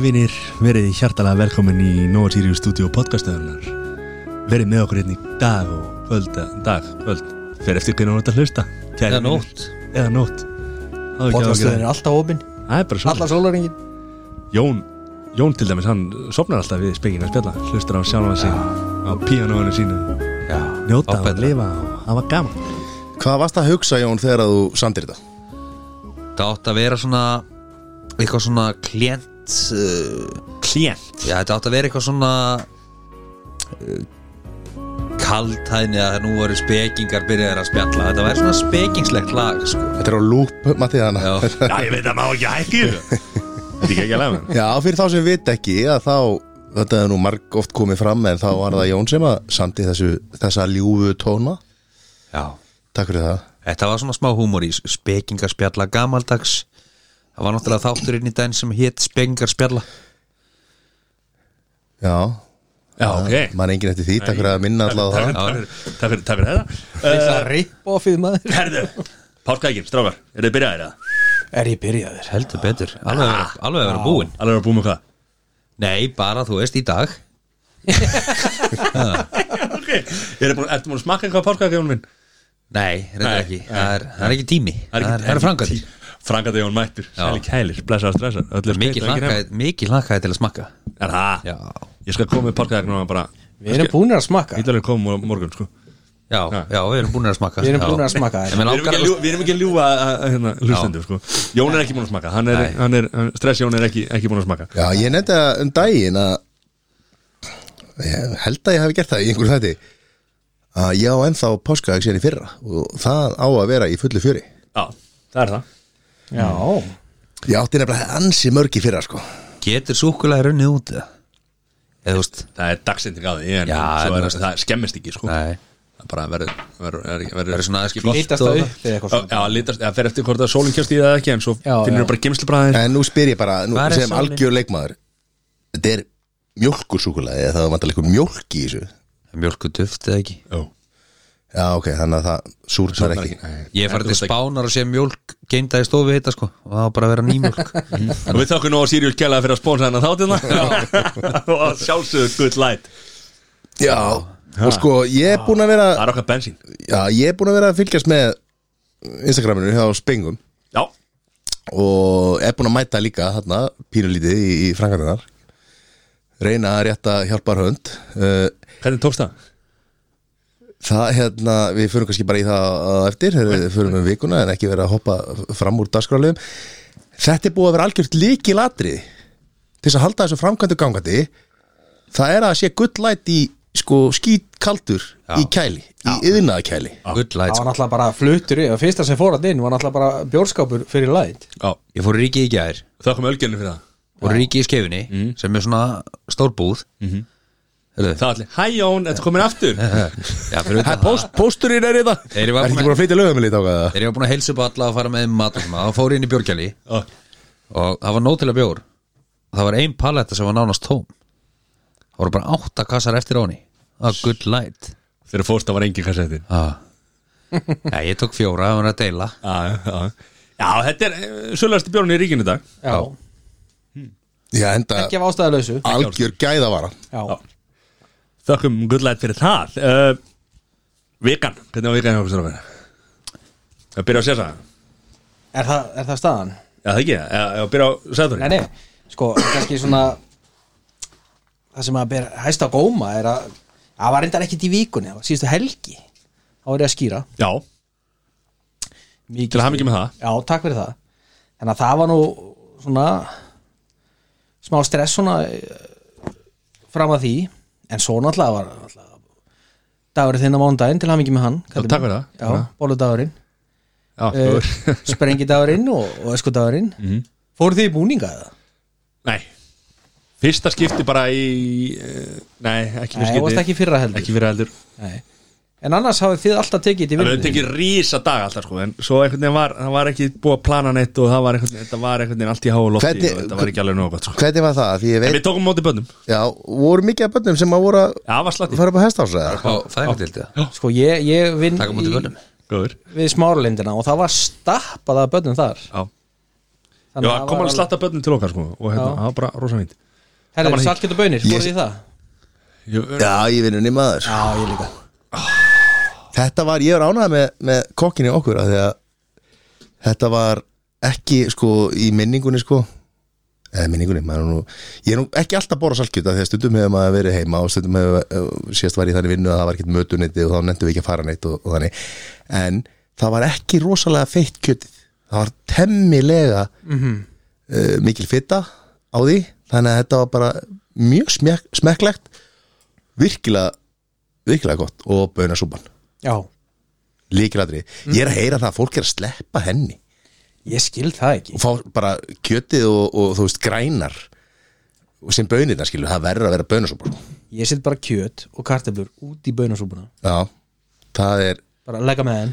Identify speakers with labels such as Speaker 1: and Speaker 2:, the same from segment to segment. Speaker 1: vinir, verið hjartalega velkomin í Nova Sirius Studio podcastaðunar Verið með okkur hérna í dag og kvölda, dag, kvöld Fer eftir hvernig hún átt að hlusta kæru
Speaker 2: Eða
Speaker 1: vinir.
Speaker 2: nótt.
Speaker 1: Eða nótt Hafðu ekki áhyggjur af því.
Speaker 2: Podcastöðin er alltaf opinn
Speaker 1: Það er bara
Speaker 2: Alla
Speaker 1: svona
Speaker 2: sólaringin
Speaker 1: Jón, Jón til dæmis, hann sopnar alltaf við spekin að spjalla Hlustar á sjálfa sig á píanóinu sínu
Speaker 2: Já,
Speaker 1: Njóta og lifa og hafa gaman
Speaker 3: Hvað varst að hugsa Jón þegar að þú samdir þetta?
Speaker 2: Það átt að vera svona Eitthvað svona klient uh,
Speaker 1: Klient
Speaker 2: Já, þetta átt að vera eitthvað svona uh, Kaldhæðni að nú voru spekingar byrjaðir að spjalla Þetta væri svona spekingslegt lag sko.
Speaker 3: Þetta er á lúp, Matti, þannig
Speaker 2: Já,
Speaker 3: að-
Speaker 1: Já, ég veit að maður ekki hækki Þetta er ekki ekki að lega
Speaker 3: Já, fyrir þá sem vit ekki að þá, þetta er nú marg oft komið fram en þá var það Jón sem að samdi þessu, þessa ljúfu tóna
Speaker 2: já
Speaker 3: Takk fyrir það
Speaker 2: Þetta var svona smá húmor í spekingar spjalla gamaldags Það var náttúrulega þátturinn í daginn sem hétt spekingar spjalla
Speaker 3: Já,
Speaker 1: Já, ok
Speaker 3: mann engin eftir því, takk fyrir að minna alltaf á það
Speaker 1: Takk fyrir- takk fyrir- takk fyrir þetta Eh,
Speaker 2: Þetta uh, rip-offið maður
Speaker 1: Herðu, páskaækjum, strákar, eru þið byrjaðir það?
Speaker 4: Er ég byrjaður?
Speaker 2: Heldur betur, alveg að vera- alveg að vera búinn
Speaker 1: Alveg að búið með hvað?
Speaker 2: Nei, bara þú veist í dag
Speaker 1: ok, er búin, ertu búin að smakka eitthvað páskaækjum minn?
Speaker 2: Nei, reyndar
Speaker 1: Nei,
Speaker 2: ekki
Speaker 1: nei.
Speaker 2: það er, það er ekki tími Það er, það er frangaði
Speaker 1: Frangaði Jón Mættur,
Speaker 2: Já.
Speaker 1: sæli kælir, blessaðar stressar Öllu
Speaker 2: Mikið hlakkaði- mikið hlakkaði til að smakka
Speaker 1: Er það?
Speaker 2: Já,
Speaker 1: Ég skal koma með páskaækjum og bara
Speaker 4: Við erum búinir að smakka
Speaker 1: Ídalur komum á morgun, sko
Speaker 2: já,
Speaker 1: Já.
Speaker 2: já, við erum búin að smakka
Speaker 4: Við erum
Speaker 2: Já.
Speaker 4: búnir að smakka þær.
Speaker 2: En mér
Speaker 1: Við erum
Speaker 2: langar
Speaker 1: ekki að
Speaker 2: að-
Speaker 1: ljú- við erum ekki að ljúga að- að, hérna, hlustendur, sko Jón er ekki búin að smakka, hann er,
Speaker 2: Nei.
Speaker 1: hann er hann- stress Jón er ekki, ekki búin að smakka
Speaker 3: Já, ég nefndi að um daginn að ég held að ég hafi gert það í einhverju þætti að ég á ennþá páskaðið síðan í fyrra og það á að vera í fullu fjöri
Speaker 1: Já, það er það
Speaker 4: Já
Speaker 3: Ég átti nefnilega ansi mörg í fyrra sko
Speaker 2: Getur súkulega runnið út eða? Eða þú veist
Speaker 1: Það er dagsending á því, en
Speaker 2: Já,
Speaker 1: svo
Speaker 2: en
Speaker 1: er,
Speaker 2: þú veist-
Speaker 1: það skemmist ekki, sko
Speaker 2: Nei,
Speaker 1: Það bara verður verður- verður-
Speaker 2: það
Speaker 1: verður
Speaker 2: er svona aðeins
Speaker 4: Lítast það upp eða eitthvað
Speaker 1: Já,
Speaker 4: svona
Speaker 1: já, litast, það fer eftir hvort að sólinn kemst í það eða ekki en svo
Speaker 4: Já,
Speaker 1: finnur
Speaker 4: já.
Speaker 1: bara sko. gemslubræðir
Speaker 3: En nú spyr ég bara, nú,
Speaker 2: Hvar er
Speaker 3: sem
Speaker 2: sálin?
Speaker 3: algjör leikmaður Þetta er mjólkursúkulega eða það er vantarlega eitthvað mjólk í þessu
Speaker 2: Mjölku duft eða ekki
Speaker 3: Já, ok, þannig að það súrnar ekki
Speaker 2: Ég er farið til spánar og sé mjölk Geinda í stofu hitta sko Og það var bara að vera nýmjölk
Speaker 1: Og við þökkum nú á Sirius Kjæla fyrir að spónsa hennar þáttina hérna. Og sjálfsögðu good light
Speaker 3: Já, Ah. og sko, ég er búin að vera
Speaker 1: Það er okkar bensín
Speaker 3: Já, ég er búin að vera að fylgjast með Instagraminu hjá Spengum
Speaker 1: Já,
Speaker 3: og er búin að mæta líka þarna pínulítið í, í frangarinnar reyna að rétta eh, hjálpar hönd
Speaker 1: hvernig tókst það?
Speaker 3: Það hérna, við förum kannski bara í það á eftir, við förum um vikuna en ekki vera að hoppa fram úr dagskráliðum Þetta er búið að vera algjört líki latrið til þess að halda þessu framkvæmdu gangandi það er að sé gullætt í sko skítkaldur í kæli, í yðnaða kæli
Speaker 2: Good light
Speaker 4: Það var
Speaker 2: sko.
Speaker 4: náttúrulega bara fluttur í og fyrsta sem fór hann inn var náttúrulega bara bjórskápur fyrir læt
Speaker 1: Já,
Speaker 2: Ég fór í ríkið í gær
Speaker 1: þökkum ölgjörnum fyrir það
Speaker 2: Og ríkið í skefinni Sem er svona stór búð Heyrðu,
Speaker 1: Það allir, hæ Jón, þetta komin aftur
Speaker 2: Já, fyrir utan það
Speaker 3: Pósturinn er í það
Speaker 2: Þeir eru
Speaker 3: Er
Speaker 2: bara
Speaker 3: ekki
Speaker 2: búin
Speaker 3: búin að flytja lögum í lítáka það?
Speaker 2: Þegar ég var búin að heilsa upp á alla að fara með þeim mat og svona, þá fór ég inn í björgjali
Speaker 1: Ó,
Speaker 2: og það var nóg til að bjór það var ein paletta sem var nánast tóm það voru bara átta kassar eftir á henni a good light
Speaker 1: Þegar fórst það var engin kassettin
Speaker 2: ah. ja, ég tók fjóra, það var að deila
Speaker 1: Já, já, já, þetta er eh, sölulegasti bjórn í ríkinu í dag
Speaker 4: Já
Speaker 3: Já, enda
Speaker 4: Ekki af ástæðalausu
Speaker 3: algjör gæðavara
Speaker 4: Já
Speaker 1: Þökkum good light fyrir það uh, Vikan, hvernig var vikan hjá okkur strákar? Það byrja á sér það
Speaker 4: Er það, er það staðan?
Speaker 1: Já, það ekki, eða eða byrja á sæðurinn
Speaker 4: Nei, nei Sko, kannski svona Það sem að ber hæsta á góma er að Það var reyndar ekkit í vikunni það var Síðustu helgi Þá er ég að skýra
Speaker 1: Já,
Speaker 4: Mikið
Speaker 1: til að hafa með það
Speaker 4: Já, takk fyrir það Þannig að það var nú svona smá stress svona eh, fram að því en svo náttúrulega var náttúrulega, dagurinn þinn á mánudaginn til hann ekki með hann kallinn
Speaker 1: takk fyrir
Speaker 4: minn.
Speaker 1: það.
Speaker 4: Já, bóludagurinn,
Speaker 1: Já, þú er-
Speaker 4: uh, sprengidagurinn og, og eskudagurinn
Speaker 1: Mhm.
Speaker 4: mm. Fóruð þið í búninga eða?
Speaker 1: Nei, fyrsta skipti bara í eh, Nei, ekki fyrsta
Speaker 4: Nei,
Speaker 1: skipti
Speaker 4: þú varst ekki í fyrra heldur
Speaker 1: Ekki fyrra heldur
Speaker 4: Nei. En annars hafið þið alltaf tekið
Speaker 1: Það
Speaker 4: þetta í
Speaker 1: var
Speaker 4: vinnu
Speaker 1: ekki rísa dag alltaf sko En svo einhvern veginn var, það var ekki búið að plana neitt Og það var einhvern veginn, þetta var einhvern veginn allt í háu lofti
Speaker 3: Hvernig-
Speaker 1: Og þetta var ekki alveg nóg gott sko
Speaker 3: Hvernig var það? Því ég
Speaker 1: En
Speaker 3: veit,
Speaker 1: við tókum á móti bönnum
Speaker 3: já, voru mikið af bönnum sem að voru að
Speaker 1: Já, var slatti
Speaker 3: fara upp á hestása eða?
Speaker 2: á fæðingatildi
Speaker 4: Sko, ég, ég vinn
Speaker 2: taka mútið
Speaker 4: í-
Speaker 2: börnum
Speaker 1: Góður
Speaker 4: við smáralindina og það var stappað af börnum þar
Speaker 1: Já, Já, það kom alveg slatta börnum til okkar sko og hérna,
Speaker 4: Já.
Speaker 1: það var bara rosa fínt
Speaker 4: Það
Speaker 1: gaman
Speaker 4: er
Speaker 1: að
Speaker 4: salkjöld og bönir,
Speaker 3: Ég-
Speaker 4: voruð þið það?
Speaker 1: Ég-
Speaker 3: Já, ég vinur nema maður
Speaker 4: Já, ég líka
Speaker 3: Þetta var, ég er ánægð með, með kokkinni okkur af því að þetta var ekki sko í minningunni sko eða minningunni, maður er nú ég er nú ekki alltaf að bóra salkjöta því að stundum hefur maður verið heima og stundum hefur, eh, síðast var ég þannig vinnu að það var ekkert mötuneyti og þá nefndum við ekki að fara neitt og, og þannig, en það var ekki rosalega feitt kjötið það var temmilega
Speaker 4: Mhm.
Speaker 3: uh, mikil fitta á því þannig að þetta var bara mjög smekk, smekklegt virkilega, virkilega gott og bönasúpan
Speaker 4: Já,
Speaker 3: líkilatri, ég er að heyra það að fólk er að sleppa henni
Speaker 4: ég skil það ekki
Speaker 3: og fá bara kjötið og, og þú veist grænar og sem bönirna skilur, það verður að vera bönasúpa
Speaker 4: Ég set bara kjöt og kartöflur út í bönasúpuna
Speaker 3: já, það er
Speaker 4: Bara leggja með henn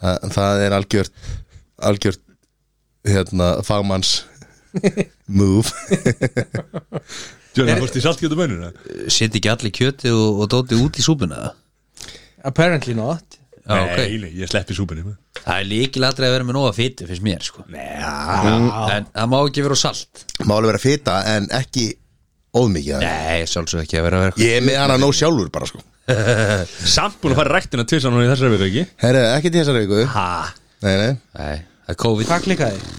Speaker 3: það, það er algjört algjört hérna, fagmanns move
Speaker 1: Jörn, fórst í saltkjötu bönuna
Speaker 2: Sitt ekki allir kjöti og, og dóti út í súpuna eða?
Speaker 4: Apparently not
Speaker 2: Já, ok
Speaker 1: Nei, nei, ég sleppi súpunni maður.
Speaker 2: Það er líkilatri að vera með nóga fytu finnst mér sko En það má ekki vera á salt
Speaker 3: máli vera fita en ekki óðmikið af henni.
Speaker 2: Nei, sjálfsög ekki að vera að vera
Speaker 3: ég er með hana nóg sjálfur bara sko
Speaker 1: Samt búin að fara í ræktina tvisar núna í þessari viku, ekki?
Speaker 3: herru, ekki til þessari viku
Speaker 1: Ha?
Speaker 3: nei, nei.
Speaker 2: Nei, það er COVID
Speaker 4: Hvað klikkaði?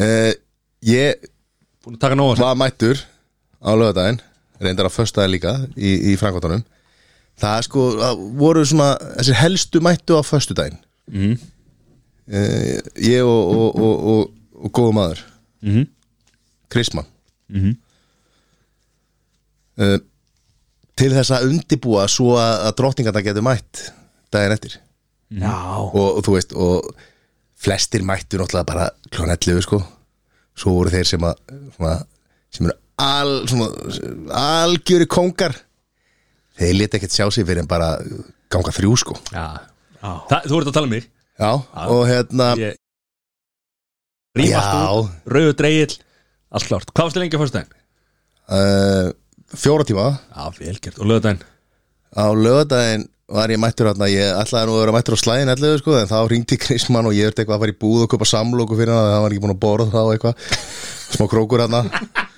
Speaker 3: Uh, ég
Speaker 1: Búin að taka nóg að
Speaker 3: var mættur á lögadaginn reyndar á föstaði líka í, í frangváttanum það er sko, það voru svona þessir helstu mættu á föstudaginn
Speaker 1: Mhm.
Speaker 3: mm. ég og, og, og, og, og góðu maður
Speaker 1: Mhm.
Speaker 3: Krisman mm til þess að undibúa svo að, að drottningarna getur mætt daginn eftir
Speaker 4: Mhm. Já,
Speaker 3: og, og þú veist og flestir mættu náttúrulega bara klón 11 sko svo voru þeir sem að svona, sem eru al, svona, algjöri kongar þeir leta ekkert sjá sig fyrir en bara ganga þrjú sko
Speaker 1: Já
Speaker 4: já
Speaker 1: Það, þú ert að tala um mig
Speaker 3: já, og hérna
Speaker 1: Ég- Rífast
Speaker 3: Já.
Speaker 1: út, rauðu dreigill Allt klárt, hvað varstu lengi á fyrstæðin?
Speaker 3: uh, fjóra tíma
Speaker 1: Já, velgjört, og löðdæn
Speaker 3: á lögadaginn var ég mættur hérna, ég ætlaði nú að vera mættur á slæðin 11 sko, en þá ringdi Krisman og ég verði eitthvað að fara í búð og köpa samlóku fyrir hann, það var ekki búin að borða þá eitthvað, smá krókur hérna og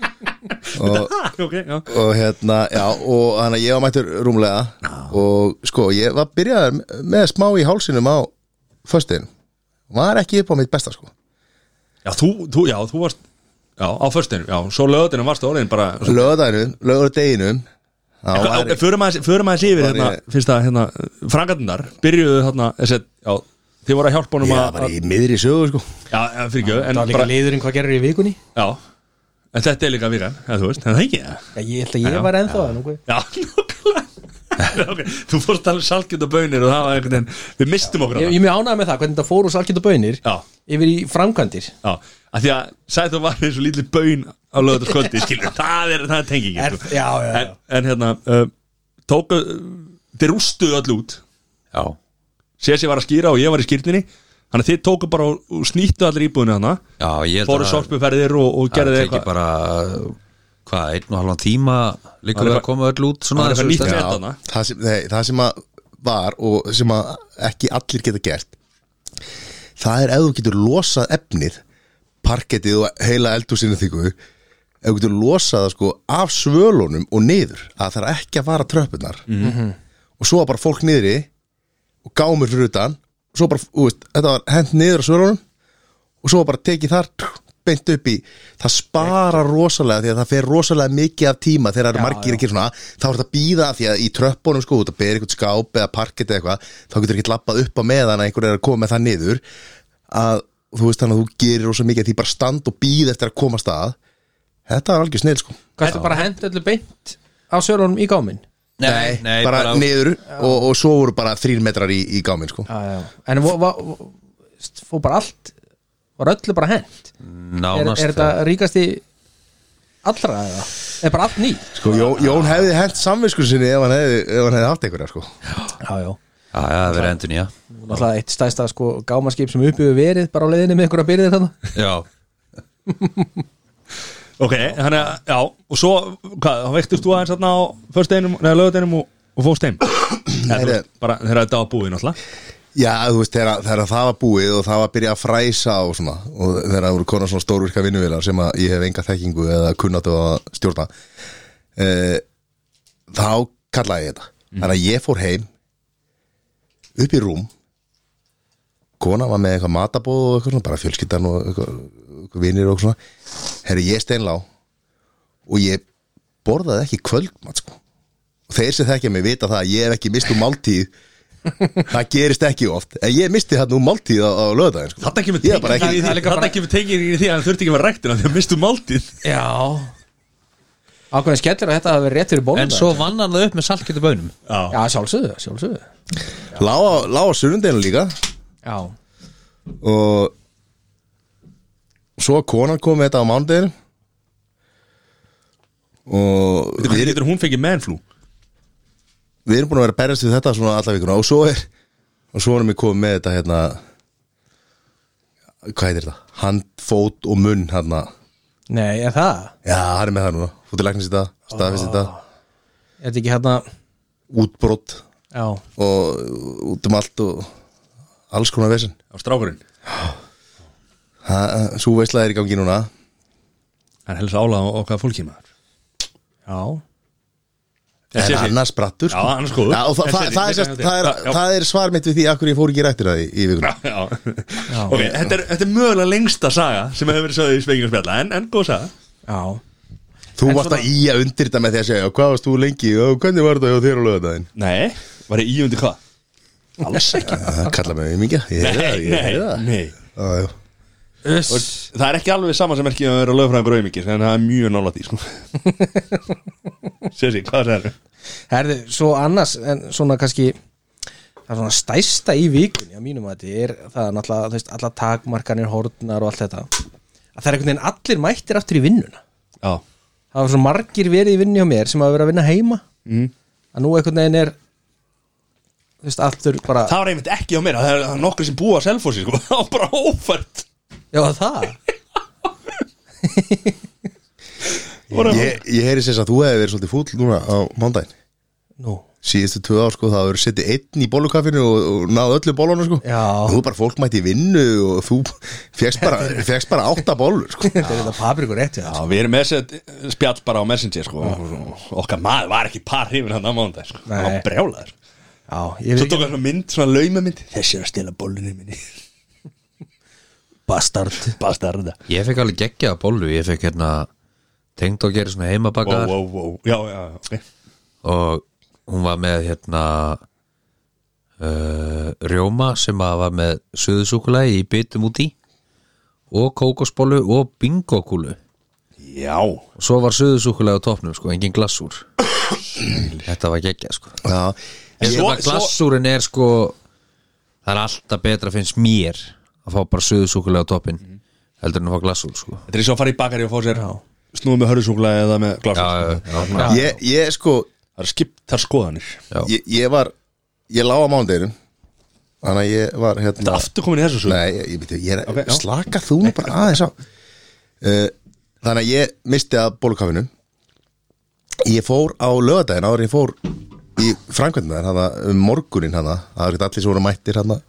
Speaker 1: Ah, Ok, já
Speaker 3: og hérna, já, og hann að ég var mættur rúmlega og sko, ég var byrjaður með smá í hálsinum á föstuðin, var ekki upp á mitt besta sko,
Speaker 1: Já, þú, þú, já, þú varst Já, á fyrstæðin, já, svo löðdæn varstu orðin bara
Speaker 3: lögðaðinu lögðaðinu
Speaker 1: Ok, Förum aðeins förum aðeins yfir
Speaker 3: var
Speaker 1: hérna,
Speaker 3: ég-
Speaker 1: fyrst að hérna Frankarnar byrjuðu þarna þessi, Já, þið voru að hjálpa honum
Speaker 3: Já,
Speaker 1: að
Speaker 3: bara
Speaker 1: að-
Speaker 3: í miðri sögu sko
Speaker 1: Já, já, fyrir ekki,
Speaker 4: Það
Speaker 1: en
Speaker 4: var líka
Speaker 1: bara
Speaker 4: liðurinn hvað gerir í vikunni
Speaker 1: Já, en þetta er líka vikan, eða þú veist, en það ekki það
Speaker 4: Já, ég held að ég
Speaker 1: Já,
Speaker 4: var ennþá að nokkuð
Speaker 1: Já, nokkulega okay. Þú fórst alveg salkjönd og bönir og það var einhvern veginn Við mistum okkur
Speaker 4: Ég,
Speaker 1: það
Speaker 4: ég er mjög ánægði með það, hvernig þetta fór úr salkjöld og bönir
Speaker 1: Já,
Speaker 4: Yfir í framkvæmdir
Speaker 1: já, að því að Sæður var eins og lítið bön á lögðu sköldi, skilur, það er, það er tengingin
Speaker 4: Er-
Speaker 1: sko.
Speaker 4: já, já, já.
Speaker 1: En, en hérna, uh, tóku uh, Þið rústuðu öll út
Speaker 2: Já,
Speaker 1: Sési var að skýra og ég var í skýrninni Þannig að þið tóku bara og, og snýttu allir íbúðinu hana
Speaker 2: já ég held
Speaker 1: Fóru sorpuferðir og, og
Speaker 2: Það
Speaker 1: gerði
Speaker 2: teki
Speaker 1: eitthvað
Speaker 2: bara Hvað, einn og halvan tíma Liggur
Speaker 1: Það er
Speaker 2: við
Speaker 1: bara-
Speaker 2: að koma öll út svona
Speaker 1: það er
Speaker 2: þessu
Speaker 1: eitthvað nýtt
Speaker 2: stærð?
Speaker 1: net þarna.
Speaker 3: það sem, nei, það sem að var og sem að ekki allir geta gert það er ef þú getur losað efnið parkettið og heila eldúsinu þykku ef þú getur losað það sko af svölunum og niður að það er ekki að fara tröppunar og svo var bara fólk niðri og gámur fyrir utan og svo bara, þú veist, þetta var hent niður á svölunum og svo var bara tekið þar beint upp í, það spara rosalega því að það fer rosalega mikið af tíma þegar það eru
Speaker 4: Já,
Speaker 3: margir
Speaker 4: já.
Speaker 3: ekki svona þá er þetta að býða því að í tröppunum sko út að bera eitthvað skáp eða parkett eða eitthvað þá getur ekki lappað upp á meðan að einhver er að koma með það niður að þú veist þannig að þú gerir rosalega mikið af því bara stand og býð eftir að koma stað þetta er algjör snill sko
Speaker 4: Kannstu bara hent öllu beint á sörunum í gáminn
Speaker 2: Nei, nei,
Speaker 3: bara, niður og, og svo voru bara þrín metrar í, í gáminn sko
Speaker 4: Já, já En vo- va- vo- st- fór bara allt Var öllu bara hent Er,
Speaker 2: Nánast
Speaker 4: er þetta ríkasti allra eða? Er bara allt nýtt?
Speaker 3: Sko, Jón, Jón hefði hent samvisku sinni ef hann hefði, ef hann hefði haft einhverja sko.
Speaker 4: Já, já
Speaker 2: Já, já, það verið endur nýja
Speaker 4: Náttúrulega eitt stæsta sko gámaskip sem uppi við verið bara á leiðinni með einhverja byrðir þannig
Speaker 2: Já,
Speaker 1: Ok, þannig að, já, og svo hvað, þá veiktist þú aðeins þarna á föstudeinum, neða lögudeinum og, og fóst heim Eða, þú veist, bara þegar þetta á búið náttúrulega
Speaker 3: Já, þú veist, þegar, þegar það var búið og það var að byrja að fræsa og svona og þegar það voru konar svona stórvirka vinnuvilar sem að ég hef enga þekkingu eða kunnáttu að stjórna e, þá kallaði ég þetta þannig að ég fór heim upp í rúm kona var með eitthvað matabóð og eitthvað svona, bara fjölskyldan og eitthvað, eitthvað vinir og svona herri, ég steinlá og ég borðaði ekki kvöldmat sko og þeir sem þekkja mig vita það að ég hef ekki mist úr máltíð það gerist ekki oft en ég misti hann úr máltíð á, á lögðaðin sko.
Speaker 1: Þetta kemur
Speaker 3: Ég er bara ekki-
Speaker 1: tekið
Speaker 4: það er líka bara-
Speaker 1: í því að hann þurfti ekki að vera ræktina því að mistu máltíð
Speaker 4: Já Ákveðin skellur að þetta hafi verið rétt fyrir bóðum
Speaker 2: En svo vann hann það upp með saltkjötu bönum
Speaker 1: Já,
Speaker 4: Já, sjálfsögðu, sjálfsögðu
Speaker 3: lá á, lá á sunnundinu líka
Speaker 4: Já,
Speaker 3: og svo konan kom með þetta á mándinu og
Speaker 1: Hvernig
Speaker 3: við,
Speaker 1: getur hún fengið mennflú
Speaker 3: við erum búin að vera að berjast við þetta svona alla vikuna og svo er og svo erum við komið með þetta hérna hvað heitir þetta? hand, fót og munn hérna
Speaker 4: nei, er það?
Speaker 3: já, hann er með það núna fótilegnis þetta, staðfist þetta
Speaker 4: Er þetta ekki hérna
Speaker 3: útbrott
Speaker 4: Já,
Speaker 3: og út um allt og alls konar vesinn
Speaker 1: á strákurinn
Speaker 3: svo veisla er í gangi núna
Speaker 1: Hann helst álaða á okkar fólki maður
Speaker 4: já
Speaker 1: Ég sé
Speaker 3: en
Speaker 1: því.
Speaker 3: annars brattur sko.
Speaker 1: Já, annars góður.
Speaker 3: Já, og þa
Speaker 1: Ég
Speaker 3: þa
Speaker 1: sé því.
Speaker 3: það, er,
Speaker 1: Ég
Speaker 3: sérst,
Speaker 1: sé því.
Speaker 3: það,
Speaker 1: Já,
Speaker 3: er,
Speaker 1: já.
Speaker 3: það er svar mitt við því akkur ég fór ekki í rættina í, í vikuna
Speaker 1: Já. Ok, þetta er, þetta er mögulega lengsta saga sem hefur verið sögðið í spengið og spjalla en, en góð saga
Speaker 4: Já,
Speaker 3: þú
Speaker 4: En
Speaker 3: varst
Speaker 4: svona-
Speaker 3: að í að undir þetta með því að segja hvað varst þú lengi og hvernig var þetta hjá þér á lögadaginn
Speaker 1: Nei, var ég íundi hvað? Alls ekki
Speaker 3: kalla mig mingja, ég hefði það,
Speaker 1: Nei,
Speaker 3: ég
Speaker 1: nei,
Speaker 3: hefði það
Speaker 1: nei
Speaker 3: Já, já.
Speaker 4: Uss.
Speaker 1: Það er ekki alveg sama sem er ekki að vera lögfræðingur auðmikið en það er mjög nálægt í sko Sér sér, hvað það er?
Speaker 4: Herðu, svo annars en svona kannski það er svona stæsta í vikunni á mínum að þetta er það er náttúrulega, þú veist, alla takmarkanir hórnar og allt þetta að það er einhvern veginn allir mættir aftur í vinnuna
Speaker 1: Já
Speaker 4: það var svona margir verið í vinnu hjá mér sem hafa verið að vinna heima
Speaker 1: mm.
Speaker 4: að nú einhvern veginn er þú veist, aftur bara
Speaker 1: Það var einmitt ekki á mér, það er, það er nokkur sem búa að selfósi sko, það var bara ófært
Speaker 4: Já, það
Speaker 3: ég, ég heyri sérst að þú hefði verið svolítið fúll núna á mándaginn
Speaker 4: Nú,
Speaker 3: síðustu tvö ár sko, það hefur setið einn í bólukaffinu og, og náðu öllu bólunum sko.
Speaker 4: Já.
Speaker 3: þú bara fólk mætti í vinnu og þú fegst bara, fékkst bara átta bólur sko.
Speaker 4: þetta er þetta paprikur rétt við
Speaker 1: Já, við erum með þessi spjall bara á Messenger sko, og okkar maður var ekki par hrifin hann á mándag, sko, hann var
Speaker 4: Nei.
Speaker 1: brjálaður
Speaker 4: Já, ég
Speaker 1: Svo
Speaker 4: veit
Speaker 1: tók
Speaker 4: ekki
Speaker 1: hann svona mynd, svona laumamynd Þessi er að stela bólunni minni
Speaker 4: Bastard
Speaker 1: Bastarda
Speaker 2: Ég fekk alveg geggjaða bollu Ég fekk hérna tengd og gera svona
Speaker 1: Wow,
Speaker 2: heimabakar
Speaker 1: wow, wow, já, já, já, ok
Speaker 2: og hún var með hérna uh, rjóma sem að var með söðusúkulegi í bitum út í og kókosbólu og bingokúlu
Speaker 1: Já,
Speaker 2: og svo var söðusúkulegi á topnum sko, engin glassúr þetta var geggja sko
Speaker 3: Já.
Speaker 2: en
Speaker 1: Svo-
Speaker 2: svo, glassúrin er sko það er alltaf betra finnst mér að fá bara söðusúkulegi á toppin heldur en að fá glassúr sko
Speaker 1: þetta er svo að fara í bakari og fá sér
Speaker 4: Já.
Speaker 1: Snúið með hörðsúkulega eða með glasa
Speaker 2: já, já, já,
Speaker 3: ég, ég sko
Speaker 1: Það er skiptar skoðanir
Speaker 2: já.
Speaker 3: ég, ég var ég lá á mándeginum þannig að ég var
Speaker 1: Þetta
Speaker 3: hérna
Speaker 1: er aftur komin í þessu svo
Speaker 3: nei, ég, ég, veit, ég er,
Speaker 1: Ok, já.
Speaker 3: slaka þú nú bara aðeins á uh, þannig að ég misti að bólukafinu ég fór á lögadaginn áður en ég fór í framkvæmdina þar hana, um morgunin hana það er ekkert allir sem voru mættir hana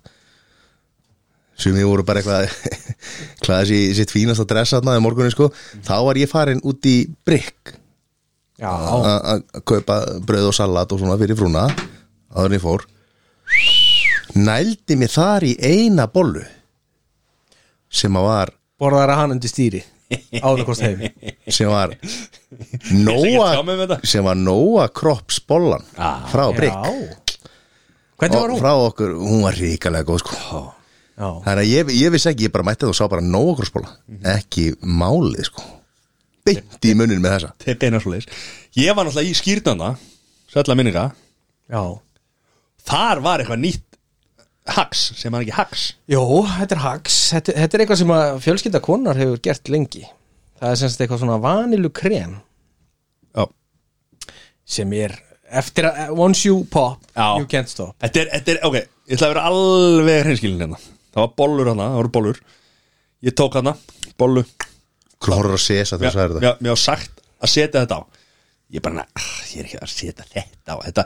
Speaker 3: sem ég voru bara eitthvað klæðis í sitt fínasta dress hana um morgunin sko, þá var ég farin út í brygg
Speaker 4: Já,
Speaker 3: að að kaupa brauð og salat og svona fyrir frúna áður en ég fór nældi mér þar í eina bollu sem að var
Speaker 4: borðar að hann undir stýri Áðurkost heim
Speaker 3: sem var
Speaker 1: Ég ætla ekki að tjá mig um
Speaker 3: Nóa
Speaker 1: þetta. Ah,
Speaker 3: sem var Nóa Kropps bollan frá Brygg
Speaker 4: Já Hvernig var
Speaker 3: og
Speaker 4: hún?
Speaker 3: frá okkur, hún var ríkalega góð sko.
Speaker 4: Já,
Speaker 3: þannig að ég, ég vissi ekki, ég bara mætti það og sá bara Nóa Kropps bolla,
Speaker 1: Mhm.
Speaker 3: ekki málið sko. beint í munin með þessa
Speaker 1: Þetta er eina svo Ég var náttúrulega í skýrnanda Sölda minninga
Speaker 4: já
Speaker 1: Þar var eitthvað nýtt Hax, sem hann ekki Hax
Speaker 4: Jó, þetta er hags þetta, þetta er eitthvað sem að fjölskylda konar hefur gert lengi Það er semst eitthvað svona vanilu krem
Speaker 1: Já
Speaker 4: sem er eftir að eh, once you pop,
Speaker 1: Já.
Speaker 4: you can't stop
Speaker 1: Þetta er, þetta er, ok, ég ætla að vera alveg hreinskilin hérna Það var bollur hana, það voru bollur Ég tók hana, bollu
Speaker 3: hún horfður að sesa þegar þú sagði þetta
Speaker 1: mér, mér var sagt að setja þetta á Ég bara, na, ah, ég er ekki að setja þetta á Þetta,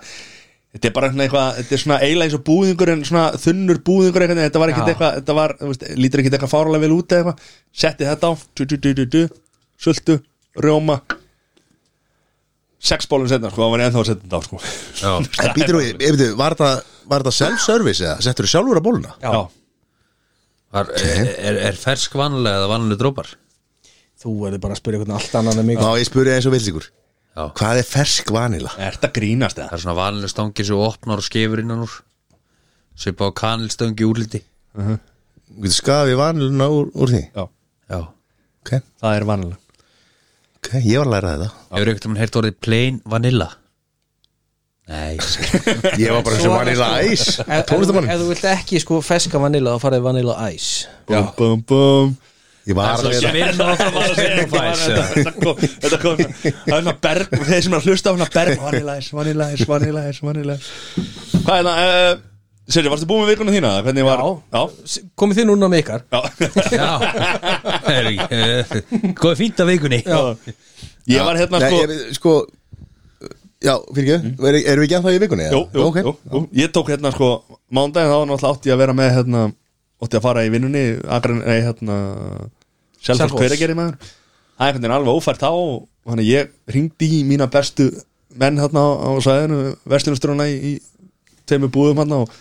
Speaker 1: Þetta er bara svona eitthvað, þetta er svona eiginlega eins og búðingur en svona þunnur búðingur eitthvað, þetta var ekkert
Speaker 4: Já.
Speaker 1: eitthvað, þetta var, þú veist, lítur ekkert eitthvað fáralega vel út eða eitthvað, setti þetta á, du, du, du, du, du, sultu, rjóma, sex bólum setna, sko, það var ég ennþá að setja þetta á, sko.
Speaker 2: Já.
Speaker 3: En býtur þú, ég veit, var það, var það self-service eða? Settur þú sjálfur að bóluna?
Speaker 4: Já.
Speaker 2: Var, er, er, er fersk vanlega eða vanlega drópar?
Speaker 4: Þú verður bara að spyrja hvernig allt annað en mig
Speaker 3: Já, ég spurði eins og villíkur
Speaker 2: Já.
Speaker 3: Hvað er fersk vanila?
Speaker 1: Er þetta grínast
Speaker 2: Það
Speaker 1: eða?
Speaker 2: er svona vanlega stangi sem þú opnar og skefur innan úr Svipa á kanilstöngi úrliti
Speaker 3: Þú getur skafið vaniluna úr, úr því
Speaker 1: Já,
Speaker 2: Já
Speaker 3: Ok,
Speaker 1: það er vanilega.
Speaker 3: ok, ég var að læra þetta
Speaker 2: Hefur einhvern veginn heyrt orðið plain vanilla? Nei
Speaker 3: Ég var bara eins og vanila æs
Speaker 4: Ef
Speaker 3: Tónlistamann
Speaker 4: ef þú vilt ekki sko feska vanila þá farið vanila æs
Speaker 1: Bum, bum, bum.
Speaker 3: Ég var
Speaker 1: hérna-
Speaker 3: að vera
Speaker 2: Smyrna og það var að segja
Speaker 1: Þetta var- þetta- þetta kom, þetta kom, það er svona berg, þeir sem er að hlusta á hana berg, vanilæs, vanilæs, vanilæs, vanilæs. Hvað er það, uh, Sérri, varstu búin með vikuna þína? Hvernig var,
Speaker 4: Já. S- Komið þið núna með ykkar
Speaker 1: já.
Speaker 2: Já Góði eh, fínt af vikunni
Speaker 1: Ég var hérna,
Speaker 3: Nei,
Speaker 1: sko,
Speaker 3: ég veit, sko Já, fyrir ekki, mm. erum við ekki ennþá í vikunni? eða?
Speaker 1: Jú, jú,
Speaker 3: ok.
Speaker 1: jú, jú, ég tók hérna sko mándaginn þá náttúrulega átti ég að vera með hérna, átti að fara í vinnunni Akran, nei, hérna Selfoss
Speaker 4: Selfoss.
Speaker 1: hveragerði maður Það er einhvern veginn alveg ófært þá og þannig að ég ringdi í mína bestu menn hérna á, á sæðinu, verslunastruna í, í tveimur búðum hérna og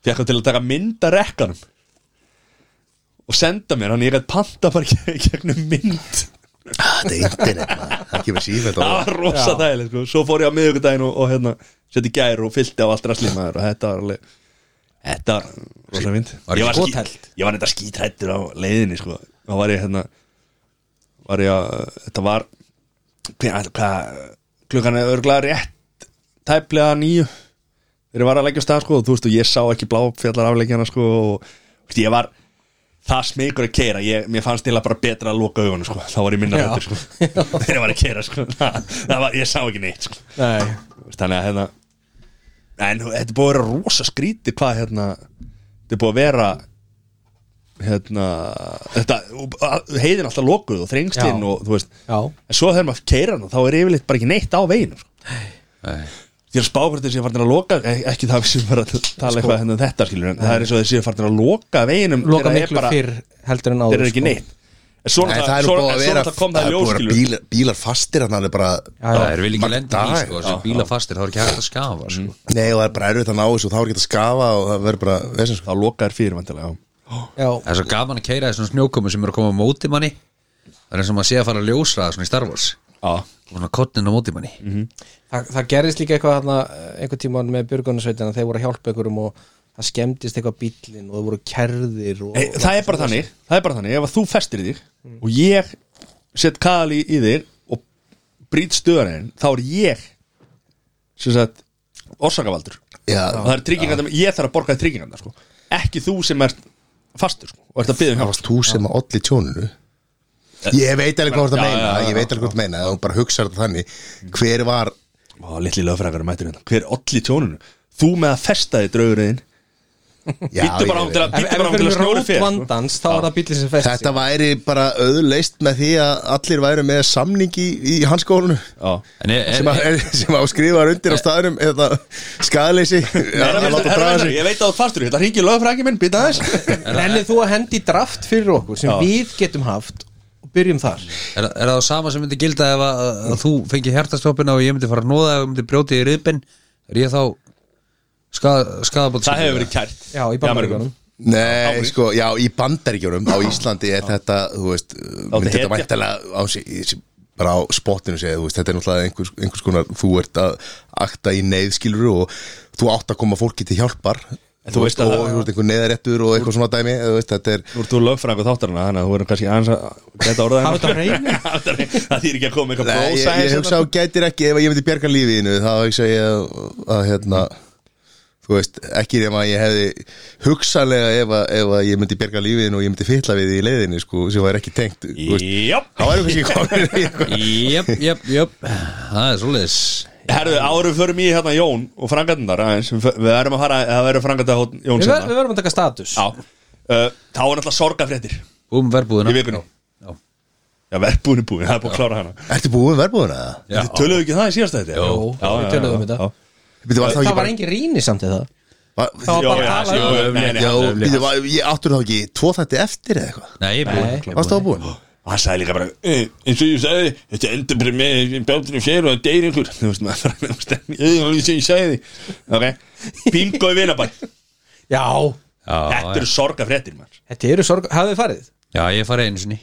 Speaker 1: fekk hann til að taka mynda rekkanum og senda mér, hann ég gætt panta bara í gegnum mynd
Speaker 3: Ah, Þetta er internet, maður. það kemur sífætt
Speaker 1: það var rosa þægileg sko. svo fór ég á miðvikudaginn og, og hérna seti gær og fyllti á allt rastlímaður og þetta var alveg þetta var rosa mynd
Speaker 2: Var
Speaker 1: ég
Speaker 2: ekki
Speaker 1: var, skí,
Speaker 4: skotheld?
Speaker 1: ég var þetta skítrættur á leiðinni sko. þá var ég hérna var ég að, þetta var hvað, hvað klukkan er örglega rétt tæplega nýju þegar ég var að leggja af stað sko og þú veist og ég sá ekki bláfjallar afleggjana sko og þú veist, ég var það smegur að keira, ég, mér fannst til að bara betra að loka augunum sko, þá var ég minna
Speaker 4: Já.
Speaker 1: hættur sko þegar ég var að keira sko það, það var, ég sá ekki neitt sko
Speaker 4: Nei
Speaker 1: Þú veist, þannig að hérna en þetta er búið að vera rosa skríti hvað hérna, þetta er búið að vera hérna þetta, heiðin alltaf lokuð og þrengstinn
Speaker 4: Já.
Speaker 1: og þú veist
Speaker 4: Já
Speaker 1: en svo þegar maður keira hana, þá er yfirleitt bara ekki neitt á veginum sko. Ég er að spá hvort þeir séu farin að loka ek- ekki það sem var að
Speaker 4: Sko-
Speaker 1: tala eitthvað hérna um þetta skilur en það er eins og þeir séu farin að loka veginum
Speaker 4: Loka
Speaker 1: þeirra er
Speaker 4: miklu
Speaker 1: bara-
Speaker 4: fyrr heldur en áður
Speaker 1: þeir eru ekki
Speaker 4: sko.
Speaker 1: neitt en svo
Speaker 3: Nei, það er nú búið að vera
Speaker 1: það kom það í
Speaker 3: er búið að vera
Speaker 1: ljóskilur
Speaker 3: bílar, bílar fastir hann er bara
Speaker 4: Já,
Speaker 2: Það
Speaker 4: já.
Speaker 2: er vil ekki lenda í
Speaker 3: Dag.
Speaker 2: sko sem bíla fastir, þá er ekki hægt að skafa sko.
Speaker 3: Nei, og það er bara erfitt að ná þessu og þá er ekki hægt að skafa og það verður bara vesen, sko.
Speaker 1: þá loka þær fyrir vantilega
Speaker 4: Já
Speaker 2: Það er svo gaman að keira þessum snjókomu sem eru að koma á móti manni Það er eins og maður sé að fara að ljósraða svona í Star Wars
Speaker 1: já
Speaker 2: og svona kotnin á móti manni
Speaker 4: Þa, það gerðist líka eitthvað þarna, eh, einhvern tímann með björgunarsveitina þeir voru að hjálpa ykkur um og það skemmdist eitthvað bíllinn og það voru kerðir og,
Speaker 1: Nei, Eh, það er bara þannig, það er bara þannig ef að þú festir í þig
Speaker 4: Mm.
Speaker 1: og ég set kaðal í, í þig og brýt stöðaninn, þá er ég sem sagt orsakavaldur
Speaker 3: Já.
Speaker 1: og það er tryggingarnar, ég þarf að borga tryggingarnar sko. ekki þú sem ert fastur sko, og ert að byggja um
Speaker 3: Það
Speaker 1: hjálp
Speaker 3: varst þú sem að olli tjóninu Ég veit alveg hvað þú ert að
Speaker 1: Eh, Já, já,
Speaker 3: meina
Speaker 1: já,
Speaker 3: Ég veit alveg hvað þú ert að meina, þú bara hugsar þetta þannig Hver var,
Speaker 1: Ó, litli lögfræðar mættur hérna, hver olli tjóninu þú með að festa þig draugurinn
Speaker 3: já,
Speaker 1: Bíddu bara án
Speaker 3: ég veit.
Speaker 1: til að-
Speaker 4: Ef,
Speaker 1: Bíddu bara
Speaker 4: ef við
Speaker 1: þangað til
Speaker 4: fyrir
Speaker 1: snjórinn
Speaker 4: rót
Speaker 1: fer, sko.
Speaker 4: vandans þá er það bíllinn sem festi
Speaker 3: Þetta væri bara auðleist með því að allir væri með samning í, í hanskólinu
Speaker 1: Já.
Speaker 2: En er,
Speaker 3: sem,
Speaker 2: er,
Speaker 3: að-
Speaker 2: er,
Speaker 1: eh.
Speaker 3: sem á skrifaðar undir á staðnum eða skadaleysi
Speaker 1: Herra,
Speaker 3: að
Speaker 1: herra,
Speaker 3: láta
Speaker 1: herra,
Speaker 3: draga
Speaker 1: herra,
Speaker 3: sig
Speaker 1: ég veit að þú ert fastur hérna hringi lögfræðar minn, býta aðeins
Speaker 4: Rennið þú að hendi draft fyrir okkur sem
Speaker 1: Já.
Speaker 4: við getum haft og byrjum þar
Speaker 2: er það það sama sem myndi gilda ef að, að þú fengi hjartastoppina og ég myndi fara að nóða ef ég myndi brjóti í riðbin er ég þá skadabótt
Speaker 1: það hefur verið kært
Speaker 4: Já, í bandaríkjónum
Speaker 3: Nei,
Speaker 1: Ári.
Speaker 3: sko, já, í bandaríkjunum á Íslandi er þetta, þú veist eh, myndi
Speaker 1: hetja.
Speaker 3: þetta væntalega á sig í- sí- bara á spottinu segja, þú veist, þetta er náttúrulega einhvers, einhvers konar, þú ert að akta í neyðskiluru og þú átt að koma fólki til hjálpar
Speaker 1: En þú veist að
Speaker 3: og
Speaker 1: það-
Speaker 3: þú ert einhver neyðarettur og eitthvað svona dæmi þú veist, þetta er
Speaker 1: Nú ert þú lögfræðingur þáttarana, þannig að þú verður kannski aðeins að geta orðað
Speaker 4: Hafa þetta á hreinu?
Speaker 1: Hafa þetta á hreinu. Það þýr ekki að koma eitthvað
Speaker 3: Nei, ég,
Speaker 1: brósa
Speaker 3: ég hugsa á gætir ekki ef ég myndi bjarga lífiðinu þá hugsa ég að, að hérna þú veist, ekki nema að ég hefði hugsanlega ef að, ef að ég myndi bjarga lífiðinu og ég myndi fytla við því í leiðinu sko, sem var ekki tengt þú veist.
Speaker 1: Jáp
Speaker 3: þá erum við ekki komin í eitthvað
Speaker 2: Jöp, jöp, jöp Það er svoleiðis
Speaker 1: Herðu, árum förum í hérna Jón og frangatindar aðeins Við erum að fara, það verður frangatindar Jón
Speaker 4: Við, ver,
Speaker 1: sem
Speaker 4: við verðum að taka status
Speaker 1: Já Uh, Þá er alltaf sorgafréttir Já,
Speaker 2: Um verbúðuna
Speaker 1: Í vikunni.
Speaker 2: Já.
Speaker 1: verðbúin er búin, það er búin að klára hana
Speaker 3: Ertu búin verðbúin að það?
Speaker 2: Já.
Speaker 1: Þið töluðu ekki það í síðasta þetta?
Speaker 4: Jú, við töluðum þetta.
Speaker 1: já.
Speaker 3: Býtu, var það
Speaker 4: það
Speaker 3: ekki
Speaker 4: var
Speaker 3: bara
Speaker 4: engin rýni samt í það
Speaker 3: var-
Speaker 4: það var bara
Speaker 1: Já,
Speaker 4: að
Speaker 1: já,
Speaker 4: tala
Speaker 1: já,
Speaker 4: um
Speaker 1: nei, nei,
Speaker 3: Já,
Speaker 1: hann-
Speaker 3: býtu, var- ég áttur þá ekki tvo þætti eftir eða eitthvað
Speaker 2: Nei, ég er búinn
Speaker 3: Varst það búin?
Speaker 1: og hann sagði líka bara "Eh, eins og ég sagði, þetta endur bara með bjátturinn fyrir og það deyri einhver þú veist maður það er stemning "Eh, eins og ég sagði ok bingo í vinabæ
Speaker 4: já,
Speaker 1: þetta
Speaker 2: já,
Speaker 1: eru sorgafréttir maður
Speaker 4: þetta eru sorg, hafið þið farið
Speaker 2: já, ég farið einu sinni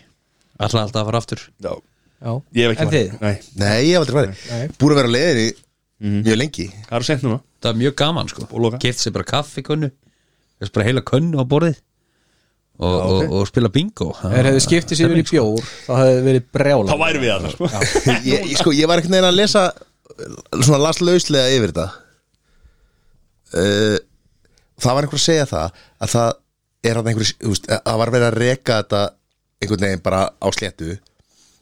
Speaker 2: Alltaf alltaf að fara aftur
Speaker 1: já
Speaker 4: já,
Speaker 1: ég hef ekki
Speaker 4: en þið,
Speaker 1: farið. Nei,
Speaker 3: Nei, ég hef aldrei
Speaker 4: Nei.
Speaker 3: farið Búin að vera leiðir í mjög lengi
Speaker 1: það eru sent núna
Speaker 2: Það var mjög gaman
Speaker 1: Og
Speaker 2: sko
Speaker 1: loka.
Speaker 2: Keft sér bara kaffi kunnu Þess bara heila kunnu á borðið Og, og, og spila bingo
Speaker 4: er hefði skiptið sér yfir í bjór þá hefði verið brjála
Speaker 1: þá væri við að það sko.
Speaker 3: ég, ég- sko, ég var ekkert neginn að lesa eh, svona las lauslega yfir þetta uh, það var einhver að segja það að það er að einhver það var verið að reka þetta einhvern veginn bara á sléttu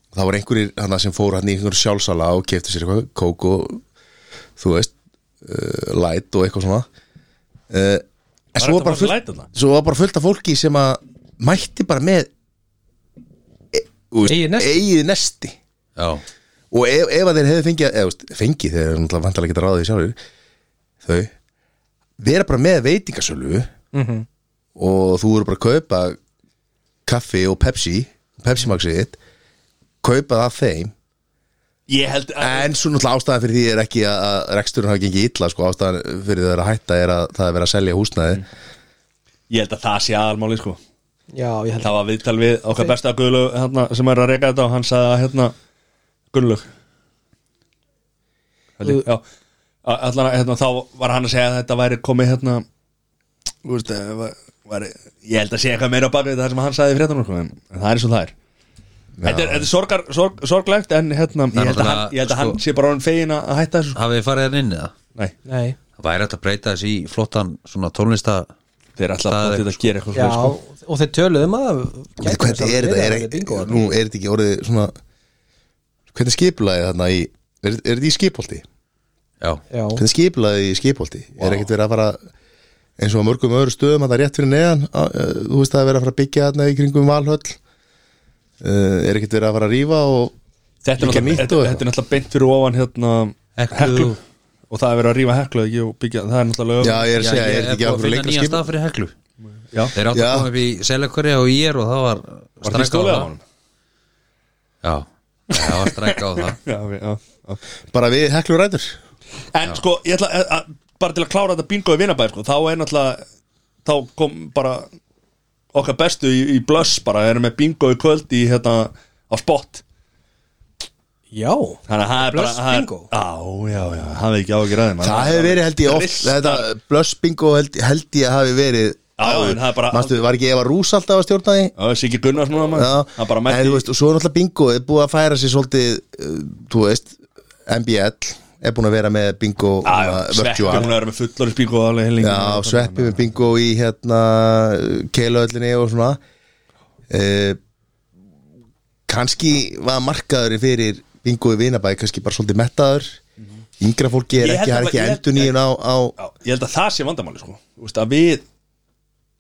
Speaker 3: það voru einhverjir hana sem fóru hann í einhverjum sjálfsala og keftu sér eitthvað kók og þú veist uh, light og eitthvað svona uh, en
Speaker 1: Var
Speaker 3: svo
Speaker 1: þetta
Speaker 3: var, bara
Speaker 1: bara
Speaker 3: fullt,
Speaker 1: light þarna?
Speaker 3: svo var bara fullt af fólki sem að mætti bara með e, þú veist,
Speaker 4: Eigið nesti.
Speaker 3: eigið nesti
Speaker 2: Já,
Speaker 3: og ef, ef að þeir hefðu fengið eða, þú veist, fengið, þeir eru náttúrulega vantarlega ekki að ráða því sjálfur þau vera bara með veitingasölu og þú eru bara að kaupa kaffi og Pepsi Pepsi magsið þitt kaupa það af þeim
Speaker 1: ég held að
Speaker 3: en svo náttúrulega ástæðan fyrir því er ekki að- að reksturinn hafa gengið illa sko ástæðan fyrir það að hætta er að það er verið að selja húsnæði
Speaker 1: ég held að það sé aðalmáli sko
Speaker 4: já, ég held
Speaker 1: það var viðtal við okkar besta guðlög hérna, sem er að reyka þetta og hann sagði að hérna, guðlög já að- allan að hérna, þá var hann að segja að þetta væri komið hérna þú veist, eh, var, var, ég held að segja eitthvað meira á bakvið það sem hann sagði í fréttunum sko, en, en það er eins og það er þetta er, þetta er sorgar, sorg, sorglegt en hérna, ég held að,
Speaker 2: Það er
Speaker 1: hann,
Speaker 2: náttúrulega,
Speaker 1: ég held að hann
Speaker 2: sko-
Speaker 1: sé bara hann fegin að að hætta þessu sko.
Speaker 2: hafið þið farið þarna inn eða?
Speaker 1: nei,
Speaker 4: nei,
Speaker 2: Það væri hægt að breyta þessi í flottan svona tónlista
Speaker 1: þeir er alltaf
Speaker 2: Það er
Speaker 1: að þetta gera eitthvað
Speaker 4: já,
Speaker 1: svoleiðis, sko.
Speaker 4: og þeir töluðum að
Speaker 3: Veitu, hvernig er þetta, er,
Speaker 4: bingo
Speaker 3: er, nú er þetta ekki orðið svona hvernig skipulaði þarna í er, er þetta í skipholti?
Speaker 2: Já,
Speaker 4: já,
Speaker 3: hvernig skiplaði í skipholti er ekkert verið að fara eins og á mörgum öðru stöðum að það er rétt fyrir neðan að, eh, þú veist það er verið að fara að byggja þarna í kringum valhöll uh, er ekkert verið að fara að rífa og
Speaker 1: þetta er
Speaker 3: Líka
Speaker 1: náttúrulega-
Speaker 3: nýtt og
Speaker 1: þetta-
Speaker 3: eitthvað.
Speaker 1: þetta er náttúrulega beint fyrir ofan hérna,
Speaker 2: Heklu.
Speaker 1: heklu og það er verið að rífa heklu ekki, og byggja, það er náttúrulega lög
Speaker 3: já ég er að segja, er þetta ekki
Speaker 2: búið að
Speaker 3: okkur
Speaker 2: finna
Speaker 3: lengra
Speaker 2: nýjan
Speaker 3: skip
Speaker 2: stað fyrir heklu
Speaker 1: Já.
Speaker 2: Þeir áttu
Speaker 3: Já.
Speaker 2: að koma upp í Seljakverja og ég er og það var
Speaker 1: Var því
Speaker 2: strækka
Speaker 1: stólið á
Speaker 2: það.
Speaker 1: honum?
Speaker 2: Já, það var strækka á það
Speaker 1: Já, ok, já, já.
Speaker 3: bara við heklu rætur
Speaker 1: En sko, ég ætla að- að- bara til að klára þetta bingo í vinabæð sko, þá er náttúrulega þá kom bara okkar bestu í, í blöss bara erum með bingo í kvöld í hérna á spott
Speaker 4: já
Speaker 1: Þannig að það er bara
Speaker 4: Blöss
Speaker 1: það er-
Speaker 4: bingo?
Speaker 1: Já, já, já, það er ekki áhyggjur aðeins
Speaker 3: það hefur verið held ég oft
Speaker 1: Ristar.
Speaker 3: þetta blöss bingo held, held ég að hafi verið
Speaker 1: Já,
Speaker 3: áður.
Speaker 1: en það er bara-
Speaker 3: Manstu, var ekki Eva Rús alltaf að stjórna því
Speaker 1: Það er Siggi Gunnars núna
Speaker 3: Já,
Speaker 1: maður Það bara
Speaker 3: en
Speaker 1: mætti
Speaker 3: þú veist, og svo er náttúrulega bingo er búið að færa sér svolítið, uh, þú veist MBL er búin að vera með bingo um
Speaker 1: Já, já,
Speaker 3: svona
Speaker 1: Sveppi
Speaker 3: virtual.
Speaker 1: hún er með fullorins bingo og alveg hellingi
Speaker 3: Já, sveppi með bingo í hérna keilöðlinni og svona uh, kannski var markaðurinn fyrir bingo í vinabæði kannski bara svolítið mettaður yngra fólki er
Speaker 1: Mhm. Ég held
Speaker 3: ekki, það
Speaker 1: að-
Speaker 3: er ekki
Speaker 1: ég-
Speaker 3: endur nýjun á, á
Speaker 1: Já, ég held að það sé vandamáli sko Þú veist að við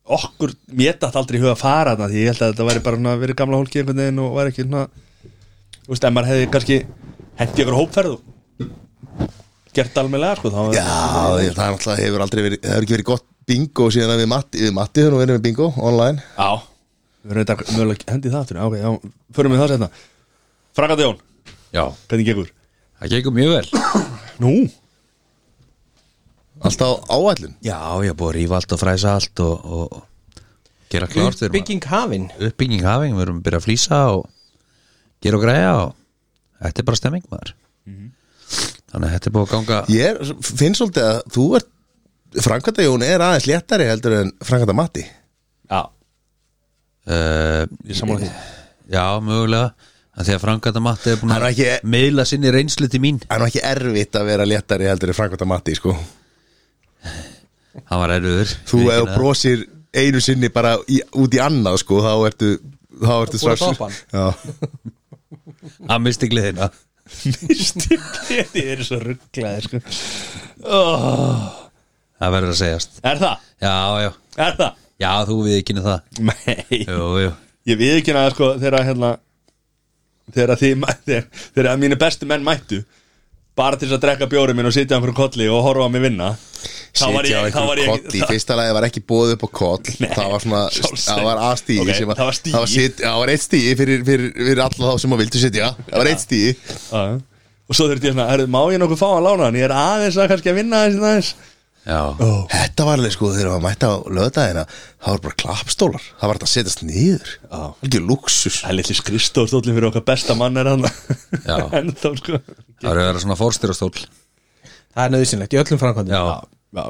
Speaker 1: okkur, mér dætt aldrei í huga að fara þarna því ég held að þetta væri bara svona verið gamla hólki einhvern veginn og væri ekki svona Þú veist, ef maður hefði kannski hendi ykkur hópferð og gert almennlega sko þá
Speaker 3: Já, ég- það er náttúrulega hefur aldrei verið það hefur ekki verið gott bingo síðan að við matti við matti þegar við verið með bingo online
Speaker 1: Já, við verðum þetta mögulega hendi það aftur ok, já, förum við það setna Frakandi Jón,
Speaker 2: Já,
Speaker 1: hvernig gekur?
Speaker 2: það gekk mjög vel
Speaker 1: Nú?
Speaker 3: alltaf á áætlun
Speaker 2: Já, ég er búið að rífa allt og fræsa allt og, og gera klárt við erum að-
Speaker 4: bygging hafin
Speaker 2: Uppbygging hafing, við erum að byrja að flýsa og gera og græja og þetta er bara stemming maður Þannig að þetta er búið að ganga
Speaker 3: Ég er, finn svolítið að þú ert Frankata Jón er aðeins léttari heldur en Frankata Matti
Speaker 1: Já,
Speaker 2: uh,
Speaker 1: ég samanlega því
Speaker 2: Já, mögulega að Því að Frankata Matti er búin
Speaker 3: Hann
Speaker 2: að
Speaker 3: er ekki-
Speaker 2: meðla sinni reynslu til mín
Speaker 3: Það er nú ekki erfitt að vera léttari heldur en Frankata Matti sko
Speaker 2: Hann var erfiður
Speaker 3: Þú
Speaker 2: Ég
Speaker 3: ef
Speaker 2: ekki
Speaker 3: þú
Speaker 2: það.
Speaker 3: brosir einu sinni bara í, út í annað sko þá ertu, þá ertu
Speaker 4: búin að
Speaker 3: strax
Speaker 4: toppa hann.
Speaker 3: Já.
Speaker 2: Hann misti gleðina
Speaker 1: Misti gleði, ég er svo rugglaði sko oh,
Speaker 2: Það verður að segjast
Speaker 1: Er það?
Speaker 2: Já, já,
Speaker 1: Er það?
Speaker 2: já, þú við ekki það
Speaker 1: Nei
Speaker 2: Jú, jú
Speaker 1: Ég við ekki að sko þegar að, hérna þegar að því þegar, þegar að mínu bestu menn mættu bara til þess að drekka bjórið minn og sitja á einhverju kolli og horfa á mig vinna Þá var
Speaker 3: Sitja á
Speaker 1: ég- þá var
Speaker 3: einhverjum
Speaker 1: ég-
Speaker 3: koll Í fyrsta lagi var ekki bóð upp á koll Það var svona,
Speaker 1: sjálfsagt.
Speaker 3: það var A-stíi
Speaker 1: Ok,
Speaker 3: sem að-
Speaker 1: það var stigi.
Speaker 3: Það var, sit, það var eitt stíi fyrir, fyrir, fyrir alla þá sem að vildu sitja Það var eitt stíi
Speaker 1: Já, já. og svo þurfti ég svona, "Herðu, má ég nokkuð fá að lána hann ég er aðeins að kannski að vinna aðeins, aðeins.
Speaker 2: Já,
Speaker 3: Þetta var alveg sko þegar maður mætti á löðdæðina Það var bara klappstólar Það var þetta að setjast niður Algjör luxus
Speaker 1: það er litli skrifstofstólin fyrir okkar besta mann er hann
Speaker 2: Já.
Speaker 1: en þá sko
Speaker 2: það eru að vera svona fórstyrastól
Speaker 4: Það er nöðsynlegt í öllum framkvæmdum
Speaker 2: Já,
Speaker 1: já,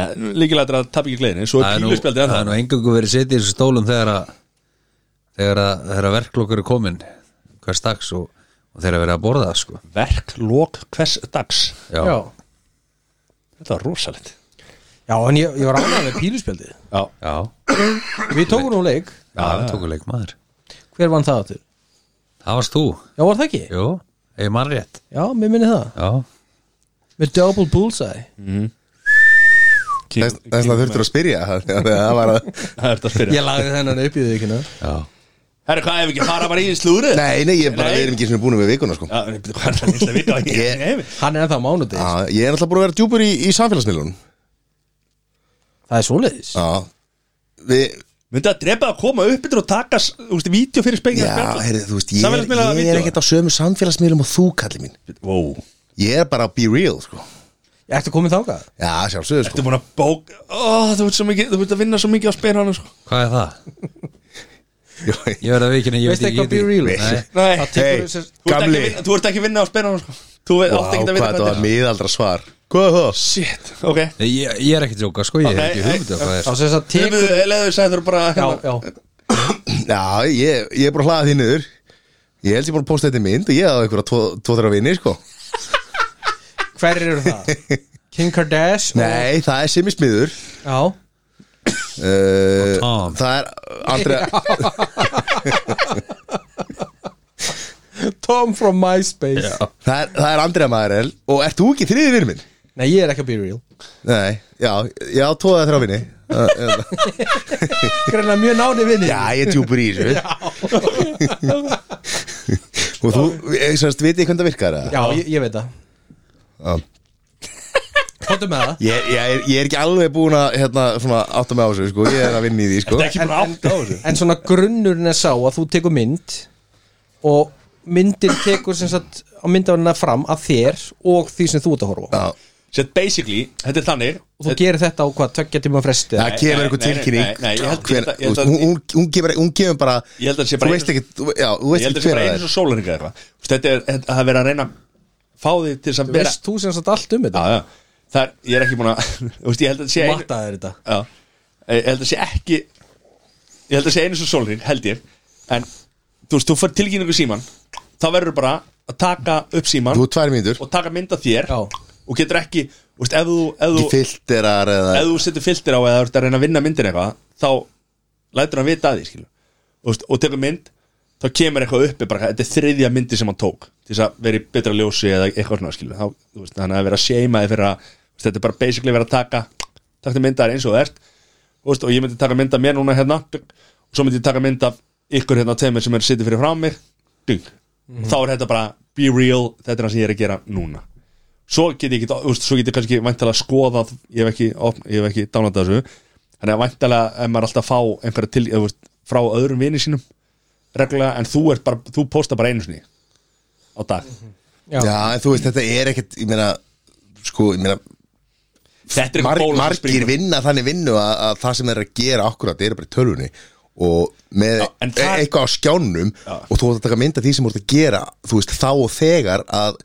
Speaker 1: já líkilægt að tapa ekki gleðinni svo
Speaker 2: það
Speaker 1: er
Speaker 2: er nú,
Speaker 1: píluspjaldið
Speaker 2: það Sko, er
Speaker 1: ennþá.
Speaker 2: nú engungu verið setið í þessu stólum þegar að þegar að, þegar að verklokkur er komin hvers dags og, og þegar að vera að borða sko.
Speaker 1: verk lók hvers dags
Speaker 2: Já,
Speaker 4: Já,
Speaker 2: já,
Speaker 1: þetta var rosalegt
Speaker 4: Já, en ég, ég var ánægð með píluspjaldið
Speaker 1: já,
Speaker 2: já,
Speaker 4: Við tókum nú leik,
Speaker 2: það tóku leik maður
Speaker 4: hver vann það áttur?
Speaker 2: Það varst þú,
Speaker 4: Já, var það ekki?
Speaker 2: jú, eigi mann rétt
Speaker 4: Já, mér minni það
Speaker 2: Já,
Speaker 4: Með double bullseye
Speaker 1: King,
Speaker 3: Þess þess vegna þurftur að spyrja Það var að
Speaker 1: það er þetta að spyrja
Speaker 4: Ég lagði þennan upp í þau ekki
Speaker 2: já,
Speaker 1: herru, hvað ef ekki að fara bara í slúrið
Speaker 3: Nei, nei, ég bara,
Speaker 1: Nei.
Speaker 3: við erum ekki svona búin með vikuna sko
Speaker 1: Já, en byrju, hvað er það lilla vita á ég?
Speaker 3: Ég-
Speaker 1: Nei,
Speaker 4: Hann er ennþá á mánudegi
Speaker 3: Já, Ég er alltaf búin að vera djúpur í, í samfélagsmiðlunum
Speaker 4: Það er svoleiðis
Speaker 3: Já Við,
Speaker 1: Myndi að drepa að koma upp yfir og taka, s- þú veist, vídeo fyrir spengið
Speaker 3: já, heyrðu, þú veist, ég,
Speaker 1: Samfélagsmiðla
Speaker 3: er- ég er
Speaker 1: vídeóa.
Speaker 3: ekkert á sömu samfélagsmiðlum og þú, kalli mín
Speaker 1: Wow
Speaker 3: Ég er bara að be real, sko
Speaker 4: Ertu komin þangað?
Speaker 3: Já, sjálfsögur, sko
Speaker 1: Þú búin að bók, ó, þú ert svo mikið, þú ert að vinna svo mikið á spenanum, sko
Speaker 2: hvað er það?
Speaker 3: Ég-
Speaker 2: Ég verð að veikina, ég
Speaker 4: Veistu
Speaker 2: veit
Speaker 4: eitthvað be
Speaker 2: ekki
Speaker 4: real?
Speaker 2: Nei,
Speaker 1: Nei,
Speaker 4: Það tekur
Speaker 3: Hey.
Speaker 4: þessu
Speaker 1: þú ert,
Speaker 3: gamli.
Speaker 1: ekki, að- þú ert ekki að vinna á spenanum, sko Þú
Speaker 3: Vá,
Speaker 1: veit, átt
Speaker 3: hvað
Speaker 1: ekki að vinna
Speaker 3: þetta var miðaldra svar Hvað er það?
Speaker 1: Shit, ok
Speaker 2: Nei, ég, ég er ekki að djóka, sko, ég
Speaker 1: Ok,
Speaker 2: hef ekki hugmynd af hvað
Speaker 4: Þá
Speaker 2: er
Speaker 4: sem þess að tekur
Speaker 1: Leðu, leðu, sagði þú bara
Speaker 4: Já,
Speaker 1: hérna,
Speaker 4: já
Speaker 3: Já, ég, ég er bara að hlaða því niður Ég held ég búin að posta þetta í mynd og ég hafði einhverja tvo, tvo þeirra vini, sko
Speaker 4: Hverjir eru það? Kim Kardashian og-
Speaker 3: Nei, það er Simi Smiður
Speaker 4: Já
Speaker 3: uh,
Speaker 2: Tom.
Speaker 3: Það er Andrea
Speaker 4: Tom from MySpace
Speaker 3: það, er, það er Andrea Maðurel og ert þú ekki þriði vini minn?
Speaker 4: Nei, ég er ekki að be real
Speaker 3: Nei, já, já, tvoða þeirra vini Það-
Speaker 4: Greinlega mjög náni vinni
Speaker 3: Já, ég er djúpur í þessu Og þú, eh, ég sérst, veit ég hvernig það virkar það?
Speaker 4: Já, ég, ég veit það Kóttu með það
Speaker 3: Ég, ég, er, ég er ekki alveg búin að hérna, svona, átta mig á þessu, sko, ég er að vinna í því, sko
Speaker 1: Ertu ekki bara átt á þessu
Speaker 4: En svona grunnurinn er sá að þú tekur mynd og myndin tekur sem sagt á myndafélina fram að þér og því sem þú ert að horfa á.
Speaker 3: Já,
Speaker 1: Sett basically, þetta er þannig
Speaker 4: og þú gerir þetta á hvað, tveggja tíma fresti
Speaker 3: það kemur
Speaker 1: nei,
Speaker 3: einhver
Speaker 1: nei, nei,
Speaker 3: tilkynning
Speaker 1: nei, nei, ég held- ég
Speaker 3: Hver-
Speaker 1: held að- ég
Speaker 3: þú
Speaker 1: held
Speaker 3: veist,
Speaker 1: að-
Speaker 3: hún, hún, hún, gefur, hún gefur bara
Speaker 1: Ég held að það sé bara
Speaker 3: Þú
Speaker 1: einu-
Speaker 3: veist ekki, já, þú
Speaker 1: Ég
Speaker 3: veist
Speaker 1: held að
Speaker 3: ekki
Speaker 1: sé
Speaker 3: hver
Speaker 1: bara
Speaker 3: það
Speaker 1: eins
Speaker 3: er
Speaker 1: og sólaringa eitthvað Þú veist, Þetta er, þetta- það er verið að reyna að fá því til þess að
Speaker 4: Þú
Speaker 1: vera
Speaker 4: veist þú sem sagt allt um þetta
Speaker 1: Já, já, það er, ég er ekki búin að Þú veist, ég held að þetta sé
Speaker 4: Þú
Speaker 1: einu-
Speaker 4: mattaðir þetta
Speaker 1: Já, ég held að sé ekki Ég held að sé einu svo sólring, held ég En, þú veist, þú fær tilkynningu í síman Þá verður bara að taka upp síman
Speaker 3: Þú er tvær mínútur,
Speaker 1: Og taka mynd af þér
Speaker 4: Já.
Speaker 1: Og getur ekki, þú veist, ef þú Ef
Speaker 3: ekki
Speaker 1: þú,
Speaker 3: filterar eða
Speaker 1: ef þú setur filter á eða þú ert að reyna að vinna myndin eitthvað Þá lætur hann vita að því, skilur Þú veist, og tekur mynd Þá kemur eitthvað uppi bara, þetta er þriðja myndi sem hann tók Til þess að vera í betra ljósi eða eitthvað svona, skilur þá, þú veist, Þannig að vera að seima þið fyrir að þú veist, Þetta er bara basically vera að taka Takta myndaðar eins og þú ert Þú veist, og ég myndi taka mynd af mér núna hérna dugg, og svo myndi ég taka mynd af ykkur hérna tveimur sem er sittir fyrir frá mig dugg, og þá er þetta bara be real, þetta er það sem ég er að gera núna svo get ég, ekki- þú veist, svo get ég kannski væntalega skoðað, ég hef ekki opn- ég hef ekki dánatað þessu þannig að væntalega ef maður er alltaf að fá einhverja til eða, þú veist, frá öðrum vini sínum reglulega, en þú ert bara, þú posta bara einu sinni á dag
Speaker 4: Mhm. Já.
Speaker 3: Já, en þú veist, þetta er ekkert, ég meina Sko, ég meina,
Speaker 1: þetta er
Speaker 3: Mar,
Speaker 1: eitthvað bóla sem
Speaker 3: margir
Speaker 1: springur.
Speaker 3: vinna þannig vinnu að, að það sem er að gera akkurat er bara í tölvunni og með
Speaker 1: Já, en það-
Speaker 3: e- eitthvað á skjánum og þú ert að taka mynda því sem þú ert að gera þú veist, þá og þegar að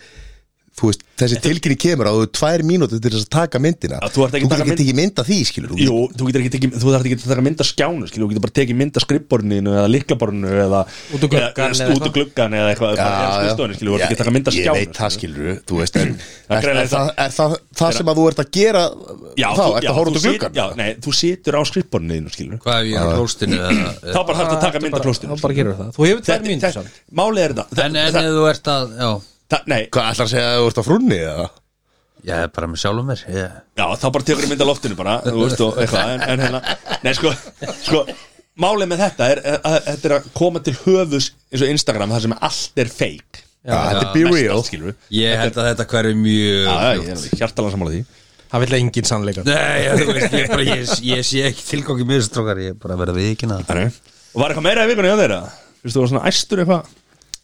Speaker 3: þú veist, þessi tilkynning kemur á þú hefur tvær mínútur til þess að taka myndina
Speaker 1: Já, þú ert ekki að taka
Speaker 3: getur ekki mynda því, skilur þú
Speaker 1: Jú, þú getur ekki tekið, þú þarf ekki að taka mynd af skjánu skilur, þú getur bara tekið mynd af skrippborninu eða liklaborninu eða
Speaker 4: Út úr gluggann
Speaker 1: eða-
Speaker 4: eða
Speaker 1: eða út úr
Speaker 4: eitthvað.
Speaker 1: gluggan eða eitthvað, bara er skrifstofunni skilur, þú þarf ekki að taka mynd af
Speaker 3: ég
Speaker 1: skjánu
Speaker 3: veit það, skilur þú veist,
Speaker 1: Það
Speaker 3: en
Speaker 1: er
Speaker 3: er,
Speaker 1: greinilega
Speaker 3: er, það, er það það sem að þú ert að gera
Speaker 1: Já,
Speaker 3: þá,
Speaker 1: þú-
Speaker 3: ert
Speaker 1: já,
Speaker 3: að
Speaker 1: þú
Speaker 3: horfa út á
Speaker 1: sit-
Speaker 3: gluggan
Speaker 1: Já, nei, þú situr á skrippborninu skilur,
Speaker 2: Hvað ef ég er á klóstinu eða,
Speaker 1: þá bara þarf að taka mynd
Speaker 4: bara, sko.
Speaker 1: af klóstinu
Speaker 4: þá bara gerur það Þú hefur tvær
Speaker 1: Þetta-
Speaker 4: mínútur
Speaker 1: þetta-
Speaker 4: samt.
Speaker 1: Málið er þetta
Speaker 2: En, en ef þú ert að, já,
Speaker 1: það- Nei,
Speaker 3: hvað ætlar að segja að þú ert á frunni eða?
Speaker 2: ég er bara með sjálfum mér ég.
Speaker 1: já, þá bara tekur ég mynd af loftinu bara, þú veist, og eitthvað en, en hérna, nei, sko, sko eh, Málið með þetta er að að þetta er að koma til höfus eins og Instagram þar sem allt er fake
Speaker 3: Þetta er be real
Speaker 1: skilur við
Speaker 2: Ég held að þetta hverfi mjög
Speaker 1: Já, já, ég er hjartalega sammála því
Speaker 5: Það vil engin sannleika
Speaker 2: Nei, ég, þú veist, ég, bara, ég, ég sé ekki tilgangi með þessu strókar Ég er bara að vera við ekki naður
Speaker 1: Þannig. Og var eitthvað meira í vikunni á þeirra? Fyrstu þú var svona æstur eitthvað?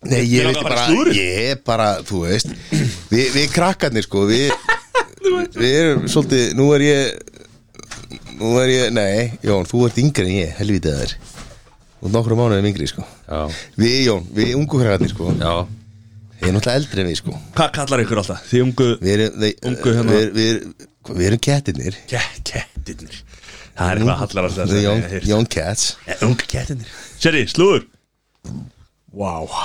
Speaker 3: Nei,
Speaker 1: Mig
Speaker 3: ég
Speaker 1: langar
Speaker 3: veit
Speaker 1: bara
Speaker 3: bara,
Speaker 1: í slúðrið.
Speaker 3: ég er bara, þú veist Við, við krakkarnir, sko Við, við erum svolítið, nú er ég Nú er ég, nei, Jón, þú ert yngri en ég, helvítið þær Þú ert nokkru mánuðum yngri, sko
Speaker 2: Já,
Speaker 3: Við, Jón, við ungu krakkarnir, sko
Speaker 2: já
Speaker 3: Ég er náttúrulega eldri en við, sko
Speaker 1: Hvað kallar ykkur alltaf? Þið ungu
Speaker 3: Við erum, þeir,
Speaker 1: Ungu hérna.
Speaker 3: við, við, hvað, við erum kettinir
Speaker 1: ke- kettirnir Það er eitthvað hallar alltaf
Speaker 3: Við Jón, Jón Cats
Speaker 1: Jón Ungu kettirnir Seri, slúður
Speaker 5: Vá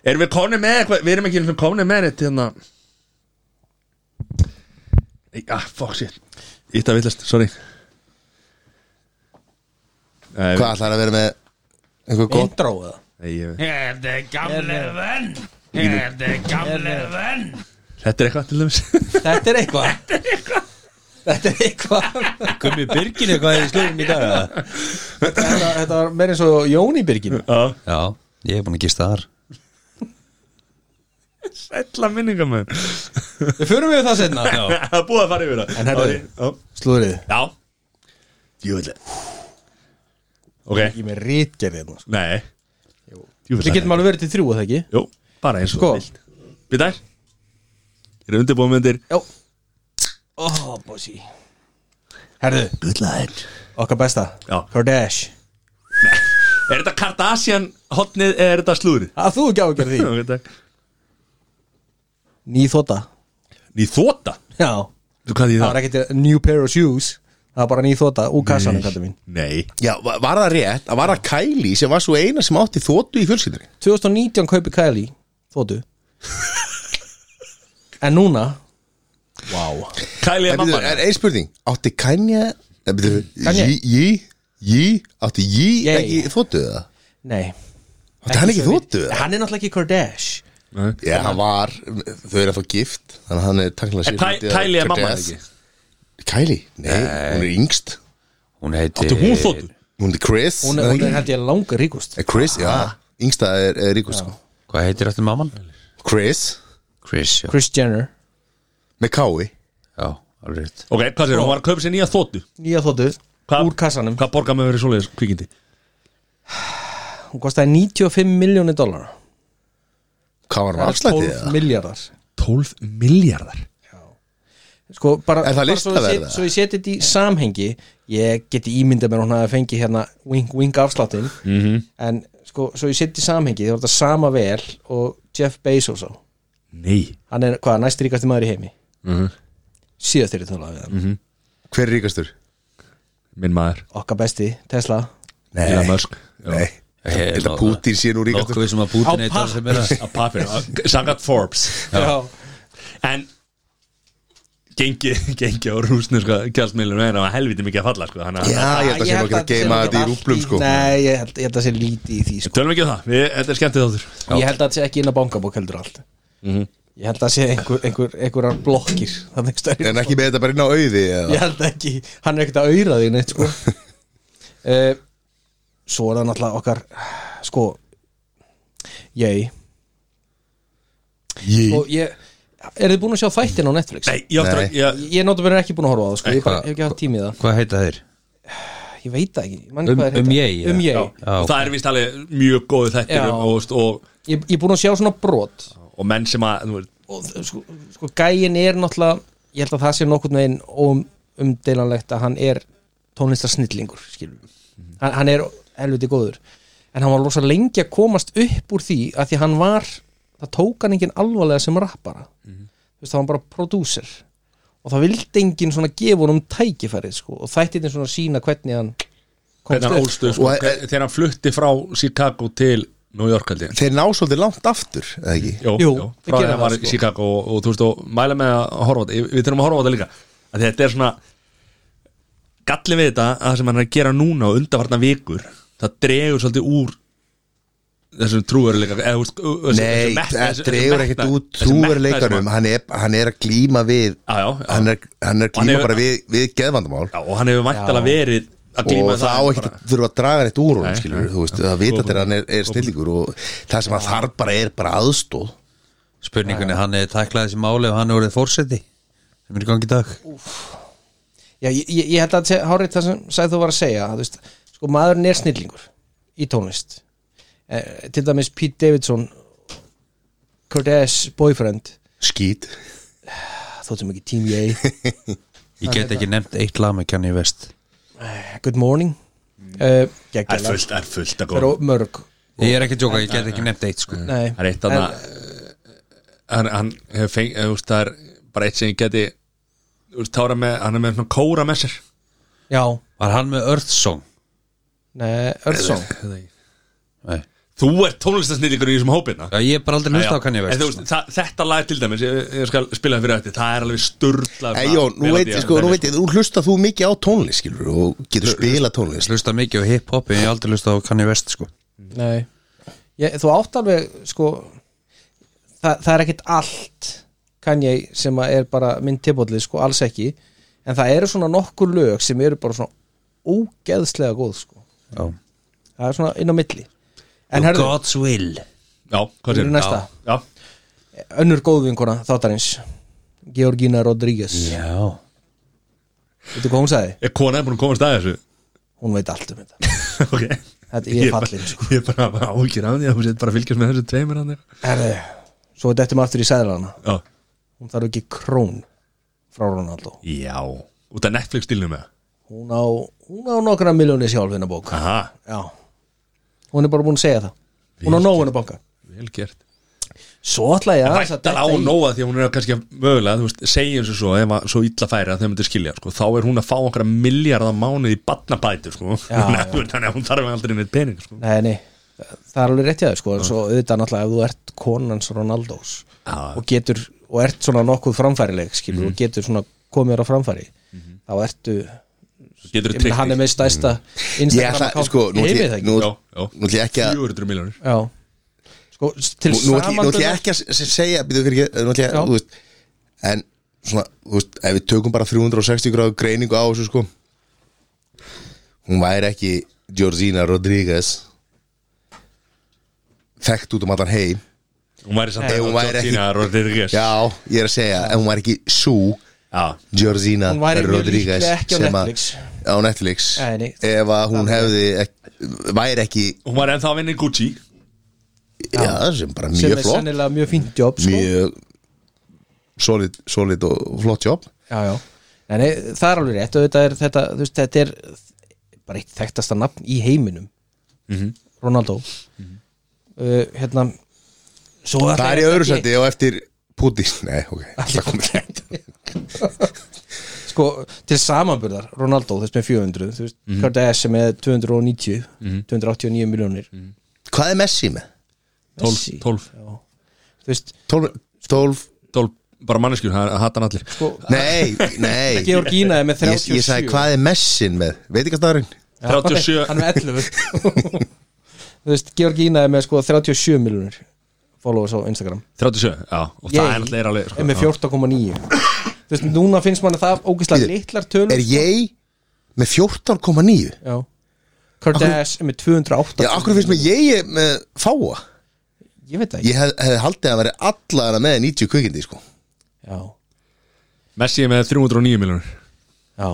Speaker 1: Erum við konið með eitthvað? Við erum ekki eins og konið með þetta hérna Nei, ah, fuck shit Ítta villast, sorry Nei,
Speaker 3: Hvað ætlar að vera með einhver gott
Speaker 4: Intro eða
Speaker 1: Nei, ég, þetta er eitthvað til dæmis
Speaker 4: Þetta er eitthvað Þetta er eitthvað
Speaker 2: Gummi Birgin eitthvað í slurinn í dag eða?
Speaker 4: Þetta þetta var meira eins og Jóni Birgin
Speaker 1: Já,
Speaker 2: Já, ég er búin að gista þar
Speaker 1: sætla minningar með
Speaker 4: Við förum við það setna
Speaker 1: Það er búið að fara yfir það
Speaker 4: En herðu.
Speaker 1: Já.
Speaker 4: Slúðrið
Speaker 1: Já Djúvillig Ok,
Speaker 5: Ég er með rítgerð hérna sko.
Speaker 1: nei
Speaker 4: Við
Speaker 1: Djúvillig
Speaker 4: getum alveg verið til þrjú að það ekki
Speaker 1: Jú, bara eins og
Speaker 4: Sko.
Speaker 1: þú vilt Býtar Ég er undirbúið myndir
Speaker 4: Já Oh, Ó, bósi Herðu
Speaker 1: Good light
Speaker 4: Okkar besta
Speaker 1: Já.
Speaker 4: Kardash
Speaker 1: Er þetta Kardashian hotnið eða er þetta slúrið?
Speaker 4: Að þú ekki ágjör því
Speaker 1: Ok, takk
Speaker 4: Ný þóta
Speaker 1: Ný þóta
Speaker 4: Já
Speaker 1: Þú hvað því
Speaker 4: Það
Speaker 1: það?
Speaker 4: var ekkert new pair of shoes Það var bara ný þóta úr kassanum kallar mín
Speaker 1: Nei
Speaker 3: Já, va- var það rétt að var það Kylie sem var svo eina sem átti þóttu í fjölskyldri
Speaker 4: 2019 kaupi Kylie Þótu En núna Wow
Speaker 1: Kæli er
Speaker 3: En
Speaker 1: mamma
Speaker 3: byrju, er ein spurning, átti Kanye eh, byrju,
Speaker 4: Kanye?
Speaker 3: Yí, Yí- Yí, átti Yí
Speaker 4: Yay.
Speaker 3: ekki þóttu eða?
Speaker 4: Nei
Speaker 3: Átti hann ekki
Speaker 4: svo
Speaker 3: þóttu
Speaker 4: við-
Speaker 3: eða?
Speaker 4: Hann er náttúrulega ekki Kardash
Speaker 3: Já, hann var, þau eru að fá gift þannig að hann er takkilega sér hluti af
Speaker 1: Kæli er mamma
Speaker 3: Kardashian.
Speaker 1: ekki
Speaker 3: Kylie? Nei, hún er yngst
Speaker 2: Hún heitir
Speaker 1: Þú hún þóttu
Speaker 3: Hún er Chris
Speaker 4: Hún er, hún er held ég langa ríkust
Speaker 3: Eh, Chris, já, yngsta er, er ríkust sko.
Speaker 2: Hvað heitir eftir mamman?
Speaker 3: Chris,
Speaker 2: Chris, já,
Speaker 4: Kris Jenner
Speaker 3: með Kái
Speaker 2: já alveg rétt
Speaker 1: Ok, hvað sér, hún var að kaupa sér nýja þóttu
Speaker 4: Nýja þóttu
Speaker 1: Hvað-
Speaker 4: Úr kassanum
Speaker 1: Hvað borgar með verið svoleiðis kvikindi?
Speaker 4: Hún kostaði 95 miljónir dólar
Speaker 3: Hvað var hann afslættið eða?
Speaker 4: miljardar
Speaker 1: 12 miljardar
Speaker 4: Sko bara,
Speaker 3: Er það
Speaker 4: bara svo, ég
Speaker 3: listaverð,
Speaker 4: set-
Speaker 3: eða?
Speaker 4: svo ég seti þetta í samhengi Ég geti ímyndað mér að hún hafi fengið hérna Wink wink afsláttin
Speaker 1: Mhm.
Speaker 4: -hmm. En sko svo ég seti þetta í samhengi Það var þetta sama vel og Jeff Bezos á
Speaker 1: Nei
Speaker 4: Hann er hvað næst ríkasti maður í heimi
Speaker 1: Mhm.
Speaker 4: Síðast þeirri tala við hann
Speaker 3: Hver er ríkastur?
Speaker 1: Minn maður
Speaker 4: Okkar besti, Tesla
Speaker 1: Elon Musk
Speaker 3: Nei, ég held að Putin sé nú ríkastur
Speaker 2: Nokkuð sem að Putin
Speaker 4: Á
Speaker 2: heitar sem er að
Speaker 1: á pappir, sangat Forbes
Speaker 4: Já.
Speaker 1: en gengi, gengi á rúsneska kjálsmiðlum er á helviti mikið að falla sko, þannig að
Speaker 3: Já, Ah, ég
Speaker 4: Ah,
Speaker 3: held að sé nú ekki að geima
Speaker 4: sé
Speaker 3: þetta í
Speaker 4: allt
Speaker 3: rúplum sko
Speaker 4: Nei, ég held, ég held að sé lítið í því sko.
Speaker 1: tölum ekki um það, við, þetta er skemmtið þáttur
Speaker 4: Ég held að þetta sé ekki inn á bankabók heldur allt
Speaker 2: Mhm.
Speaker 4: Ég held að sé einhver, einhver, einhverjar blokkir Þannig störi
Speaker 3: En ekki með þetta bara inn á auði eða?
Speaker 4: Ég held ekki, hann er ekkert að auðra því neitt sko. uh, Svo er það náttúrulega okkar Sko Ég
Speaker 3: Ég
Speaker 4: Og ég, er þið búin að sjá þættin á Netflix?
Speaker 1: nei, ég áttur
Speaker 3: Nei.
Speaker 1: að ég,
Speaker 4: Ég náttúrulega er ekki búin að horfa á það sko. Ég bara,
Speaker 2: Eitthvað-
Speaker 4: hef ekki haft tími í það
Speaker 2: Hvað heita þeir?
Speaker 4: Ég veit það ekki, mann
Speaker 2: Um-
Speaker 4: hvað er
Speaker 2: um
Speaker 4: þetta?
Speaker 2: ég, já.
Speaker 4: Um
Speaker 1: já,
Speaker 4: ég
Speaker 1: og það er vist alveg mjög góðu
Speaker 4: Já.
Speaker 1: þættir um, og, veist, og,
Speaker 4: Ég ég er búin að sjá svona brot
Speaker 1: og menn sem að þú veist,
Speaker 4: og þ- sko, sko gæin er náttúrulega ég held að það sé nokkurn veginn um, umdeilanlegt að hann er tónlistarsnillingur skilur við. hann, hann er helviti góður en hann var losa lengi að komast upp úr því að því að hann var, það tók hann enginn alvarlega sem rappara þú veist það var hann bara prodúser og það vildi enginn svona gefa honum tækifærið sko, og þætti þetta svona sína hvernig hann komst
Speaker 1: hvernig hann
Speaker 4: upp
Speaker 1: ólstu sko,
Speaker 3: Og-
Speaker 1: hver- þegar hann flutti frá Chicago til New York held ég
Speaker 3: Þeir ná svolítið langt aftur, eða ekki?
Speaker 1: Jó,
Speaker 4: Jú,
Speaker 1: jú, frá því
Speaker 4: við gerum
Speaker 1: að hann var
Speaker 4: það,
Speaker 1: í
Speaker 4: sko.
Speaker 1: Chicago og, og þú veist og mæla með að horfa á þetta Ég- við þurfum að horfa á þetta líka að þetta er svona galli við þetta að það sem hann er að gera núna og undarfarna vikur það dregur svolítið úr þessum trúveruleika eða, þú veist, þessu- þessu
Speaker 3: Nei,
Speaker 1: metna-
Speaker 3: það
Speaker 1: þessu-
Speaker 3: dregur
Speaker 1: þessu
Speaker 3: ekkert
Speaker 1: metna- þessu
Speaker 3: út
Speaker 1: metna-
Speaker 3: trúverleikanum hann, er- hann er að glíma við
Speaker 1: Já, já, já.
Speaker 3: Hann, er, hann er að
Speaker 1: Hann
Speaker 3: glíma
Speaker 1: hefur-
Speaker 3: bara við, við geðvandamál
Speaker 1: já, og hann hefur væntalega verið að glíma
Speaker 3: og
Speaker 1: við
Speaker 3: það á
Speaker 1: en
Speaker 3: ekkert
Speaker 1: bara-
Speaker 3: að þurfa að draga neitt úr honum
Speaker 1: Nei,
Speaker 3: skilur,
Speaker 1: nei.
Speaker 3: þú veist, það vita þegar hann er, er snillingur og það sem hann þarf bara er bara aðstóð
Speaker 2: spurningunni, hann hefði tæklað þessi máli og hann hefur verið fórseti sem er í gangi í dag
Speaker 4: Já, ég, ég ég held að sé- hárið það sem sagði þú var að segja að, þú veist, sko maðurinn er snillingur í tónlist eh, til dæmis Pete Davidson Kurt S. Boyfriend
Speaker 3: skýt
Speaker 4: þóttum ekki Team Yay
Speaker 2: ég get ekki nefnt eitt lag með Kanye West
Speaker 4: Good Morning uh,
Speaker 1: Það er fullt, það er fullt að
Speaker 4: er
Speaker 1: góða
Speaker 4: ó- mörg
Speaker 2: ég er ekki að djóka, ég get ekki nefnt eitt sko
Speaker 4: Nei,
Speaker 1: Það er eitt annað hann, hann hefur feng, eh, þú veist, það er bara eitt sem ég geti þú veist, tára með, hann er með svona kóra með sér
Speaker 4: já,
Speaker 2: var hann með Earth Song
Speaker 4: nei, Örtsson
Speaker 2: Nei.
Speaker 1: Þú ert tónlistasnýlingur í þessum hópina
Speaker 2: Já, ég er bara aldrei hlusta á Kanye
Speaker 1: En
Speaker 2: West
Speaker 1: þú veist,
Speaker 2: sko.
Speaker 1: það, þetta lag til dæmis ég, ég skal spila það fyrir eftir, það er alveg sturla
Speaker 3: Ei, Jón, nú veit ég sko, nú veit ég, þú hlusta þú mikið á tónlist skilur og getur spila tónlist
Speaker 2: hlusta mikið á hip-hop en ég hef aldrei hlusta á Kanye West sko
Speaker 4: Nei ég, Þú átt alveg sko það, það er ekkit allt kann ég sem að er bara minn tilbóðlið sko alls ekki en það eru svona nokkur lög sem eru bara svona ógeðslega góð sko
Speaker 2: já.
Speaker 4: það er svona inn á milli en herðu,
Speaker 2: God's Will
Speaker 1: Já, hvað
Speaker 4: Þú eru
Speaker 1: sér?
Speaker 4: næsta.
Speaker 1: Já, já.
Speaker 4: önnur góðvinkona þáttarins Georgina Rodríguez
Speaker 2: já,
Speaker 4: veitu hvað hún sagði?
Speaker 1: Ég kona er búin að komast að þessu
Speaker 4: Hún veit allt um þetta
Speaker 1: Ok
Speaker 4: Þetta- ég er
Speaker 1: er bara-
Speaker 4: fallinn, sko.
Speaker 1: Ég er bara, bara ákjör á því að hún sétt bara að fylgjast með þessu tveimur hann
Speaker 4: herðu, svo dettum aftur í sæðlana
Speaker 1: Já,
Speaker 4: hún þarf ekki krón frá Ronaldo
Speaker 1: já Út af Netflix stílnum með
Speaker 4: hún á, hún á nokkra miljóni sjálf hennar bók
Speaker 1: Aha,
Speaker 4: Já Hún er bara búin að segja það Hún á nóinu banka
Speaker 1: vel gert
Speaker 4: Svo ætla ég aðeins að
Speaker 1: Væntal á
Speaker 4: detta í-
Speaker 1: nóa því að hún er kannski að mögulega þú veist, segjum sem svo, ef að svo illa færi að þau myndir skilja, sko, þá er hún að fá okkar miljardar mánuð í badnabætu, sko
Speaker 4: Já, já.
Speaker 1: þannig að hún þarf aldrei neitt pening, sko
Speaker 4: Nei, nei Það er alveg rétt í það sko Svo auðvitað náttúrulega ef þú ert konans Ronaldos
Speaker 1: Já.
Speaker 4: Og getur Og ert svona nokkuð framfærileg
Speaker 3: Mhm.
Speaker 4: skilur Og getur svona komið þér á framfæri Þá ertu
Speaker 1: getur
Speaker 4: Ég meina hann er með stæsta
Speaker 3: Mhm. Ég
Speaker 4: Instagram
Speaker 3: ætla, sko, nú
Speaker 4: heimi
Speaker 3: ætla ég-
Speaker 4: það ekki
Speaker 3: nú-
Speaker 1: Já, já.
Speaker 3: nú ætla ég ekki að
Speaker 1: miljónir
Speaker 4: Já Sko s- til
Speaker 3: Nú, nú ætla ég- nú ætla ég
Speaker 4: samanburðar
Speaker 3: ekki að s- s- segja býðu fyrir ekki, nú ætla ég
Speaker 4: Já.
Speaker 3: þú veist en svona, þú veist, ef við tökum bara 360 gráðu greiningu á þessu sko hún væri ekki Georgina Rodríguez þekkt út um allan heim
Speaker 1: hún væri samt
Speaker 3: Nei, hún væri ekki-
Speaker 1: Georgina Rodríguez
Speaker 3: já, ég er að segja, en hún væri ekki sú
Speaker 1: Já.
Speaker 3: Georgina
Speaker 4: Hún væri mjög
Speaker 3: Rodríguez
Speaker 4: líklega ekki á
Speaker 3: sem að-
Speaker 4: Netflix.
Speaker 3: á Netflix
Speaker 4: Nei, nei.
Speaker 3: ef að hún hefði ek- væri ekki,
Speaker 1: hún væri ennþá að vinna í Gucci
Speaker 3: já, sem bara
Speaker 4: Sem
Speaker 3: mjög
Speaker 4: er
Speaker 3: flott
Speaker 4: sennilega mjög fínt jobb sko
Speaker 3: mjög solid, solid og flott jobb
Speaker 4: já, já. Nei, nei, það er alveg rétt auðvitað er þetta, þú veist, þetta er bara eitt þekktasta nafn í heiminum
Speaker 3: Mhm.
Speaker 4: Ronaldo uh, hérna svo
Speaker 3: Það er í öðru sæti og eftir Putin Nei, ok, það komið þetta
Speaker 4: sko, til samanburðar, Ronaldo þess með 400, þú veist, mm
Speaker 3: Mhm.
Speaker 4: -hmm. Kardashian með 290, 289 miljónir
Speaker 3: Mhm. Hvað er Messi með?
Speaker 1: 12, 12,
Speaker 4: þú veist,
Speaker 3: 12, 12
Speaker 1: 12 bara manneskjur, hann hata hann allir
Speaker 3: Nei, nei ég,
Speaker 4: Georgina Sko, er með 37
Speaker 3: ég sagði hvað er Messin með? Veit ekki hvað staðarinn?
Speaker 4: Já,
Speaker 1: 37.
Speaker 4: hann er með 11 þú veist, Georgina er með sko 37 miljónir followers á Instagram
Speaker 1: 37, já, og það er allir alveg sko,
Speaker 4: er með
Speaker 1: já.
Speaker 4: 14,9 Þú veist, núna finnst mann að það ógeðslega
Speaker 3: Bíddu,
Speaker 4: litlar tölur
Speaker 3: Er ég með 14,9?
Speaker 4: Já Kardash er með 208
Speaker 3: Já, akkur finnst mér ég er með fáa
Speaker 4: Ég veit það ekki
Speaker 3: Ég hef, hefði haldið að vera allara með 90 kvikindi sko.
Speaker 4: Já,
Speaker 1: Messi er með 309 miljónir
Speaker 4: já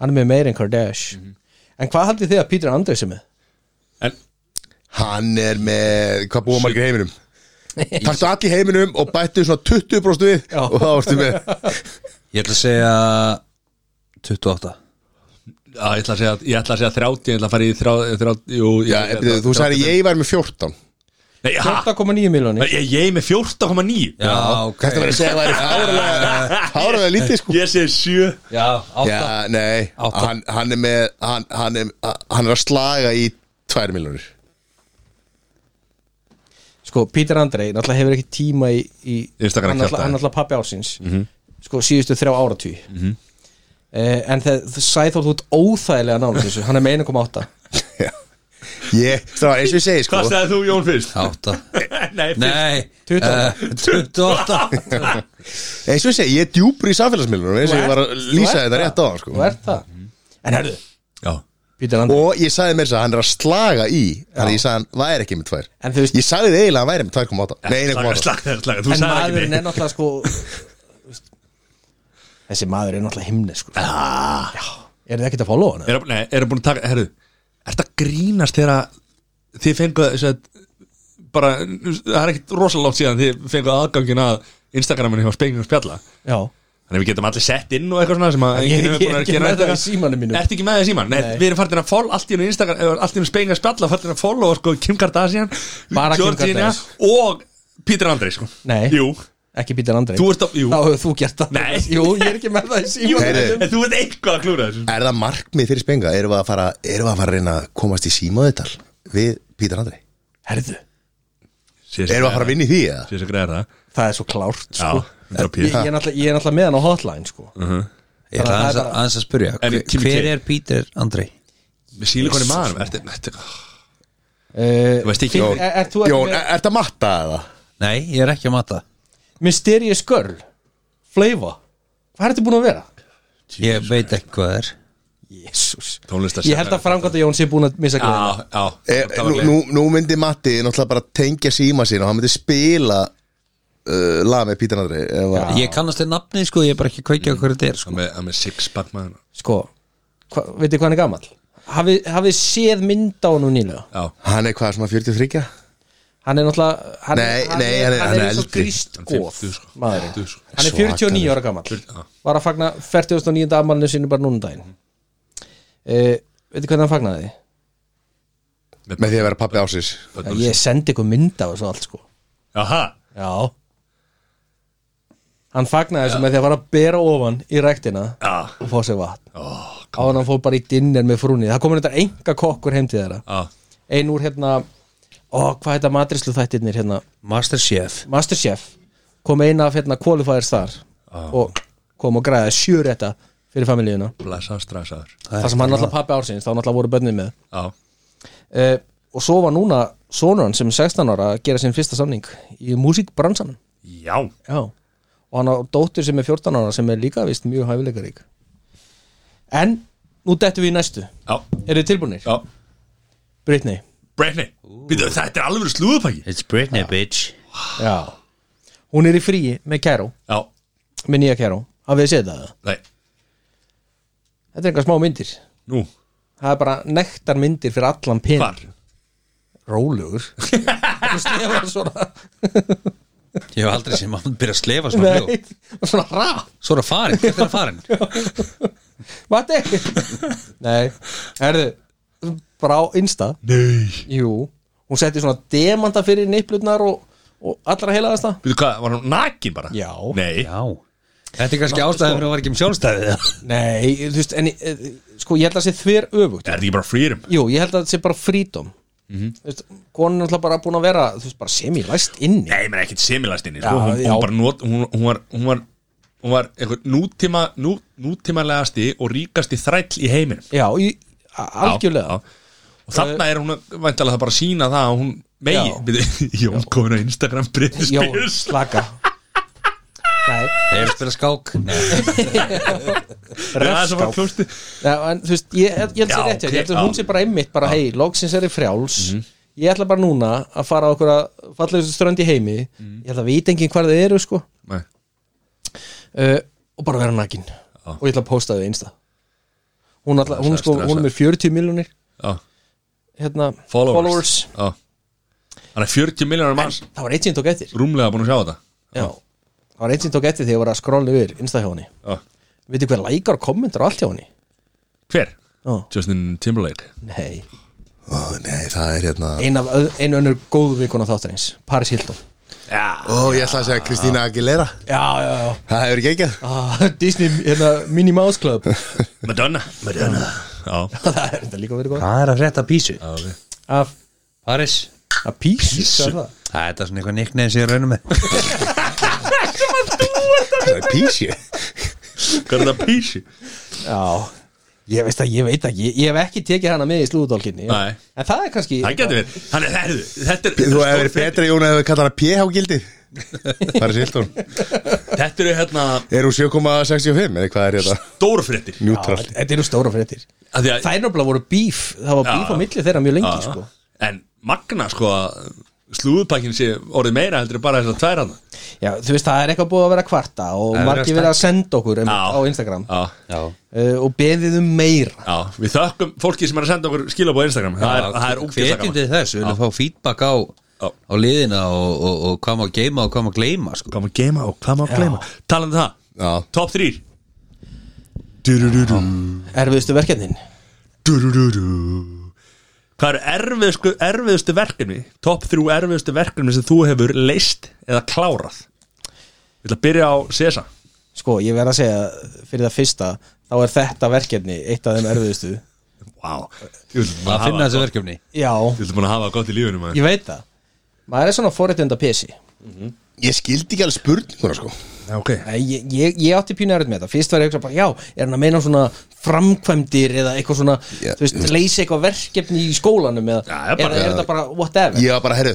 Speaker 4: Hann er með meir en Kardash En hvað haldið þið að Peter Andres er með?
Speaker 1: en
Speaker 3: Hann er með, hvað búa margir í heiminum? Taktu allir í heiminum og bættu svona 20% við
Speaker 4: Já.
Speaker 3: og þá ertu með
Speaker 2: ég ætla að segja 28
Speaker 1: Já, ég ætla að segja, ég ætla að segja 30, ég ætla að fara í 30, 30 jú, ég,
Speaker 3: Já,
Speaker 1: ég,
Speaker 3: þú sagði ég var með 14
Speaker 1: Nei,
Speaker 4: Ah.
Speaker 1: ha,
Speaker 4: 14,9 miljónir
Speaker 1: ég, ég er með 14,9
Speaker 2: já, ok
Speaker 3: Þetta var að segja að það er fáralega fáralega lítið sko
Speaker 1: Ég segi 7
Speaker 2: já, 8
Speaker 3: Já, nei,
Speaker 2: Átta.
Speaker 3: hann, hann er með hann, hann, er, hann er að slaga í 2 miljonir
Speaker 4: Sko, Peter Andrei náttúrulega hefur ekki tíma í, í
Speaker 1: Instagram
Speaker 4: Hann náttúrulega-
Speaker 1: kjaftaði.
Speaker 4: hann náttúrulega pappi ásins
Speaker 1: Mhm.
Speaker 4: Sko, síðustu þrjá áratví mm -hmm. En það sæði þú út óþægilega nála þessu Hann er með 1,8
Speaker 3: Ég, það var eins og ég segi sko
Speaker 1: Hvað segði þú Jón fyrst?
Speaker 2: 8
Speaker 1: Nei,
Speaker 2: Nei,
Speaker 4: 28.
Speaker 2: eh, 28
Speaker 3: eins og ég segi, ég er sko.
Speaker 1: Sko. Mhm.
Speaker 3: djúpur í samfélagsmiðlunum eins og ég var að lýsa þetta rétt á hann
Speaker 4: Þú
Speaker 3: sko
Speaker 4: ert það En herðu,
Speaker 1: Já
Speaker 5: Pítur Andri
Speaker 3: og ég sagði mér þess að hann er að slaga í þannig að ég sagði hann væri ekki með tvær
Speaker 4: En þú veist-
Speaker 3: ég sagði þið eiginlega að hann væri með 2,8 nei,
Speaker 1: Slaga,
Speaker 3: 1,8
Speaker 1: slaga, slaga, þú
Speaker 4: en
Speaker 1: sagði ekki
Speaker 4: maðurinn
Speaker 1: neitt
Speaker 4: er náttúrulega sko veist, þessi maður er náttúrulega himni sko ah. já, er þið ekkert að followa hann?
Speaker 1: Er, nei, er búin að taka, herru Er þetta grínast þegar að þið fenguð þess að bara, það er ekkit rosalega langt síðan þið fenguð aðgangin að Instagraminu hjá Spengin og Spjalla
Speaker 4: já,
Speaker 1: Þannig að við getum allir sett inn og eitthvað svona sem að
Speaker 4: Ég-
Speaker 1: enginn hefur
Speaker 4: ég er
Speaker 1: búin að
Speaker 4: ekki
Speaker 1: gera
Speaker 4: með
Speaker 1: þetta.
Speaker 4: það í símanum mínum.
Speaker 1: Ertu ekki með það í síman? Nei,
Speaker 4: Nei.
Speaker 1: við erum farin að fólk allt í hennu Instagram eða allt í hennu Spengin og Spjalla farin að fólk og sko Kim Kardashian
Speaker 4: Bara Kim
Speaker 1: Georgina
Speaker 4: Kardashian.
Speaker 1: og Peter Andrei sko
Speaker 4: Nei.
Speaker 1: Jú,
Speaker 4: ekki Pítur Andri
Speaker 1: þú ert að, jú
Speaker 4: þá hefur þú gert það
Speaker 1: Nei.
Speaker 4: jú, ég er ekki með það í síma
Speaker 3: Heyrðu.
Speaker 1: En þú ert eitthvað að klúra þessu
Speaker 3: er það markmið fyrir spenga? erum við að fara, erum við að, fara að reyna að komast í símaðutal við Pítur Andri?
Speaker 4: herðu,
Speaker 1: Sér
Speaker 3: erum við að fara að vinna í því? eða?
Speaker 1: Sér sem greiðar það
Speaker 4: það er svo klárt
Speaker 1: Já,
Speaker 4: sko.
Speaker 1: þetta er
Speaker 4: ég, ég,
Speaker 1: Peter.
Speaker 4: er náttúrulega- ég er náttúrulega með hann á hotline sko.
Speaker 2: Ég ætla
Speaker 4: Bara-
Speaker 2: aðeins að-
Speaker 4: bara-
Speaker 2: aðeins að spyrja
Speaker 1: En
Speaker 2: hver-
Speaker 1: Kimi
Speaker 2: Hver
Speaker 1: K.
Speaker 2: er Pítur Andrei?
Speaker 1: Með sílikon í maður Ertu, ertu, ah,
Speaker 4: uh,
Speaker 1: Þú veist ekki-
Speaker 4: Jón, er, er, þú ekki
Speaker 3: Jón, eh.
Speaker 4: með-
Speaker 3: er þetta matta eða?
Speaker 2: Nei, ég er ekki að mata
Speaker 4: Mysterious Girl Flavor Hvað er þetta búin að vera?
Speaker 2: Ég veit ekki hvað það er
Speaker 4: Jésús
Speaker 1: tónlistar
Speaker 4: Ég held að framkvæmta Jón sé búin að missa gleðina
Speaker 1: Já, já
Speaker 3: E,
Speaker 1: það var
Speaker 3: nú,
Speaker 1: gleðin.
Speaker 3: nú, nú myndi Matti náttúrulega bara tengja síma sín og hann myndi spila uh, lag með Pítur Andri ef að-
Speaker 2: Ég kannast þið nafnið sko, ég er bara ekki að kveikja á hverju þetta er sko.
Speaker 1: Hann með- hann með six pack maður
Speaker 4: Sko, hva, veitir hvað hann er gamall? Hafið hafið séð mynd á hann nýlega?
Speaker 1: Já,
Speaker 3: hann er hvað, svona 43?
Speaker 4: Hann er náttúrulega hann er-
Speaker 3: Nei, nei, hann er- hann er
Speaker 4: eins og
Speaker 3: eldri.
Speaker 4: gríst
Speaker 1: Hann er
Speaker 4: góð
Speaker 1: 50 sko.
Speaker 4: maðurinn
Speaker 1: 50 sko.
Speaker 4: Hann er 49 ára gamall
Speaker 1: já.
Speaker 4: Var að fagna 49. afmælinu sínu bara núna um daginn uh, Veitir hvernig hann fagnaði?
Speaker 3: með því að vera pappi ásins
Speaker 4: því? Ég sendi ykkur mynd á þessu allt sko
Speaker 1: Jaha
Speaker 4: Já Hann fagnaði þessu með því að fara að bera ofan í ræktina
Speaker 1: Já.
Speaker 4: og fá sér vatn áðan hann fór bara í dinner með frúni það komur þetta enga kokkur heim til þeirra
Speaker 1: Já,
Speaker 4: ein úr hérna, ó hvað heita matrislu þættirnir hérna,
Speaker 2: Masterchef
Speaker 4: Masterchef kom eina af hérna qualifiers þar og kom og græða sjur þetta fyrir familíuna,
Speaker 1: blessa stressaður
Speaker 4: það sem hann náttúrulega pappi ársins, þá náttúrulega voru bönnin með
Speaker 1: Já,
Speaker 4: uh, og svo var núna sonur hann sem er 16 ára að gera sinn fyrsta samning í músíkbransanum
Speaker 1: já
Speaker 4: Já, og hann á dóttur sem er 14 ára sem er líka vist mjög hæfileikarík En, nú dettum við í næstu
Speaker 1: Já,
Speaker 4: Eru þið tilbúinir?
Speaker 1: já
Speaker 4: Britney
Speaker 1: Brenni, býtu, þetta er alveg slúðupakki
Speaker 2: It's Britney bitch
Speaker 4: Já Hún er í fríi með Kæró,
Speaker 1: Já,
Speaker 4: með nýja Kæró Hafið þið séð það?
Speaker 1: nei,
Speaker 4: Þetta er einhver smá myndir
Speaker 1: nú,
Speaker 4: Það er bara nektar myndir fyrir allan pinn
Speaker 1: hvar?
Speaker 4: Rólugur Þú slefar svona
Speaker 2: Ég hef aldrei sem að byrja að slefa svona
Speaker 4: Nei,
Speaker 2: fljóð
Speaker 4: svona rá
Speaker 2: Svo er það farin, hvert er það farin?
Speaker 4: Mati Nei, herðu Bara á Insta
Speaker 1: Nei
Speaker 4: Jú, hún setti svona demanta fyrir nipplutnar og, og allra heilaðasta
Speaker 1: Býtu, hvað, var hún nakin bara?
Speaker 4: Já.
Speaker 1: Nei,
Speaker 2: Já Þetta er kannski ástæðan fyrir að var ekki um sjálfstæði
Speaker 4: Nei, þú veist, en eh, sko ég held að það sé þver öfugt
Speaker 1: er þetta ekki bara freedom?
Speaker 4: Jú, ég held að það sé bara frídom
Speaker 1: Mhm.
Speaker 4: Þú veist, konan er alltaf bara búin að vera þú veist, bara semi-læst inni
Speaker 1: Nei, menn ekkert semilastinni,
Speaker 4: Já,
Speaker 1: sko Hún,
Speaker 4: já.
Speaker 1: hún bara not, hún, hún var, hún var Hún var einhver nútíma, nú, nútímalegasti og ríkasti þræll í heiminum
Speaker 4: Já, í, a- algjörlega Eh.
Speaker 1: já, já. og þarna er hún væntalega það bara að sína það að hún megi,
Speaker 4: Já.
Speaker 1: Bíddu, Jón komin á Instagram Britney
Speaker 4: Já,
Speaker 1: Spears
Speaker 4: slaka Nei,
Speaker 2: Hefur spila skák? Nei
Speaker 1: það er svo bara
Speaker 4: refskáp
Speaker 1: klústi
Speaker 4: Já, en þú veist, ég, ég, ég held að sé
Speaker 1: Já,
Speaker 4: rétt hjá þér. ég held
Speaker 1: já. Mhm.
Speaker 4: að hún sé bara einmitt, bara hei, loksins er ég frjáls ég ætla bara núna að fara á okkur að falla þessu strönd í heimi
Speaker 1: Mhm.
Speaker 4: ég held að vita enginn hvar þið eru, sko
Speaker 1: Nei,
Speaker 4: uh, og bara vera nakin og ég ætla að posta þau einsta hún, ætla, hún, sko, hún er með 40 miljonir
Speaker 1: já,
Speaker 4: hérna,
Speaker 1: followers, Já. hann er 40 miljónar manns
Speaker 4: það var eitt sem ég tók eftir
Speaker 1: rúmlega búin að sjá þetta
Speaker 4: Já. það var eitt sem ég tók eftir þegar ég var að skrolla yfir insta hjá henni
Speaker 1: já.
Speaker 4: veitir hver lækar og kommentar og allt hjá henni
Speaker 1: hver?
Speaker 4: Já.
Speaker 1: Justin Timberlake
Speaker 4: Nei,
Speaker 3: Ó, nei, það er hérna
Speaker 4: ein af öð- ein önnur góð vikuna þáttarins, Paris Hilton
Speaker 1: já,
Speaker 3: Ó, ég ætla að segja Kristína Aguilera
Speaker 4: já, já, já,
Speaker 3: Það hefur ekki ekki
Speaker 4: ah, Disney hérna, Minnie Mouse Club
Speaker 1: Madonna Madonna já,
Speaker 4: það er þetta líka verið góð
Speaker 2: Hvað er að frétta písu?
Speaker 1: já, ok.
Speaker 4: af,
Speaker 2: Paris
Speaker 4: af písu,
Speaker 1: Písu.
Speaker 4: hvað er það?
Speaker 2: Það er það svona eitthvað nickname sem ég raunum með
Speaker 3: Það er písi
Speaker 1: hvað er það písi?
Speaker 4: já Ég veist að ég veit ekki, ég, ég hef ekki tekið hana með í slúðdólkinni
Speaker 1: Nei.
Speaker 4: En það er kannski
Speaker 1: það getur verið, hann er herðu þetta er
Speaker 3: Þú hefur verið betra Jón að hefur kallað hana PH-gildið Paris Hilton
Speaker 1: Þetta eru hérna
Speaker 3: Er hún 7,65 eða hvað er þetta?
Speaker 1: stórfréttir
Speaker 3: Neutral
Speaker 4: Þetta eru stóra fréttir
Speaker 1: Af því að-
Speaker 4: Það er náttúrulega voru bíf Það var
Speaker 1: Já,
Speaker 4: bíf á
Speaker 1: já.
Speaker 4: milli þeirra mjög lengi
Speaker 1: Já.
Speaker 4: sko.
Speaker 1: En magna sko að slúðupakkin sé orðið meira heldur en bara þess að tværa hann
Speaker 4: Já, þú veist, það er eitthvað búið að vera að kvarta
Speaker 2: Það
Speaker 4: og
Speaker 2: er
Speaker 4: margir
Speaker 2: verið að
Speaker 4: verið að senda okkur um, á Instagram
Speaker 1: Já,
Speaker 2: Já,
Speaker 4: uh, og beðið um meira
Speaker 1: já, við þökkum fólki sem er að senda okkur skilabóð á Instagram Það er, það er ógeðslega
Speaker 2: Hvetjum til
Speaker 1: gaman.
Speaker 2: þess, við viljum fá feedback á,
Speaker 1: Já.
Speaker 2: á liðina og, og, og hvað má geima og hvað má gleyma sko.
Speaker 1: Hvað má geima og hvað má gleyma Talandi um
Speaker 3: Já.
Speaker 1: það, top 3 Durururu
Speaker 4: Erfiðustu verkefnin
Speaker 1: Durururu Hvað eru erfiðustu, erfiðustu verkefni Top 3 erfiðustu verkefni sem þú hefur leist eða klárað Við ætla að byrja á Sesa
Speaker 4: Sko, ég verð að segja fyrir það fyrsta þá er þetta verkefni eitt af þeim erfiðustu
Speaker 1: Vá Ég vil
Speaker 2: Að finna þessu verkefni
Speaker 4: Já,
Speaker 1: búin að hafa gott í lífinu maður
Speaker 4: ég veit það Maður er svona forréttunda pesi
Speaker 3: Ég skildi ekki alveg spurninguna sko
Speaker 1: Já, ok
Speaker 4: Nei, Ég, ég, ég átti pínu erfitt með þetta Fyrst var ég að hugsa bara, já, er hann að meina svona framkvæmdir eða eitthvað svona
Speaker 3: Já.
Speaker 4: þú veist, leysa eitthvað verkefni í skólanum eða,
Speaker 1: Já, ég bara-
Speaker 4: eða er þetta bara whatever
Speaker 3: Ég var bara, herru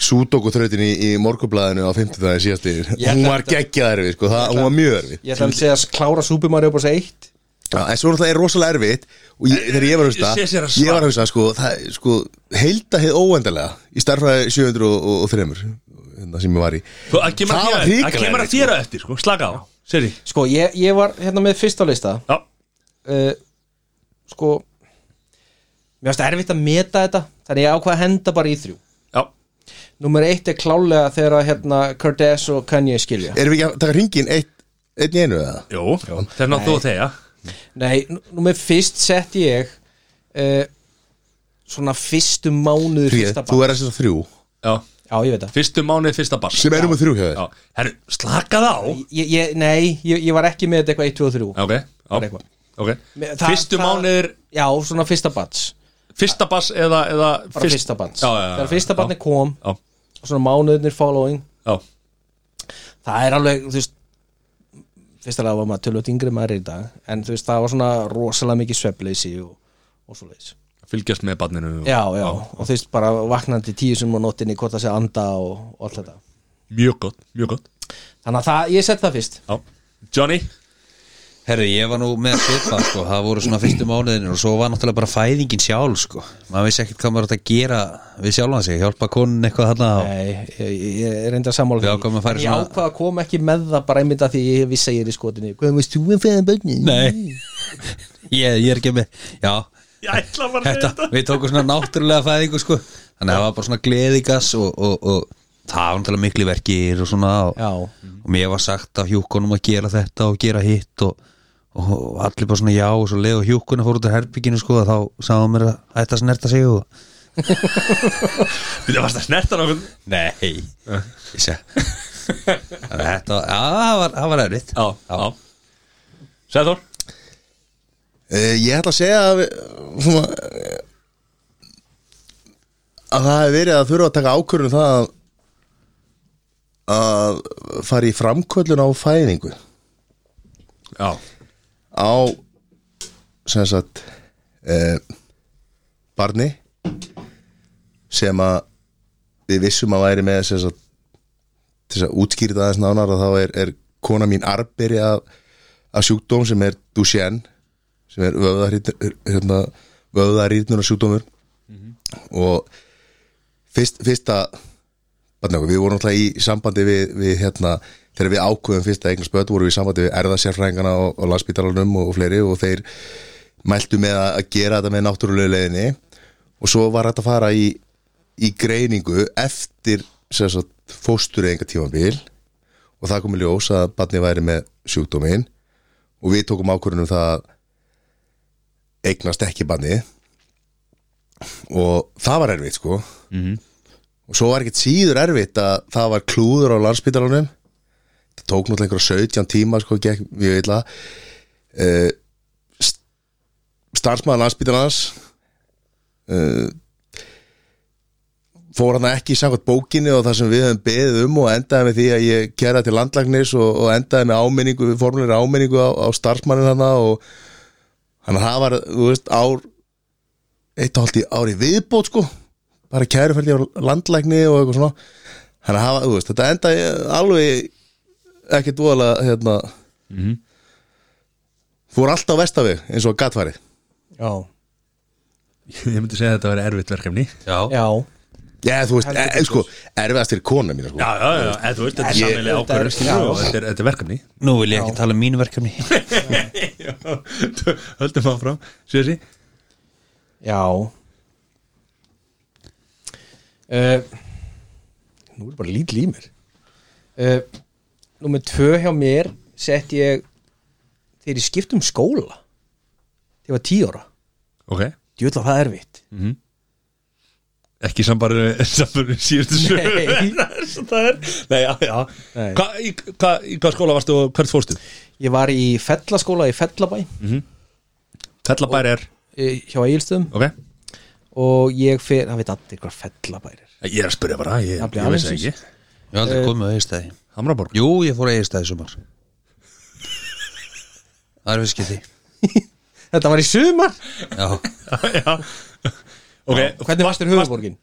Speaker 3: Súdoku þrautin í, í morgublaðinu á 50 daginn síðastir
Speaker 4: Ég
Speaker 3: Hún
Speaker 4: ætla-
Speaker 3: var geggjað erfið sko, það, hún var mjög erfið
Speaker 4: Ég ætla að segja að klára Super Mario Bros. 1
Speaker 3: Já, en svo náttúrulega er rosalega erfitt og ég, þegar ég var að hugsa
Speaker 1: Ég sé sér að svara.
Speaker 3: ég var að hugsa sko, það, sko heilda heið óendalega í starfræði 703 hérna sem ég var í
Speaker 1: Þú- Það kemur að
Speaker 3: Það var
Speaker 1: þér- það
Speaker 3: hrikalega
Speaker 1: kemur að
Speaker 3: erfitt,
Speaker 1: þér á eftir, sko, slaka á Seri
Speaker 4: Sko, ég, ég var hérna með fyrst á lista
Speaker 1: Já,
Speaker 4: uh, Sko Mér varst erfitt að meta þetta Þannig ég ákvað að henda bara í þrjú
Speaker 1: já
Speaker 4: Númer eitt er klálega þegar að hérna Curtis og Kanye skilja
Speaker 3: Erum við ekki að taka hringin eitt, einn í einu eða?
Speaker 1: Jó, það er náttúrulega þegar
Speaker 4: Nei, nú- númer fyrst sett ég uh, Svona fyrstu mánuður
Speaker 3: Því,
Speaker 4: fyrsta
Speaker 3: þú
Speaker 4: barn
Speaker 3: er að setja þrjú
Speaker 1: Já,
Speaker 4: Já, ég veit það
Speaker 1: fyrstu mánuð, fyrsta bar
Speaker 3: sem erum við þrjú hjá þér
Speaker 1: Já, herru, slakað á
Speaker 4: ég, ég, Nei, ég, ég var ekki með þetta eitthvað 1, 2 og 3
Speaker 1: Já, Ok,
Speaker 4: Bara
Speaker 1: já,
Speaker 4: eitthvað.
Speaker 1: ok
Speaker 4: Me- það-
Speaker 1: Fyrstu
Speaker 4: það-
Speaker 1: mánuðir,
Speaker 4: Já, svona fyrsta barns
Speaker 1: fyrsta bass eða, eða
Speaker 4: Bara
Speaker 1: fyrst-
Speaker 4: fyrsta barns
Speaker 1: Já, já, já,
Speaker 4: Þegar fyrsta
Speaker 1: já,
Speaker 4: barni kom
Speaker 1: Já,
Speaker 4: Svona mánuðnir following
Speaker 1: já,
Speaker 4: það er alveg, þú veist fyrst alveg var maður tölvöld yngri en maður er í dag en þú veist, það var svona rosalega mikið svefleysi og, og svo leys
Speaker 1: fylgjast með barninu og-
Speaker 4: já, já, og þú veist, bara vaknandi tíu sem á nóttinni, hvort það sé anda og, og allt þetta
Speaker 1: Mjög gott, mjög gott
Speaker 4: þannig að það, ég sett það fyrst
Speaker 1: já. Johnny,
Speaker 2: Herri, ég var nú með svipa sko. það voru svona fyrstu mánuðinir og svo var náttúrulega bara fæðingin sjálf sko. maður vissi ekkert hvað maður átt að gera við sjálfan sig, hjálpa konun eitthvað þarna og...
Speaker 4: Nei, ég, ég, ég reynda að sammála
Speaker 2: Við ákváðum að fara
Speaker 4: En
Speaker 2: í
Speaker 4: ég
Speaker 2: svona-
Speaker 4: ákvað að koma ekki með það bara einmitt að því ég vissi að ég er í skotinni hvað veist þú um fæðan bönni?
Speaker 2: Nei, ég, ég er ekki með já,
Speaker 1: ég ætla bara að segja
Speaker 2: þetta, við tókum svona náttúrulega fæðingu sko. þannig að það var bara svona gleðigas og, og, og það var náttúrulega miklu verkir og svona og,
Speaker 4: já,
Speaker 2: og mér var sagt af hjúkonum að gera þetta og gera hitt og, og, allir bara svona já og svo leið og hjúkona fór út af herbygginu sko þá sagði mér að hætta að snerta sig og
Speaker 1: Þetta varst að snerta nokkuð
Speaker 2: Nei Ég sé Þannig að Þetta var, já, það var, það var erfitt
Speaker 1: Já, já Sæður,
Speaker 3: Eh, Ég ætla að segja að, við- svona, eh, að það hefur verið að þurfa að taka ákvörðun um það að, að fara í framkvöldun á fæðingu
Speaker 1: já,
Speaker 3: á sem sagt eh, barni sem að við vissum að væri með sem sagt til þess að útskýra það aðeins nánar að þá er, er kona mín arberi af, af sjúkdóm sem er Duchenne sem er vöðarýtnur hérna, vöðarýtnur og sjúkdómur og fyrst, fyrsta barnið, við vorum alltaf í sambandi við, við hérna, þegar við ákveðum fyrsta eignar spöð vorum við í sambandi við erðasérfræðingana og, og landsbítalarnum og, og fleiri og þeir mæltu með að að gera þetta með náttúrulega leiðinni og svo var þetta að fara í, í greiningu eftir sem sagt, fóstureyðinga tímabil og það kom í ljós að barnið væri með sjúkdóminn og við tókum ákvörðunum það að eignast ekki barnið og það var erfitt sko og svo var ekkert síður erfitt að það var klúður á landsbytalanum það tók náttúrulega einhverja 17 tíma sko, gekk mjög illa uh, starfsmaður landsbytalans uh, fór hann ekki samkvæmt bókinni og það sem við höfum beðið um og endaði með því að ég kæra til landlagnis og, og endaði með áminningu, formulir áminningu á, á starfsmannin hann og hann það var, þú veist, ár eitt og halvt í ári viðbót sko bara kæruferði á landlækni og eitthvað svona þannig að hafa, þú veist, þetta endaði alveg ekki dvoðalega hérna,
Speaker 1: Mhm.
Speaker 3: fór allt á vestaveg eins og gatfarið
Speaker 5: Já,
Speaker 1: Ég myndi segja að þetta var erfitt verkefni Já,
Speaker 5: já,
Speaker 3: Já, þú veist, e, sko, erfiðast fyrir kona mín sko.
Speaker 1: já, já, eða þú veist, þetta er
Speaker 3: Ég-
Speaker 1: sammelega ákvörður
Speaker 4: Já.
Speaker 1: skilur og þetta er, þetta er verkefni
Speaker 2: Nú vil ég ekki tala um mín verkefni
Speaker 1: Já, höldum áfram Sjössi
Speaker 5: já.
Speaker 4: Eh,
Speaker 5: Uh, nú er bara lítið í mér
Speaker 4: uh, Númer tvö hjá mér sett ég þegar ég skipt um skóla þegar ég var tíu ára
Speaker 1: Ok,
Speaker 4: djúla það erfitt
Speaker 1: ekki sambarið sambarið síðustu
Speaker 4: Nei.
Speaker 1: sögur Það er, nei, já, já
Speaker 4: Nei.
Speaker 1: Hva, í, hva, í hvað skóla varstu og hvert fórstu?
Speaker 4: Ég var í fellaskóla í Fellabæ
Speaker 1: Fellabær er,
Speaker 4: eh, hjá Egilstöðum
Speaker 1: ok
Speaker 4: og ég fer, það veit allir hvað Fellabæ er
Speaker 1: Ég er að spyrja bara, ég,
Speaker 4: Nafnið
Speaker 1: ég veist það
Speaker 4: alheimsins.
Speaker 1: ekki
Speaker 2: Ég hef aldrei komið á Egilstæði
Speaker 1: Hamraborg
Speaker 2: Jú, ég fór á Egilstæði sumar Það er viðskipti
Speaker 4: Þetta var í sumar
Speaker 2: Já,
Speaker 1: Já, ok
Speaker 4: Hvernig varst þér höfuborgin?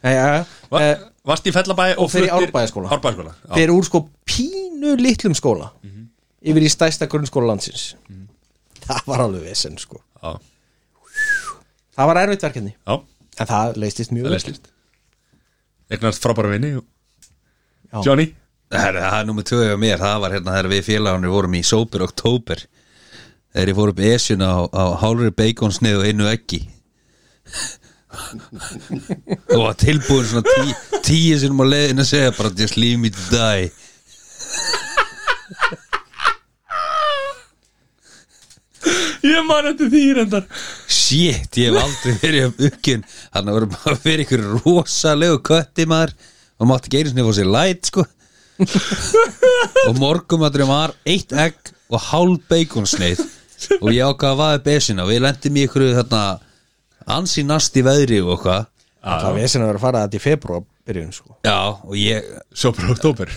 Speaker 4: Já, já,
Speaker 1: Va,
Speaker 4: já
Speaker 1: Varst í Fellabæ og
Speaker 4: eh, fer í
Speaker 1: fluttir-
Speaker 4: Árbæjarskóla.
Speaker 1: Árbæjarskóla, já. Mhm.
Speaker 4: Þeir eru úr sko pínu litlum skóla yfir í stæsta grunnskóla landsins Það var alveg vesen sko
Speaker 1: já,
Speaker 4: Það var erfitt verkefni
Speaker 1: já,
Speaker 4: En það leistist mjög
Speaker 1: það
Speaker 4: vel.
Speaker 1: leslist Eignast frábæra vini
Speaker 4: Já.
Speaker 1: Johnny
Speaker 2: það er, það er nummer tvö á mér Það var hérna þegar við félagarnir vorum í Sober Oktober Þegar ég fór upp Esjuna á, á hálfri beikonsnið og einu eggi og var tilbúin svona tí, tíu sinum á leiðin að segja bara just leave me to die
Speaker 1: Ég man eftir því reyndar
Speaker 2: Shit, ég hef aldrei verið um uppgjun Þannig að voru bara fyrir ykkur rosalegu kötti maður og mátti ekki einu sinni fá sér læt sko og morgumaturinn var eitt egg og hálf beikonsneið og ég ákvað að vaða besina og ég lendi mér ykkur þarna ansi nasti veðri og eitthvað
Speaker 4: Það var vesen að vera að fara þetta í februar byrjun sko
Speaker 2: Já, og ég,
Speaker 1: Svo bara oktober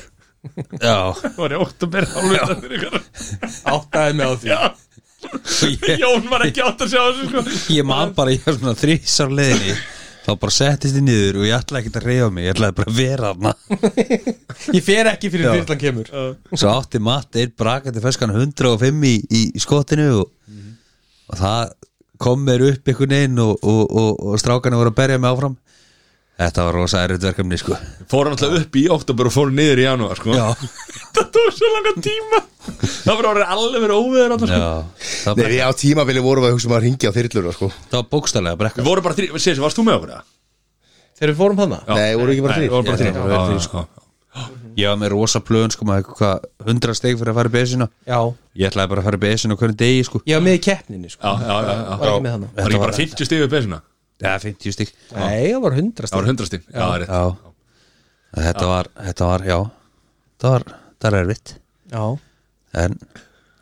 Speaker 2: já
Speaker 1: Var ég oktober hálfvitað fyrir ykkur
Speaker 4: Áttaði mig á því
Speaker 1: Já,
Speaker 2: og ég,
Speaker 1: Jón var ekki átt að sjá þessu sko
Speaker 2: ég man bara, ég var svona þrísar leiðinni þá bara settist ég niður og ég ætlaði ekki að reyfa mig, ég ætlaði bara að vera þarna
Speaker 4: Ég fer ekki fyrir þyrlan kemur
Speaker 2: svo átti Matt einn brakandi feskan 105 í, í skotinu og, og það kom mér upp einhvern veginn og, og, og, og strákanu voru að berja mig áfram þetta var rosa erut verkefni sko
Speaker 1: Fór hann alltaf upp í oktober og fór niður í janúar sko Það tók svo langa tíma Það var orðið alveg verið óveður alltaf sko
Speaker 2: Já, það
Speaker 3: Nei,
Speaker 2: var,
Speaker 3: við á tímabili vorum við að hugsa um að ringja á þyrlur sko.
Speaker 2: það var bókstælega brekka
Speaker 1: Við vorum bara þrý, sér varst þú með okkur það?
Speaker 4: Þegar við fórum þannig
Speaker 3: Nei, voru ekki bara
Speaker 1: Nei, við vorum
Speaker 3: þrír? Já, já,
Speaker 1: bara þrý sko
Speaker 2: ég var með rosa plön sko með eitthvað 100 steg fyrir að fara í besina
Speaker 4: Já,
Speaker 2: ég ætlaði bara að fara í besina hvernig degi sko
Speaker 4: ég var með í keppninni sko
Speaker 1: Já, já, já, já.
Speaker 4: Var ekki með hana?
Speaker 1: Var ekki bara 50 stig við besuna?
Speaker 2: Já, 50 steg
Speaker 4: Nei, það var hundrast
Speaker 1: Það var 100 stig, já, það er rétt
Speaker 2: Já, þetta var, þetta var, já það var, það er erfitt
Speaker 4: Já,
Speaker 2: en,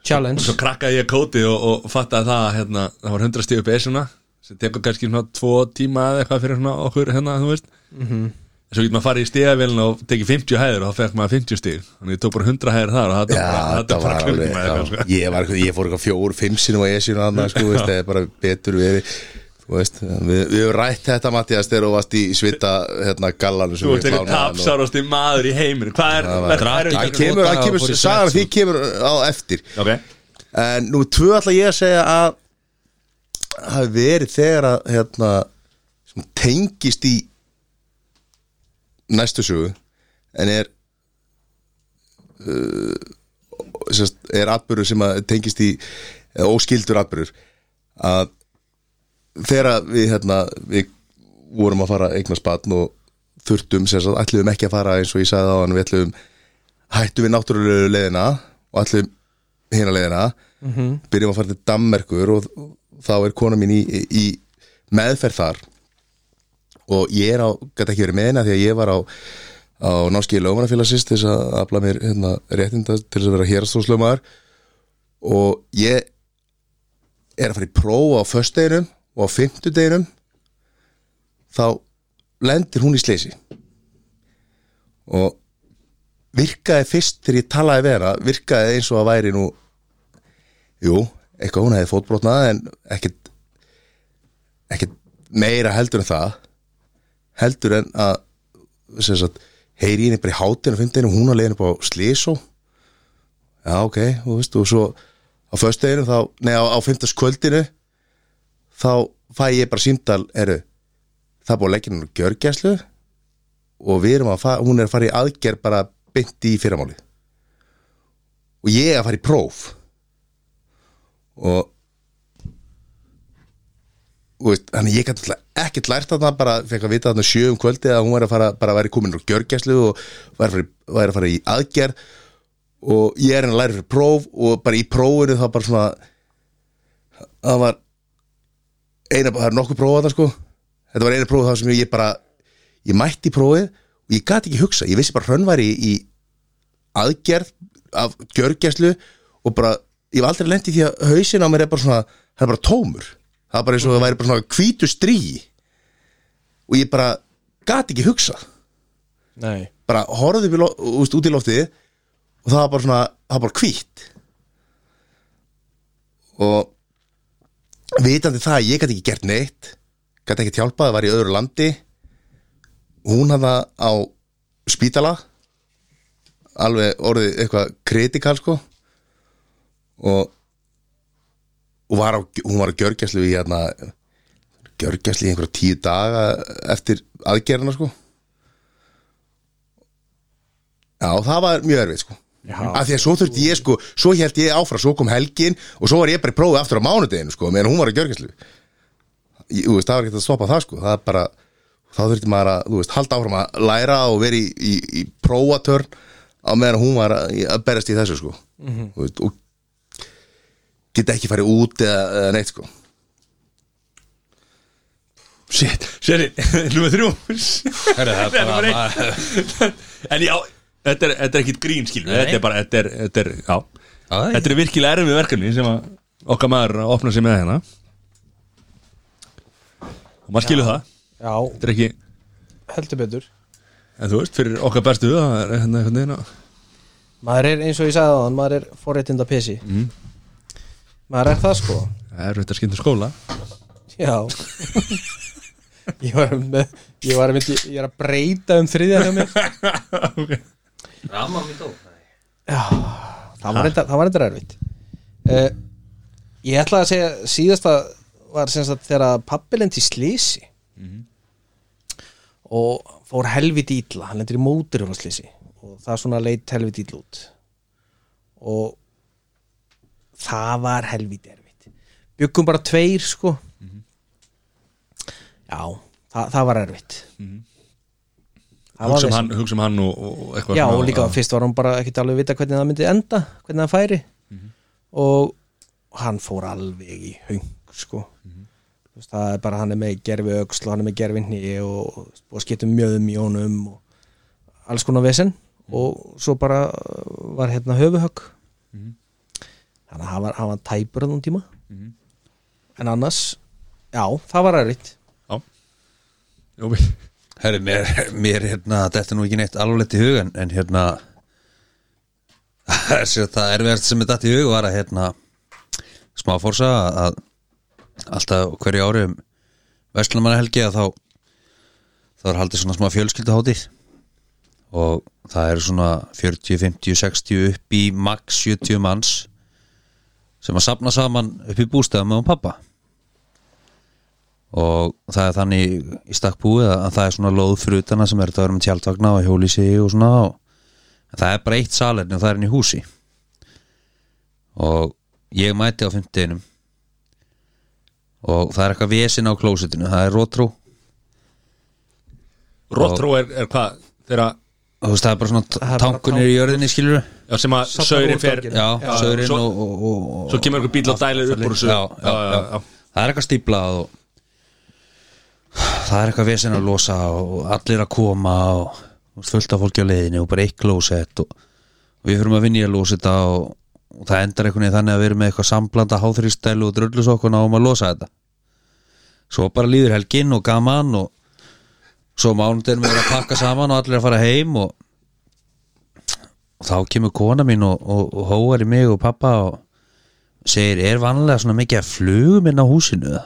Speaker 4: challenge
Speaker 1: Svo krakkaði ég kóti og, og fattaði það að, hérna, það var 100 stíu besuna sem tekur kannski svona tvo tíma eða eitthvað fyrir svona okkur hérna, þú veist Svo getur maður að fara í stíðavélina og tekið 50 hæður og þá fekk maður 50 stíð Þannig ég tók bara 100 hæður þar og það tók bara- það
Speaker 3: þetta
Speaker 1: tók bara
Speaker 3: var alveg
Speaker 1: klukkutíma eða eitthvað, sko.
Speaker 3: já. ég, var, ég fór eitthvað fjór, fimm sinum á esinu annað, sko, veist, það er bara betur við þú veist, við, við höfum rætt þetta Mattias þegar þú varst í svita hérna, gallan
Speaker 1: Þú veist eitthvað tapsárasti maður í heiminu Hvað er, hvað
Speaker 3: Það
Speaker 2: var-
Speaker 1: er,
Speaker 2: Drakk
Speaker 3: hann
Speaker 2: ekki
Speaker 3: kemur,
Speaker 2: tvo
Speaker 3: hann
Speaker 2: daga og
Speaker 3: kemur,
Speaker 2: fór í
Speaker 3: sagan
Speaker 2: sex,
Speaker 3: því kemur uh, á eftir
Speaker 1: Ok,
Speaker 3: en nú tvö ætla ég að segja að það hafi verið þegar að hérna, sem tengist í næstu sögu en er uh, sérst, er atbyrður sem að tengist í eða óskildur atbyrður að þegar að við, hérna, við vorum að fara að eignast batn og þurftum, sem sagt, ætluðum ekki að fara eins og ég sagði á hann, við ætluðum hættum við náttúrulegu leiðina og ætluðum hérna leiðina byrjum að fara til Dammerkur og þá er kona mín í, í meðferð þar og ég er á, gæti ekki verið með hérna því að ég var á, á náskið lögmanafélagsins til þess að afla mér hérna, réttinda til þess að vera hérastóðslögmaður og ég er að fara í próf á föstudeginum og á fimmtudeginum þá lendir hún í sleysi og virkaði fyrst þegar ég talaði við hana virkaði eins og að væri nú jú, eitthvað hún hefði fótbrotnað en ekkit ekkit meira heldur en það heldur en að sem sagt, heyri í henni bara í hátinn og fyndin og hún að leiðin upp á Slysó já ok, þú veist og svo á föstudeginu þá, nei á, á fymtaskvöldinu þá fæ ég bara símdal eru, það er búið að leggja henni gjörgæslu og við erum að fara, hún er að fara í aðgerð bara byndi í fyrramáli og ég er að fara í próf og og veist, þannig ég gæti ekkert lært þarna bara fekk að vita þarna sjö um kvöldi að hún væri að fara bara væri komin úr gjörgæslu og væri að fara, í- væri að fara í aðgerð og ég er henni að læra fyrir próf og bara í prófinu þá bara svona það var eina, það er nokkuð prófa þetta sko þetta var eina próf það sem ég bara ég mætti í prófið og ég gat ekki hugsa ég vissi bara hrönn var í, í aðgerð af gjörgæslu og bara, ég var aldrei lent í því að hausin á mér er bara svona, það er bara tómur það er bara eins og það væri bara svona hvítu strý og ég bara gat ekki hugsa
Speaker 5: Nei
Speaker 3: bara horfði upp í lo- úst, út í loftið og það var bara svona, það var bara hvítt og vitandi það að ég gæti ekki gert neitt gæti ekki hjálpað, var í öðru landi hún hafði á spítala alveg orðið eitthvað kritikal sko og og var á, hún var á gjörgjæslu í hérna gjörgjæslu í einhverja tíu daga eftir aðgerðina sko Já, það var mjög erfið sko af því að svo þurfti ég sko, svo held ég áfram svo kom helgin og svo var ég bara í prófið aftur á mánudeginu sko, meðan hún var að gjörgæslu Jú veist, það var ekki að stoppa það sko það er bara, þá þurfti maður að þú veist, halda áfram að læra og vera í, í, í prófatörn á meðan hún var að, að berjast í þessu sko Þú veist, og geta ekki farið út eða, eða neitt sko
Speaker 1: Shit, sérri, nummer þrjú
Speaker 2: Herra, það er bara-
Speaker 1: En já, þetta er, þetta er ekkit grín skilur
Speaker 2: Nei.
Speaker 1: Þetta er bara, þetta er, þetta er, já
Speaker 2: Æ.
Speaker 1: Þetta er virkilega erfið verkefni sem að okkar maður að opna sig með hérna Og maður skilur það
Speaker 4: já,
Speaker 1: Þetta er ekki,
Speaker 4: heldur betur
Speaker 1: en þú veist, fyrir okkar bestu það er hérna einhvern veginn að
Speaker 4: maður er eins og ég sagði á hann, maður er forréttinda pesi
Speaker 1: Mhm.
Speaker 4: maður er það sko
Speaker 1: Það er þetta skynnt um skóla
Speaker 4: Já Ég var með Ég var með Ég er að breyta um þriðja hjá mér
Speaker 2: Ramma mér dó
Speaker 4: Það var reyndar- það var eitthvað erfitt uh, Ég ætla að segja Síðasta var sem sagt þegar pappi lendi í slísi Og fór helviti ítla Hann lendir í mótur á slísi Og það svona leit helviti ítla út Og Það var helviti erfitt Byggum bara tveir sko Já það, það var erfitt Það var
Speaker 1: Hugsa um
Speaker 4: vesen.
Speaker 1: hann, hugsa um hann og, og eitthvað
Speaker 4: Já,
Speaker 1: svona
Speaker 4: og líka
Speaker 1: að-
Speaker 4: fyrst var hún bara ekkert alveg vita hvernig það myndi enda, hvernig það færi og hann fór alveg í hung, sko Þú veist, það er bara, hann er með gerfi öxl og hann er með gerfi hný og búið að skipta um mjöðum í honum og alls konar vesen og svo bara uh, var hérna höfuhögg þannig að hann var, hann var tæpur þannig tíma en annars, já, það var erfitt
Speaker 1: Já, Jó, við-
Speaker 2: Herri, mér, mér hérna, þetta er nú ekki neitt alvarlegt í hugan en hérna það er sér- það erfiðast sem er datt í hug var að hérna smá fórsa að alltaf á hverju ári um Vestlumannahelgi að þá þá er haldið svona smá fjölskylduháttið og það eru svona 40, 50, 60 upp í max 70 manns sem að sapna saman upp í bústæðum með um pappa og það er þannig í stakk búið að að það er svona lóð fyrir utana sem er þetta að vera með tjaldvagna og hjólísi og svona og en það er bara eitt salerni og það er inn í húsi og ég mæti á fimmtudeginum og það er eitthvað vesinn á klósitinu, það er rótrú
Speaker 1: Rottró er, er hvað þeirra
Speaker 2: og þú veist það er bara
Speaker 4: Það
Speaker 2: svona
Speaker 4: er bara
Speaker 2: tankunir í jörðinni skilur
Speaker 1: já, sem að
Speaker 4: Safnar
Speaker 1: saurinn
Speaker 4: úr
Speaker 1: fer
Speaker 4: ganginum.
Speaker 2: já,
Speaker 1: Já,
Speaker 2: saurinn
Speaker 1: svo-
Speaker 2: og, og, og, og
Speaker 1: Svo kemur einhver bíl og dælir upp úr þessu
Speaker 2: já, já, já, það er eitthvað stíplað og það er eitthvað vesinn að losa og allir að koma og og fullt af fólki á leiðinni og bara eitt klósett og, og við fyrir að vinja að losa þetta og, og það endar einhvern veginn þannig að við erum með eitthvað samblanda háþrýstælu og drullusokkuna og um að losa þetta svo bara líður helgin og gaman og svo mánudin við erum að pakka saman og allir að fara heim og, og þá kemur kona mín og, og, og hóar í mig og pappa og segir, er vanlega svona mikið að flugum inn á húsinu eða?"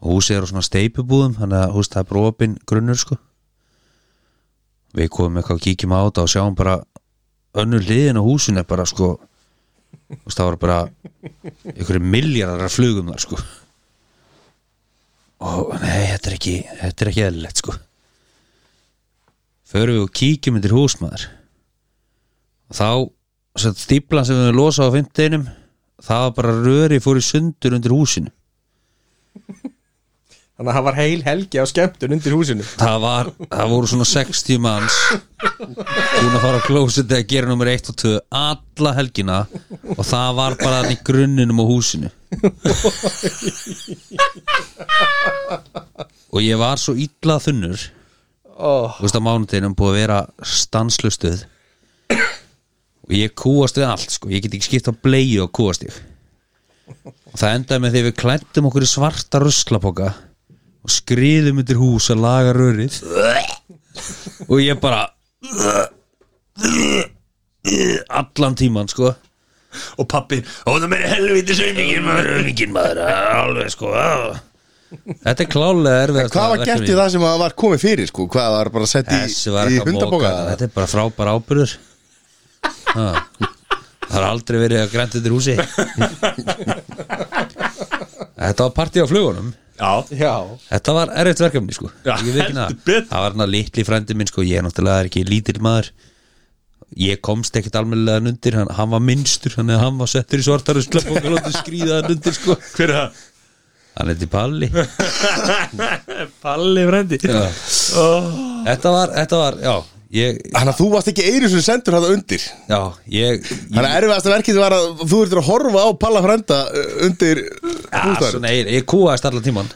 Speaker 2: og húsið er á svona steipubúðum þannig að húst það er brópin grunnur sko við komum eitthvað og kíkjum á þetta og sjáum bara önnur liðin á húsinu er bara sko og það var bara einhverju miljardar að flugum þar sko og nei, þetta er ekki þetta er ekki eðlilegt sko förum við og kíkjum undir húsmaður og þá sem stíplan sem við höfum losað á fimmteinum það var bara röri fór í sundur undir húsinu
Speaker 5: Þannig að það var heil helgi á skemmtun undir húsinu
Speaker 2: það var, það voru svona 60 manns búin að fara á klósið að gera nummer 1 og 2 alla helgina og það var bara þannig grunninum á húsinu og ég var svo illa þunnur
Speaker 5: oh.
Speaker 2: þú veist að mánudeginum búið að vera stanslustuð og ég kúast við allt sko, ég get ekki skipt á bleið og kúast ég og það endaði með því að við klættum okkur í svarta ruslapoka og skriðum undir hús að laga rörið og ég bara allan tíman sko
Speaker 1: Og pappi, og það meiri helviti saumingin maður
Speaker 2: röfingin maður, alveg sko þetta er klálega erfið
Speaker 3: Hvað var gert í það sem að var komið fyrir sko? Hvað var bara sett í,
Speaker 2: Þessi var
Speaker 3: í
Speaker 2: ekki að móka
Speaker 3: hundaboka?
Speaker 2: Þetta er bara frábær ábyrður ha. Það har aldrei verið að grænta undir húsi Þetta var partí á flugunum
Speaker 1: Já,
Speaker 5: Já,
Speaker 2: Þetta var erfitt verkefni sko
Speaker 1: Já,
Speaker 2: Ég veit ekki
Speaker 1: heldur
Speaker 2: það.
Speaker 1: betur.
Speaker 2: Það var hann að litli frændi minn sko Ég er náttúrulega er ekki lítill maður Ég komst ekkert almennilega nundir hann, hann var minnstur, hann, hann var settur í svartar og slapp og lóti skrýða hann undir sko
Speaker 1: hver er það?
Speaker 2: Hann heiti Palli
Speaker 1: Palli frendi
Speaker 2: Já. Þetta var, þetta var, já Ég,
Speaker 3: Þannig að þú varst ekki einu sem sendur það undir
Speaker 2: já, ég, ég
Speaker 3: Þannig að erfiðasta verkið var að þú ert að horfa á Palla frænda uh, undir
Speaker 2: Já,
Speaker 3: bústaðar
Speaker 2: svona, ég, ég kúaðist allan tíman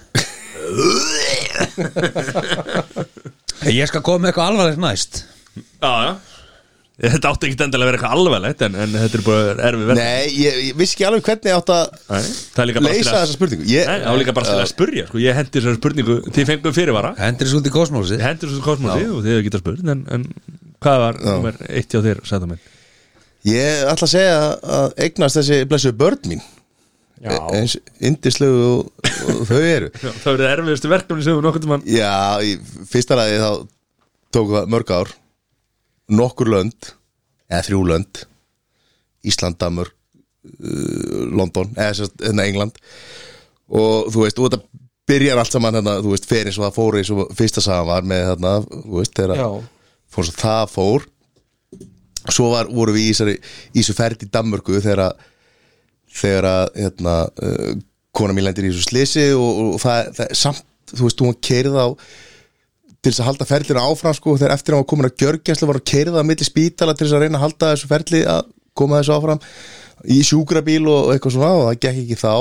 Speaker 2: Ég skal koma með eitthvað alvarlegt næst
Speaker 1: Já, já Þetta átti ekki endilega að vera eitthvað alveglegt en, en þetta er bara erfið verð
Speaker 3: Nei, ég, ég vissi ekki alveg hvernig ég átt að
Speaker 1: Það er líka bara
Speaker 3: leysa
Speaker 1: til að
Speaker 3: þessa spurningu ég,
Speaker 1: Nei, það var líka bara til að spurja sko. Ég hendi þessari spurningu, þið fengum fyrirvara
Speaker 2: Hendris út í kosmósi
Speaker 1: Þið hendur þessu kosmosi og þið hefur getað spurt en, en hvað var nummer eitt hjá þér, sagði minn
Speaker 3: ég ætla að segja að eignast þessi blessu börn mín
Speaker 5: já
Speaker 3: E- eins indislegu og, og þau eru
Speaker 1: Já, Það verið erfiðustu verkefni sem þú nokkuð mann
Speaker 3: Já, í fyrsta lagi þá tóku það mörg ár nokkur lönd eða þrjú lönd Ísland, Damur uh, London, eða sérst hérna England og þú veist, og þetta byrjar allt saman hérna, þú veist, fyrir eins og það fór eins og fyrsta sagan var með þarna, þú veist, þegar
Speaker 5: Já,
Speaker 3: fór svo það fór svo var, voru við í þessari í þessu ferð í Danmörku þegar að- þegar að hérna, uh, kona mín lendir í þessu slisi og, og, það, það samt, þú veist, hún var keirið á til þess að halda ferðlina áfram sko, þegar eftir að hann var komin að gjörgjæslu var hún keirið á milli spítala til þess að reyna að halda þessu ferðli að koma þessu áfram í sjúkrabíl og, og eitthvað svona og það gekk ekki þá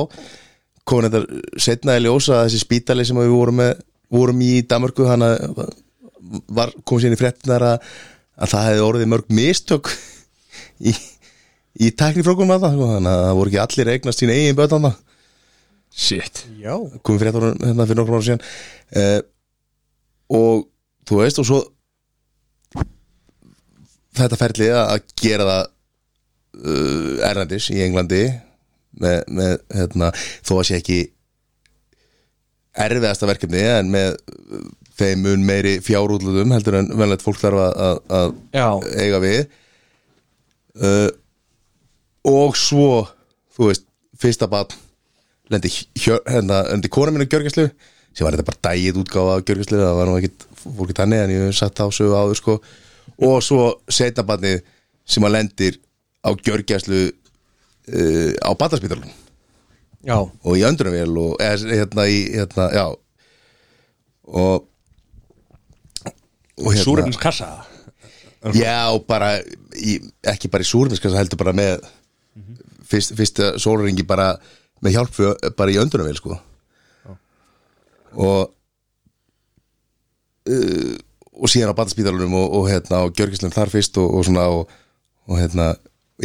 Speaker 3: komin þetta setna uh, í ljósa að þessi spítali sem við vorum, með, vorum í í Danmörku hann að var, kom síðan í fréttinar að, að það hefði orðið mörg mistök í, í tæknifrókunum að það, sko, þannig að það voru ekki allir að eignast sín eigin bötan það
Speaker 1: Shit
Speaker 5: já
Speaker 3: komið fréttur hérna fyrir nokkrum ára síðan eh, og þú veist og svo þetta ferli að að gera það uh, erlendis í Englandi með, með hérna, þó að sé ekki erfiðasta verkefni en með uh, þeim mun meiri fjárútlutum heldur en venlegt fólk þarf að, að, að
Speaker 5: Já,
Speaker 3: eiga við uh, og svo þú veist, fyrsta bann lendi, hjör, hérna, lendi kona mín á gjörgjæslu sem var þetta bara dægið útgáfa á gjörgjæslu það var nú ekkit fólkið þannig en ég hef satt á sögu áður sko og svo setna bannið sem að lendir á gjörgjæslu uh, á bandaspítalunum
Speaker 5: já,
Speaker 3: og í öndrunarvél og eða, hérna í hérna, já og og hérna-
Speaker 1: Súrefnins kassa
Speaker 3: Já, bara í, ekki bara í súrfiskans heldur bara með fyrst, fyrsta sólringi bara með hjálp fyrir, bara í öndunum sko. og uh, og síðan á bataspítalunum og, og hérna og gjörgislum þar fyrst og, og svona og, og hérna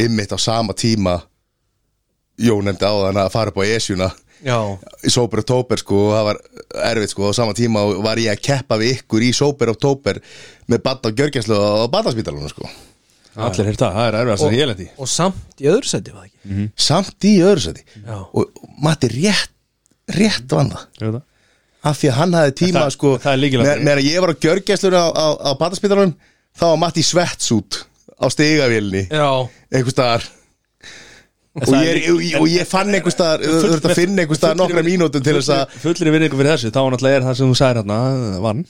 Speaker 3: ymmit á sama tíma Jó nefndi á þann að fara upp á Esjuna
Speaker 5: já
Speaker 3: í Sober Oktober sko og það var erfitt sko á sama tíma og var ég að keppa við ykkur í Sober Oktober með badd á gjörgjæslu á baddarspítalunum sko
Speaker 1: Allir hérta, það er erfiðast að ég lendi
Speaker 5: Og samt í öðru sæti var það ekki
Speaker 3: samt í öðru seti
Speaker 5: Já.
Speaker 3: og, og Matti rétt rétt vann það
Speaker 1: Já,
Speaker 3: af því að hann hafði tíma
Speaker 1: Það-
Speaker 3: sko
Speaker 1: það er lykilatriði.
Speaker 3: meðan meðan ég var á gjörgjæslur á, á, á baddarspítalunum þá var Matti Svets út á stigavélni
Speaker 4: Já,
Speaker 3: einhver staðar og
Speaker 1: það
Speaker 3: ég, er, og, ég- og ég fann einhver staðar þú ert að finna einhver staðar nokkra mínútum til þess að
Speaker 1: Fullir virðingu fyrir þessu, þá náttúrulega er það sem þú sagðir hérna vann,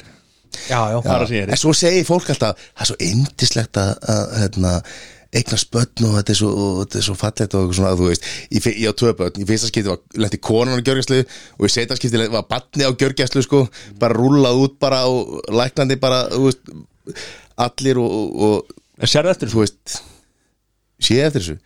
Speaker 4: já, já,
Speaker 1: það er að segja
Speaker 3: en svo segir fólk alltaf það er svo yndislegt að, að hérna, eigna spötn og þetta er svo, og þetta er svo fallegt og svona, þú veist, ég, fe- ég á tvö börn í fyrsta skipti var lendi konan á gjörgjæslu og í setja skipti lenti- var batni á gjörgjæslu sko, bara rúlað út bara og læknandi bara, þú veist allir og, og,
Speaker 1: En sérðu eftir þessu?
Speaker 3: og þú veist sé ég eftir þessu,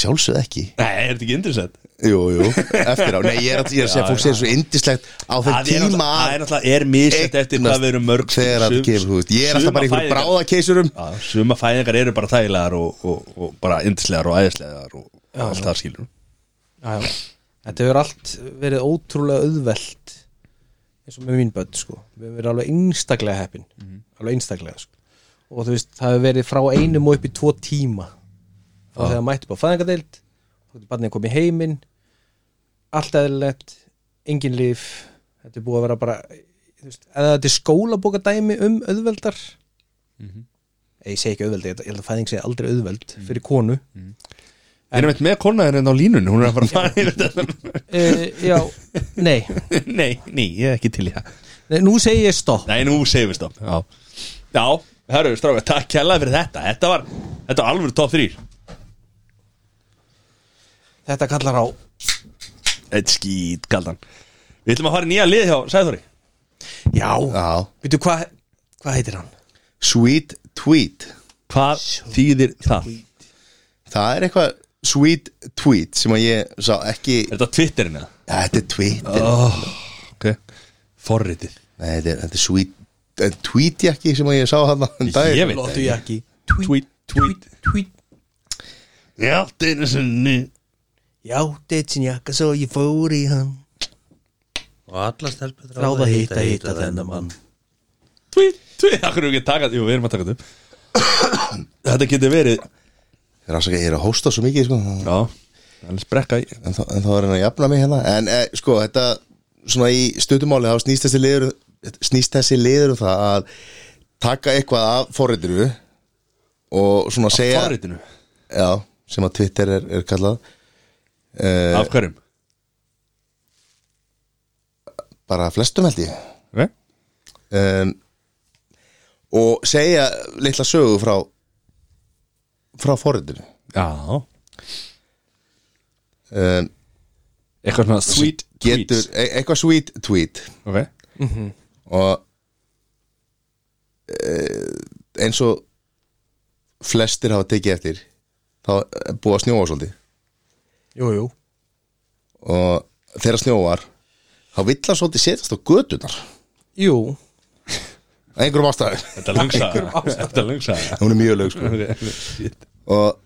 Speaker 3: sjálfsögð ekki
Speaker 1: Nei, er þetta ekki indrinsett?
Speaker 3: jú, jú, eftir á, nei ég er að, ég er að segja að fólk segir svo yndislegt á
Speaker 1: Það
Speaker 3: þeim
Speaker 1: er
Speaker 3: tíma
Speaker 1: náttúrulega- það
Speaker 3: að
Speaker 1: er náttúrulega, er misett eftir hvað við erum mörg
Speaker 3: þegar að
Speaker 1: sum-
Speaker 3: gefur, þú veist, ég er alltaf bara í
Speaker 1: sumar
Speaker 3: einhverjum
Speaker 1: fæðingar-
Speaker 3: bráðakeisurum
Speaker 1: Já, Suma fæðingar eru bara þægilegar og, og, og bara yndislegar og æðislegar og allt það skilur
Speaker 4: já, já. Þetta hefur allt verið ótrúlega auðvelt eins og með mín börn sko. við hefur verið alveg einstaklega heppin alveg einstaklega sko. og þú veist, það hefur verið frá einum og upp í tvo tíma frá þegar mætti upp á fæðingadeild og barnið komið heiminn allt eðlilegt, engin líf þetta er búið að vera bara þú veist, eða þetta er skólabóka dæmi um auðveldar ég segi ekki auðveldi, ég held- ég held að fæðing segi aldrei auðveld fyrir konu
Speaker 1: Ég er meitt með konaðurinn á línunni, hún er að fara að fara yfir þetta
Speaker 4: uh, já, nei
Speaker 1: Nei, nei, ég er ekki til í það
Speaker 4: Nei, nú segi ég stopp
Speaker 1: Nei, nú segjum við stopp Já, já herru, stráka, takk kjallaði fyrir þetta Þetta var, þetta var alveg top 3
Speaker 4: Þetta kallar á
Speaker 1: Eitt skýt kaldan Við ætlum að fara í nýja lið hjá Sæðþóri
Speaker 4: Já,
Speaker 3: Já,
Speaker 4: veitu hvað hva heitir hann?
Speaker 3: sweet tweet
Speaker 1: Hvað þýðir það?
Speaker 3: Það er eitthvað sweet tweet sem að ég sá ekki
Speaker 1: Er þetta Twitterin eða?
Speaker 3: Þetta er Twitter
Speaker 1: Oh, ok, forritið
Speaker 3: Nei, þetta er, þetta er sweet eh, tweet jakki sem að ég sá hann um
Speaker 1: Ég veit
Speaker 4: Lóttu
Speaker 1: það ekki
Speaker 4: jakki
Speaker 1: Tweet, tweet
Speaker 4: tweet
Speaker 1: Já, þetta er sinni
Speaker 4: Já, deytin jakka svo ég fór í hann
Speaker 2: Og alla stelpur
Speaker 4: Ráða hitta hitta þennan mann
Speaker 1: Tweet, tweet, það hverju ekki taka Jú, við erum að taka þetta upp Þetta getur verið
Speaker 3: Rásaka, ég er að hósta svo mikið sko,
Speaker 1: Já, það er sprekka í
Speaker 3: en, þá, en þá er hann að jafna mig hérna En eh, sko, þetta svona í stötumáli þá snýst þessi liður snýst þessi liður um það að taka eitthvað af forritinu og svona segja
Speaker 1: Forritinu
Speaker 3: já, sem að Twitter er, er kallað eh,
Speaker 1: Af hverjum?
Speaker 3: bara flestum held ég
Speaker 1: Ok
Speaker 3: um, og segja litla sögu frá frá forritinu
Speaker 1: Já
Speaker 3: um,
Speaker 1: Eitthvað svona sweet
Speaker 3: getur,
Speaker 1: tweets
Speaker 3: e eitthvað sweet tweet
Speaker 1: Ok
Speaker 3: og e eins og flestir hafa tekið eftir þá er búið að snjóa svolítið
Speaker 4: Jú, jú
Speaker 3: og þegar snjóar þá vill hann svolítið setjast á götunar
Speaker 4: Jú,
Speaker 3: að einhverjum ástæðu,
Speaker 1: Þetta lungsa Þetta lungsa
Speaker 3: hún er mjög lög sko og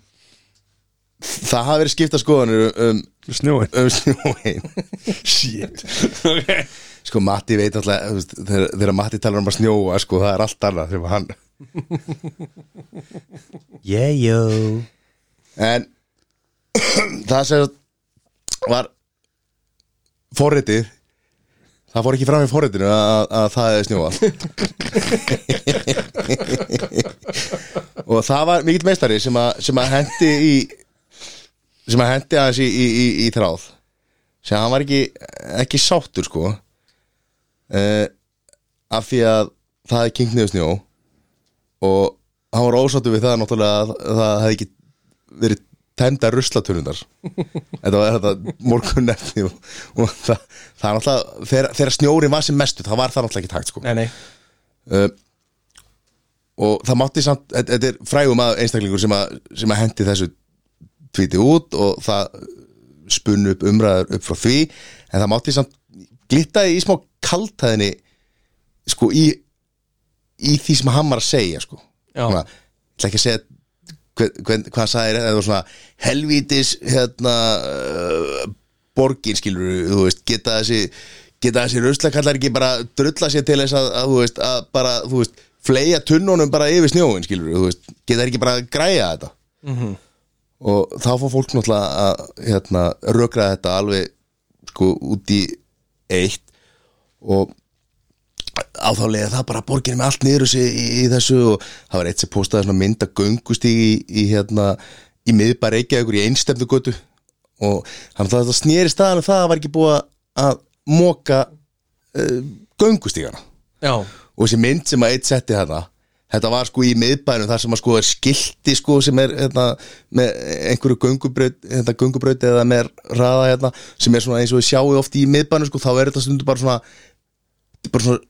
Speaker 3: það hafa verið skipta skoðanir um,
Speaker 1: Snjóin
Speaker 3: um snjóin
Speaker 1: Shit Ok
Speaker 3: sko Matti veit alltaf þú veist, þegar, þegar Matti talar um að snjóa sko það er allt annað sem hann
Speaker 2: Yeah, yo
Speaker 3: en það sem var forritið það fór ekki fram í forritinu að, að það er snjóa og það var mikill meistari sem að, sem að hendi í sem að hendi aðeins í, í, í, í þráð sem hann var ekki ekki sáttur sko uh, af því að það hefði kynkt niður snjó og hann var ósáttur við það náttúrulega að það hefði ekki verið tæmda ruslatunundar þetta var þetta morgun efni og, og það, það er náttúrulega þegar, þegar snjóri var sem mestu, það var það náttúrulega ekki takt sko.
Speaker 4: nei, nei
Speaker 3: uh, og það mátti samt þetta- þetta er frægum að einstaklingur sem að, sem að hendi þessu tvíti út og það spun upp umræður upp frá því en það mátti samt glittaði í smá kaltæðinni sko í í því sem hann var að segja sko
Speaker 4: Já.
Speaker 3: Svona, ætla ekki að segja hver, hver, hvað hann sagði en það var svona helvítis hérna uh, borgin skilur þú veist geta þessi geta þessi ruslakallar ekki bara drulla sér til þess að, að þú veist að bara þú veist fleja tunnunum bara yfir snjóin skilur þú veist geta þeir ekki bara að græja þetta og þá fór fólk náttúrulega að hérna, rökra þetta alveg sko út í eitt og á þá leiði það bara borgin með allt niður sig í, í þessu og það var eitt sem postaði svona mynd að göngust í, í hérna, í miðbæra Reykjavíkur í einstemdu götu og hann það þetta sneri staðan og það að var ekki búið að móka uh, göngustígana
Speaker 4: já,
Speaker 3: og þessi mynd sem að eitt setti þarna þetta var sko í miðbænum þar sem að sko er skilti sko sem er hérna, með einhverju göngubraut, hérna, göngubraut eða með raða hérna, sem er svona eins og við sjáum oft í miðbænum sko, þá er þetta stundu bara svona, þetta er bara svona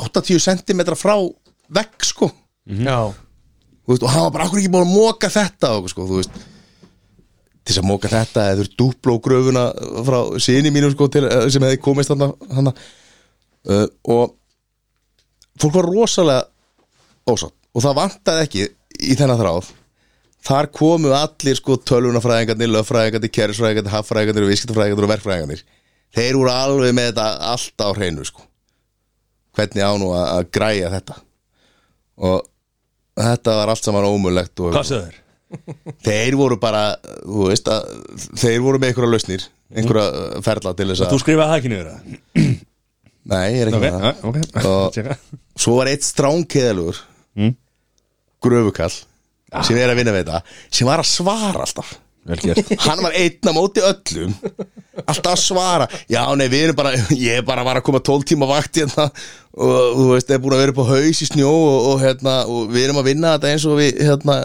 Speaker 3: 80 cm frá vekk sko
Speaker 4: já,
Speaker 3: Þú veist, og hann var bara okkur ekki búin að móka þetta og, sko, þú veist til þess að móka þetta eða þú eru dúpló gröfuna frá sinni mínum sko, til, eh, sem hefði komist hann uh, og fólk var rosalega ósátt og það vantaði ekki í þennan þráð þar komu allir sko tölvunafræðingarnir, löffræðingarnir, kærisfræðingarnir haffræðingarnir, viskitafræðingarnir og verkfræðingarnir þeir voru alveg með þetta allt á hreinu sko hvernig á nú að, að græja þetta og þetta var allt saman ómulegt og
Speaker 1: Hvað söður?
Speaker 3: þeir voru bara þú veist, að, þeir voru með einhverja lausnir einhverja uh, ferla til þess
Speaker 1: Mm. Þú
Speaker 3: að
Speaker 1: skrifaði það ekki niður það?
Speaker 3: nei, ég er
Speaker 1: Ok,
Speaker 3: ekki með það
Speaker 1: ok,
Speaker 3: Og-
Speaker 1: Tjekka.
Speaker 3: svo var eitt stránkeðalur
Speaker 1: Mm. Ah.
Speaker 3: gröfukall sem er að vinna við þetta sem var að svara alltaf
Speaker 1: Vel gert
Speaker 3: hann var einn á móti öllum alltaf að svara já nei við erum bara, ég bara var að koma 12 tíma vakt hérna og þú veist, er búin að vera upp á haus í snjó og, og hérna, og við erum að vinna þetta eins og við hérna,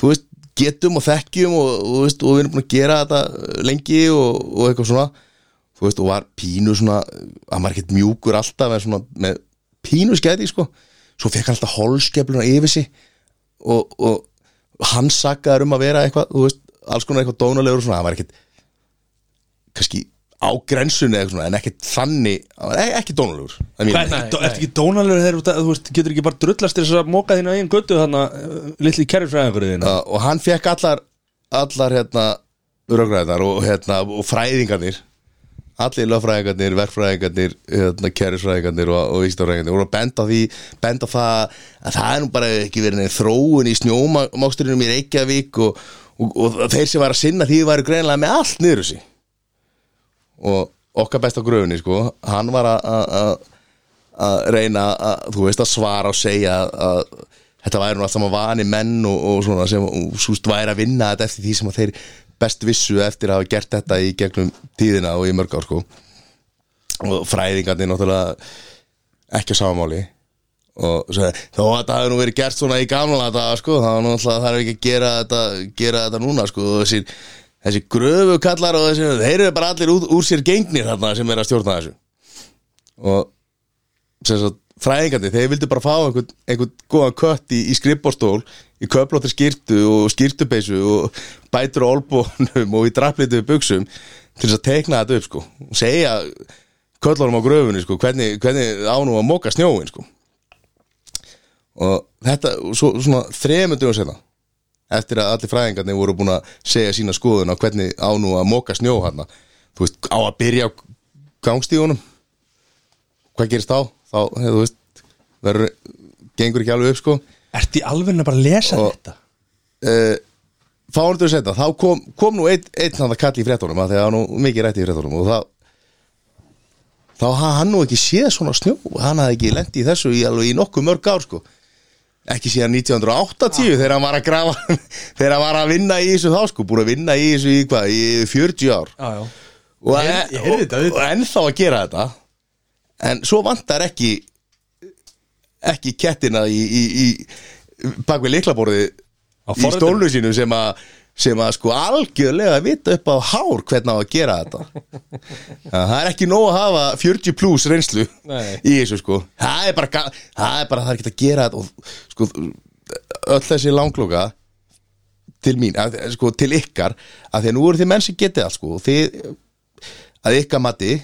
Speaker 3: þú veist, getum og þekkjum og, og, þú veist, og við erum búin að gera þetta uh, lengi og, og eitthvað svona þú veist, og var pínu svona hann var ekkert mjúkur alltaf en svona með pínu skæti, sko svo fekk hann alltaf holskefluna yfir sig og, og hann sakkaður um að vera eitthvað, þú veist, alls konar eitthvað dónalegur og svona, hann var ekkert kannski á grensunni eitthvað svona en ekkert þannig, hann var e- ekki dónalegur að mínu
Speaker 1: Hvað, ertu
Speaker 3: mati.
Speaker 1: ekki- ertu ekki dónalegur þegar þú- þú veist, getur ekki bara drullast til þess að móka þína einn göttu þannig uh, litli kærifræðingur þín
Speaker 3: Uh, og hann fekk allar allar hérna röggræðnar og, hérna, og fræðingarnir allir lögfræðingarnir, verkfræðingarnir hérna, kærisfræðingarnir og, og ístafræðingarnir voru að benda á því, benda á það að það er nú bara ekki verið neinn þróun í snjómáksturinnum í Reykjavík og, og, og þeir sem var að sinna því varu greinlega með allt niður þessi og okkar besta gröfunni sko, hann var að- að að- að reyna að, þú veist, að svara og segja að þetta væri nú allt saman vani menn og, og svona sem súst væri að vinna þetta eftir því sem að þeir best vissu eftir að hafa gert þetta í gegnum tíðina og í mörg ár sko og fræðingarnir náttúrulega ekki á samamáli og svo, þó að þetta hafi nú verið gert svona í gamla þetta sko, þá er náttúrulega þarf ekki að gera þetta, gera þetta núna sko og þessi, þessi gröfu kallar og þessi, þeir eru bara allir úr, úr sér gengnir þarna sem er að stjórna þessu og sem sagt, fræðingandi, þeir vildu bara fá einhvern, einhvern góðan kött í, í skrippbórstól í köflóttir skýrtu og skýrtubeysu og bætur á olbónum og í drapplitu buksum til þess að tekna þetta upp sko og segja köllunum á gröfunni sko hvernig, hvernig ánum að móka snjóin sko og þetta, svo, svona þremundum og senna eftir að allir fræðingarnir voru búin að segja sína skoðun á hvernig ánum að móka snjó hana þú veist, á að byrja á gangstíðunum hvað gerist þá? Þá, hef, þú veist, verður, gengur ekki alveg upp sko
Speaker 1: Ertu í alveg bara að lesa
Speaker 3: Og-
Speaker 1: þetta?
Speaker 3: uh, Þá erum við setna, þá kom, kom nú einn ein, hann að kalla í fréttunum að þegar nú mikið rætti í fréttunum og þá þá hafði hann nú ekki séð svona snjó hann hafði ekki lendi í þessu í alveg í nokkuð mörg ár sko ekki síðan 1980 þegar hann var að grafa þegar hann var að vinna í þessu þá sko búin að vinna í þessu í hvað, í 40 ár
Speaker 4: já, já.
Speaker 5: Ég
Speaker 3: og, en,
Speaker 5: heyrði- ég heyrði þetta,
Speaker 3: og, og ennþá að gera þetta en svo vantar ekki ekki kettina í, í, í bak við liklaborði í
Speaker 1: forritinu.
Speaker 3: stólnu sínum sem að sem að sko algjörlega vita upp á hár hvernig á að gera þetta það er ekki nóg að hafa 40 plus reynslu
Speaker 4: Nei.
Speaker 3: í þessu sko það er bara, ga- það er bara það er ekki að gera þetta og sko öll þessi langlóka til mín, að, sko til ykkar að því að nú eru þið menn sem getið allt sko og þið að ykkar mati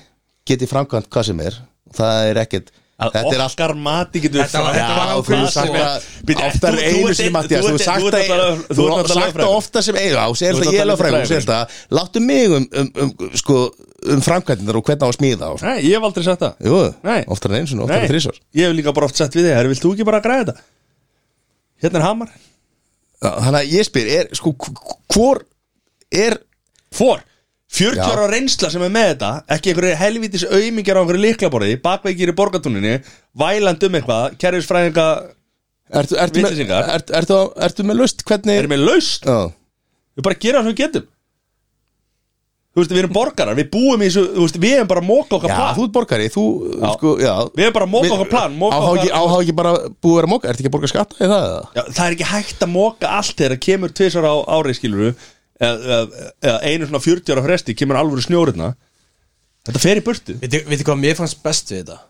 Speaker 3: getið framkvæmt hvað sem er það er ekkert
Speaker 1: Að
Speaker 3: þetta er allt
Speaker 1: okkar mati getur við
Speaker 2: Þetta var- þetta var
Speaker 1: Já,
Speaker 3: þú hefur sagt það oftar en einu sinni Mattias þú hefur sagt það þú hefur sagt það ofta sem eigin á
Speaker 1: Þú
Speaker 3: segir
Speaker 1: ert
Speaker 3: það ég er
Speaker 1: náttúrulega
Speaker 3: lögfræðingur segir það láttu mig um, um, um sko um framkvæmdindar og hvernig á að smíða og svona.
Speaker 1: Nei, ég hef aldrei sagt það
Speaker 3: jú
Speaker 1: Nei.
Speaker 3: oftar en einu sinni oftar
Speaker 1: Nei,
Speaker 3: en þrísvar
Speaker 1: ég hef líka bara oft sett við þig Herri, vilt þú ekki bara græða þetta? Hérna er hamar
Speaker 3: þannig að ég spyr er sko hvor er
Speaker 1: For 40
Speaker 3: Já.
Speaker 1: ára reynsla sem er með þetta ekki einhverju helvítis auðmingjar á einhverju liklaborði bakveikir í borgatúninni væland um eitthvað, kerfisfræðinga
Speaker 3: Ertu, ertu, með,
Speaker 1: Vitleysingar.
Speaker 3: ertu, ertu, ertu með lust hvernig
Speaker 1: erum við laust,
Speaker 3: Já,
Speaker 1: við bara gera það sem við getum þú veist, við erum borgarar við búum í þessu, þú veist, við erum bara að móka okkar
Speaker 3: já
Speaker 1: plan
Speaker 3: þú ert borgari Þú,
Speaker 1: Já.
Speaker 3: sko, já
Speaker 1: við erum bara að móka okkar plan móka
Speaker 3: Áhá ekki,
Speaker 1: okkar...
Speaker 3: áhá ekki bara búið að vera móka Ertu ekki að borga skatta í það? eða?
Speaker 1: Já, það er ekki hægt að móka allt þegar það kemur tvisar á ári skilur eða eða einu svona 40 ára fresti kemur alvöru snjóriðna þetta fer í burtu
Speaker 5: Veitu veitu hvað mér fannst best við þetta?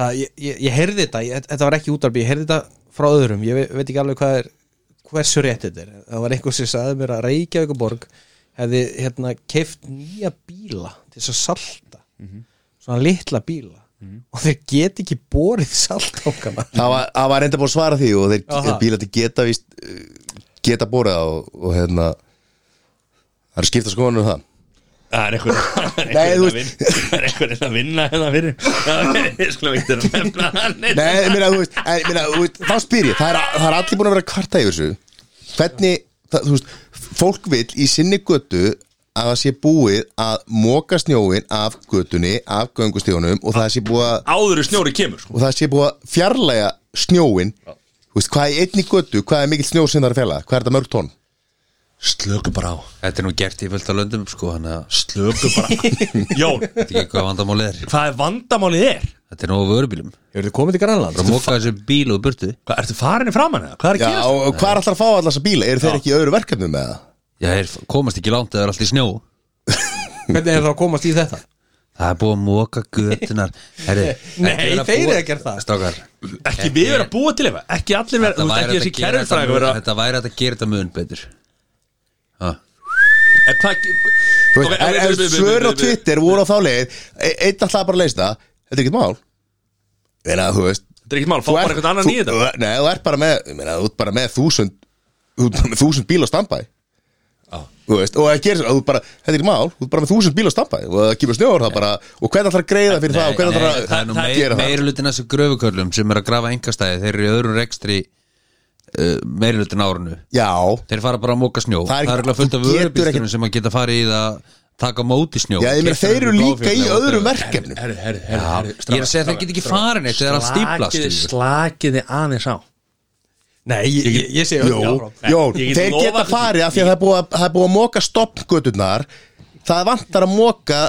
Speaker 4: það, ég, ég, ég heyrði þetta, ég, þetta var ekki útarbi ég heyrði þetta frá öðrum, ég ve- veit ekki alveg hvað er hversu rétt þetta er það var einhver sem sagði mér að Reykjavík borg hefði hérna keift nýja bíla til þess að salta
Speaker 5: Mhm.
Speaker 4: svona litla bíla og þeir get ekki borið salt á hana
Speaker 3: Það var, það var reynda búið að svara því og þeir
Speaker 4: Aha.
Speaker 3: bílati geta víst, uh, geta borið á og, og hérna það eru skipta skoðanum það
Speaker 1: Það er einhver það er
Speaker 3: Nei,
Speaker 1: einhver
Speaker 3: þú
Speaker 1: að vinna- það er einhver að vinna hérna fyrir Það er- Við skulum ekki vera að nefna hann einn.
Speaker 3: Nei, ég meina, þú veist, en, ég meina, þú veist, þá spyr ég það er, það er allir búin að vera að kvarta yfir þessu hvernig, það, þú veist, fólk vill í sinni götu að það sé búið að móka snjóin af götunni, af göngustíðunum og það sé búið að
Speaker 1: Áður í snjóri kemur sko.
Speaker 3: og það sé búið að fjarlæga snjóin Þú veist, hvað er einni götu, hvað er mikill snjó sem það er að fela, hvað er þetta mörg tón
Speaker 1: Slöku bara á
Speaker 2: Þetta er nú gert í fullt af löndum sko Þannig að
Speaker 1: Slöku bara á. Jón,
Speaker 2: þetta er ekki hvað vandamálið er
Speaker 1: hvað er vandamálið er?
Speaker 2: Þetta er nú á vörubílum
Speaker 5: Hefur þið komið til Grænland?
Speaker 2: Bara móka þessu bíl og burtu
Speaker 1: Hvað, ertu farinni framan eða? Hvað er
Speaker 3: Já,
Speaker 1: að gerast?
Speaker 3: og og hvað er alltaf að fá allar þessa bíla, eru þeir ekki í öðru verkefnum með það?
Speaker 2: Já, þeir komast ekki langt eða er allt í snjó
Speaker 5: Hvernig er það að komast í þetta?
Speaker 2: Það er búið að móka götunar Herri,
Speaker 5: Nei,
Speaker 2: ekki vera að
Speaker 5: þeir
Speaker 2: búa-
Speaker 5: eru að gera það.
Speaker 2: Strákar,
Speaker 1: Ekki við erum að búa til eitthvað Ekki allir vera,
Speaker 2: þetta
Speaker 1: þú veist
Speaker 2: væri
Speaker 1: ekki
Speaker 2: hægt
Speaker 1: þessi
Speaker 2: að gera þetta
Speaker 1: kerfisfræðingur
Speaker 2: mun-
Speaker 1: vera
Speaker 2: Þetta væri hægt að gera þetta mun betur Ha,
Speaker 1: En hvað
Speaker 3: Þú
Speaker 1: Ok,
Speaker 3: veist, en-
Speaker 1: við- við-
Speaker 3: en
Speaker 1: við- við-
Speaker 3: svör á
Speaker 1: við-
Speaker 3: Twitter voru á þá leið e- Einn alltaf bara að leysa það Þetta er ekkert mál Meina, þú veist
Speaker 1: Þetta er ekkert mál, fá bara eitthvað annan í
Speaker 3: þú,
Speaker 1: þetta
Speaker 3: Nei, þú ert bara með, ég meina, þú ert bara með þúsund Þú ert bara með þúsund bíl á standbæ Þú veist, og það gerir svo, þú bara, þetta er ekkert mál Þú ert bara með þúsund bíl á standbæ Og það kemur snjóður það bara Og hvernig ætlar að greiða fyrir það Og hvernig ætlar
Speaker 2: það er nú
Speaker 1: það-
Speaker 2: meir,
Speaker 3: gera það.
Speaker 2: meiri lutin þessu gröfukörlum sem er að grafa engastæði þeir eru í öðrum rekstri uh, meiri lutin árunu
Speaker 3: að Já,
Speaker 2: þeir fara bara að móka snjó
Speaker 3: Það er
Speaker 2: það er
Speaker 3: ekki-
Speaker 2: ekki fullt af
Speaker 3: þú getur
Speaker 2: vörubílstunum
Speaker 3: ekki-
Speaker 2: sem að geta farið í það að taka á móti snjó
Speaker 3: já, ég meina,
Speaker 2: Keyptur
Speaker 3: þeir eru
Speaker 2: upp
Speaker 3: líka í
Speaker 2: Bláfjöll eða
Speaker 3: öðrum
Speaker 2: whatever.
Speaker 3: verkefnum
Speaker 1: Herri, herri, herri,
Speaker 2: Já,
Speaker 1: herri,
Speaker 2: ég er að segja að þeir geta ekki farin eitt þegar það stíplast
Speaker 1: Slakiði-
Speaker 2: skilur.
Speaker 1: Slakiði aðeins á
Speaker 5: Nei, ég, ég, ég segi
Speaker 3: Jó,
Speaker 5: öll
Speaker 3: jó,
Speaker 1: Ég get
Speaker 3: þeir
Speaker 1: lofað
Speaker 3: geta
Speaker 1: þessu.
Speaker 3: farið af því að það er búið að, það er búið að móka stoppgöturnar það vantar að móka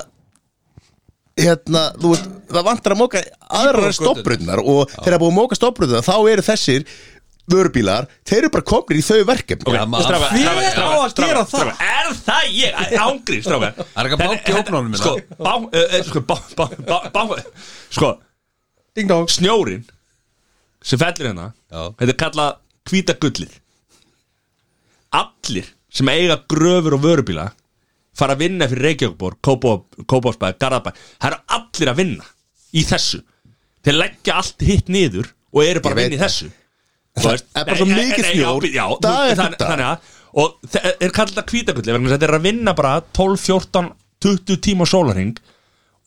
Speaker 3: hérna, þú veist það vantar að móka aðrar stoppbröðnar og þegar það er búið að móka stoppbröðnar þá eru þessir vörubílar þeir eru bara komnir í þau verkefni
Speaker 1: Ok,
Speaker 2: Já, maður-
Speaker 5: Hver
Speaker 1: strákar, strákar,
Speaker 5: á
Speaker 1: strákar,
Speaker 5: að
Speaker 1: strákar,
Speaker 5: gera það?
Speaker 1: strákar, Er það ég? Ángri, stráka
Speaker 2: Það er ekki að banka í ofnunum minna.
Speaker 1: Sko, bá, uh, sko, bá, bá, bá, bá Sko,
Speaker 5: Ding dong
Speaker 1: snjórin sem fellir hérna
Speaker 2: Já.
Speaker 1: Þetta er kallað hvíta gullið Allir sem eiga gröfur og vörubíla fara að vinna fyrir Reykjavíkbór Kópásbæði, Garðabæði Það eru allir að vinna í þessu Þeir leggja allt hitt niður og eru bara
Speaker 3: Ég
Speaker 1: að vinna í
Speaker 3: veit
Speaker 1: þessu
Speaker 3: Það er bara svo mikið snjór,
Speaker 1: já,
Speaker 3: dag
Speaker 1: þú-
Speaker 3: eftir
Speaker 1: þann-
Speaker 3: dag.
Speaker 1: þannig að og þe- er kallið þetta kvítakulli vegna þess að þetta er að vinna bara 12, 14, 20 tíma sólarhing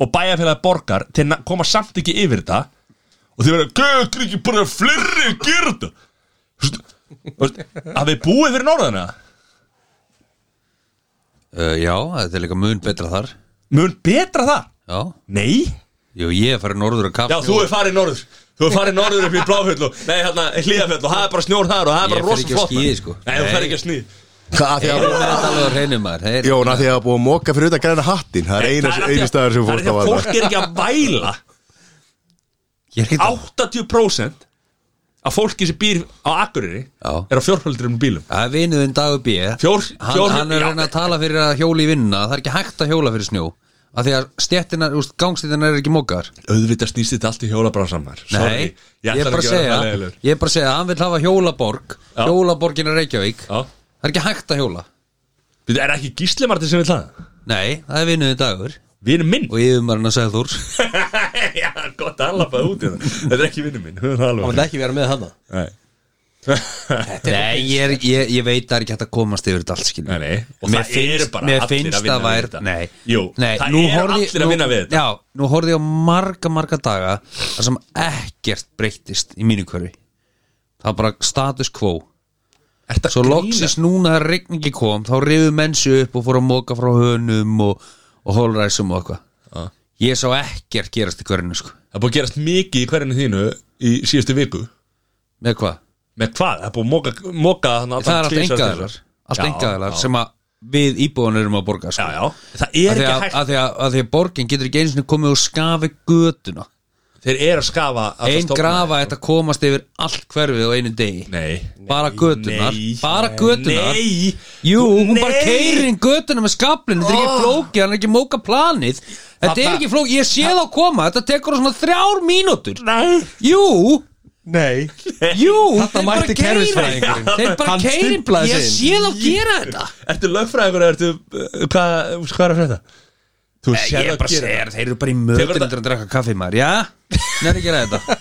Speaker 1: og bæjarfélagi borgar til að koma samt ekki yfir þetta og þeir verða, gæður ekki bara fleiri að gera þetta Þú veist- þú veist, að við búið fyrir norðana
Speaker 2: Uh, já, þetta er líka mun betra þar
Speaker 1: mun betra það
Speaker 2: já,
Speaker 1: nei,
Speaker 2: Jú, ég er farið norður að
Speaker 1: já
Speaker 2: kafna
Speaker 1: þú er farið norður þú er farið norður upp í bláfjöll og nei, hérna, hlíðafjöll og það er bara snjór þar og það er
Speaker 2: Ég
Speaker 1: bara
Speaker 2: fer
Speaker 1: rosa
Speaker 2: ekki á
Speaker 1: flott
Speaker 2: skíði,
Speaker 1: maður.
Speaker 2: sko.
Speaker 1: nei, þú
Speaker 2: Nei.
Speaker 1: fer ekki að snýð
Speaker 3: Hvað, af því að-
Speaker 2: Það er alveg að reynum maður Þeir-
Speaker 3: Jón, að því að það er búið að móka fyrir utan græna hattin það er einu,
Speaker 1: af því að-
Speaker 3: einu staður sem
Speaker 1: það er
Speaker 3: fólk
Speaker 1: því
Speaker 3: að
Speaker 1: að
Speaker 3: vara
Speaker 1: fólk er ekki að væla
Speaker 2: Ég er ekki að
Speaker 1: 80% af fólki sem býr á Akureyri
Speaker 2: Já.
Speaker 1: er á fjórhaldurinn bílum
Speaker 2: Það er vinuðin Dagur B
Speaker 1: Fjór-
Speaker 2: hann,
Speaker 1: fjór-
Speaker 2: hann
Speaker 1: já.
Speaker 2: er að reyna að tala fyrir að hjóla í vinnuna Það er ekki hægt að hjóla fyrir snjó að Því að stjettina, gangstéttina er ekki mókar
Speaker 1: auðvitað snýst þetta allt í hjólabransamar
Speaker 2: Nei, ég er bara að segja Ég er bara að segja að hann vil hafa hjólaborg
Speaker 1: Já.
Speaker 2: Hjólaborgin er Reykjavík
Speaker 1: Já.
Speaker 2: Það er ekki hægt að hjóla
Speaker 1: Við erum ekki gíslimartin sem vil það
Speaker 2: Nei, það er vinuðin Dagur
Speaker 1: Vinur minn
Speaker 2: Og yfirmarinn að segja þúr
Speaker 1: Já, gott að alveg út í það Þetta er ekki vinur minn höfum það
Speaker 5: Það
Speaker 1: alveg.
Speaker 5: vil ekki vera með hana
Speaker 1: Nei.
Speaker 2: Nei, ég, er, ég, ég veit það er ekki hægt að komast yfir þetta allt skil
Speaker 1: Nei, nei. Og
Speaker 2: Mér
Speaker 1: það eru
Speaker 2: finnst,
Speaker 1: bara
Speaker 2: mér
Speaker 1: allir
Speaker 2: finnst
Speaker 1: að vinna
Speaker 2: það
Speaker 1: við
Speaker 2: væri
Speaker 1: þetta.
Speaker 2: Nei,
Speaker 1: Jú,
Speaker 2: nei,
Speaker 1: það
Speaker 2: nú
Speaker 1: eru allir
Speaker 2: horfði-
Speaker 1: að
Speaker 2: nú-
Speaker 1: vinna við þetta.
Speaker 2: Já, nú horfði ég á marga, marga daga þar sem ekkert breyttist í mínu hverfi Það var bara status quo
Speaker 1: Ertu að
Speaker 2: Svo
Speaker 1: grínast?
Speaker 2: loksist núna að regningi kom þá rifu mennsu upp og fór að móka frá hönum og, og holræsum og eitthvað
Speaker 1: Já.
Speaker 2: Ég sá ekkert gerast í hverjunu sko
Speaker 1: Það er búið að gerast mikið í hverjunni þínu í síðustu viku
Speaker 2: Með hvað?
Speaker 1: Með hvað? Það er búið að moka, moka þarna allan
Speaker 2: Það er allt
Speaker 1: tvisvar,
Speaker 2: engaðalar
Speaker 1: þrisvar.
Speaker 2: Allt
Speaker 1: Já,
Speaker 2: engaðalar
Speaker 1: já.
Speaker 2: sem að við íbúðanur erum að borga
Speaker 1: Já,
Speaker 2: sko.
Speaker 1: já, það er
Speaker 2: Af því
Speaker 1: ekki
Speaker 2: að,
Speaker 1: hægt
Speaker 2: að, því að, að því að borgin getur ekki einu sinni komið og skafi götuna
Speaker 1: Þeir eru að skafa alla
Speaker 2: Einn
Speaker 1: stofnana.
Speaker 2: grafa þetta komast yfir allt hverfið á einu degi
Speaker 1: Nei
Speaker 2: Bara götunar
Speaker 1: Nei.
Speaker 2: Bara götunar
Speaker 1: Nei
Speaker 2: Jú, hún
Speaker 1: Nei.
Speaker 2: bara keirir inn götuna með skaplinu Þetta er
Speaker 1: Oh.
Speaker 2: ekki flókið, hann er ekki að móka planið Þetta er
Speaker 1: Þarna-
Speaker 2: ekki flókið, ég sé það koma Þetta tekur svona þrjár mínútur
Speaker 1: Nei
Speaker 2: Jú,
Speaker 5: Nei
Speaker 2: jú
Speaker 5: Þarna
Speaker 2: þeir bara
Speaker 5: mætti
Speaker 2: keyra-
Speaker 5: kerfisfræðingurinn.
Speaker 2: Þeir bara
Speaker 5: Hann
Speaker 2: keirir,
Speaker 5: stimplaði sig
Speaker 2: ég
Speaker 5: inn.
Speaker 2: sé þá gera þetta
Speaker 1: Ertu lögfræðingur eða ertu uh, Hvað hvað er að frétta? Þú
Speaker 2: Nei,
Speaker 1: sér
Speaker 2: Eh,
Speaker 1: það
Speaker 2: Ég er bara
Speaker 1: að gera
Speaker 2: að segja, þér, þeir eru bara í mötunum
Speaker 1: Tekur
Speaker 2: til að drakka kaffi maður, já? Nær ekki að gera þetta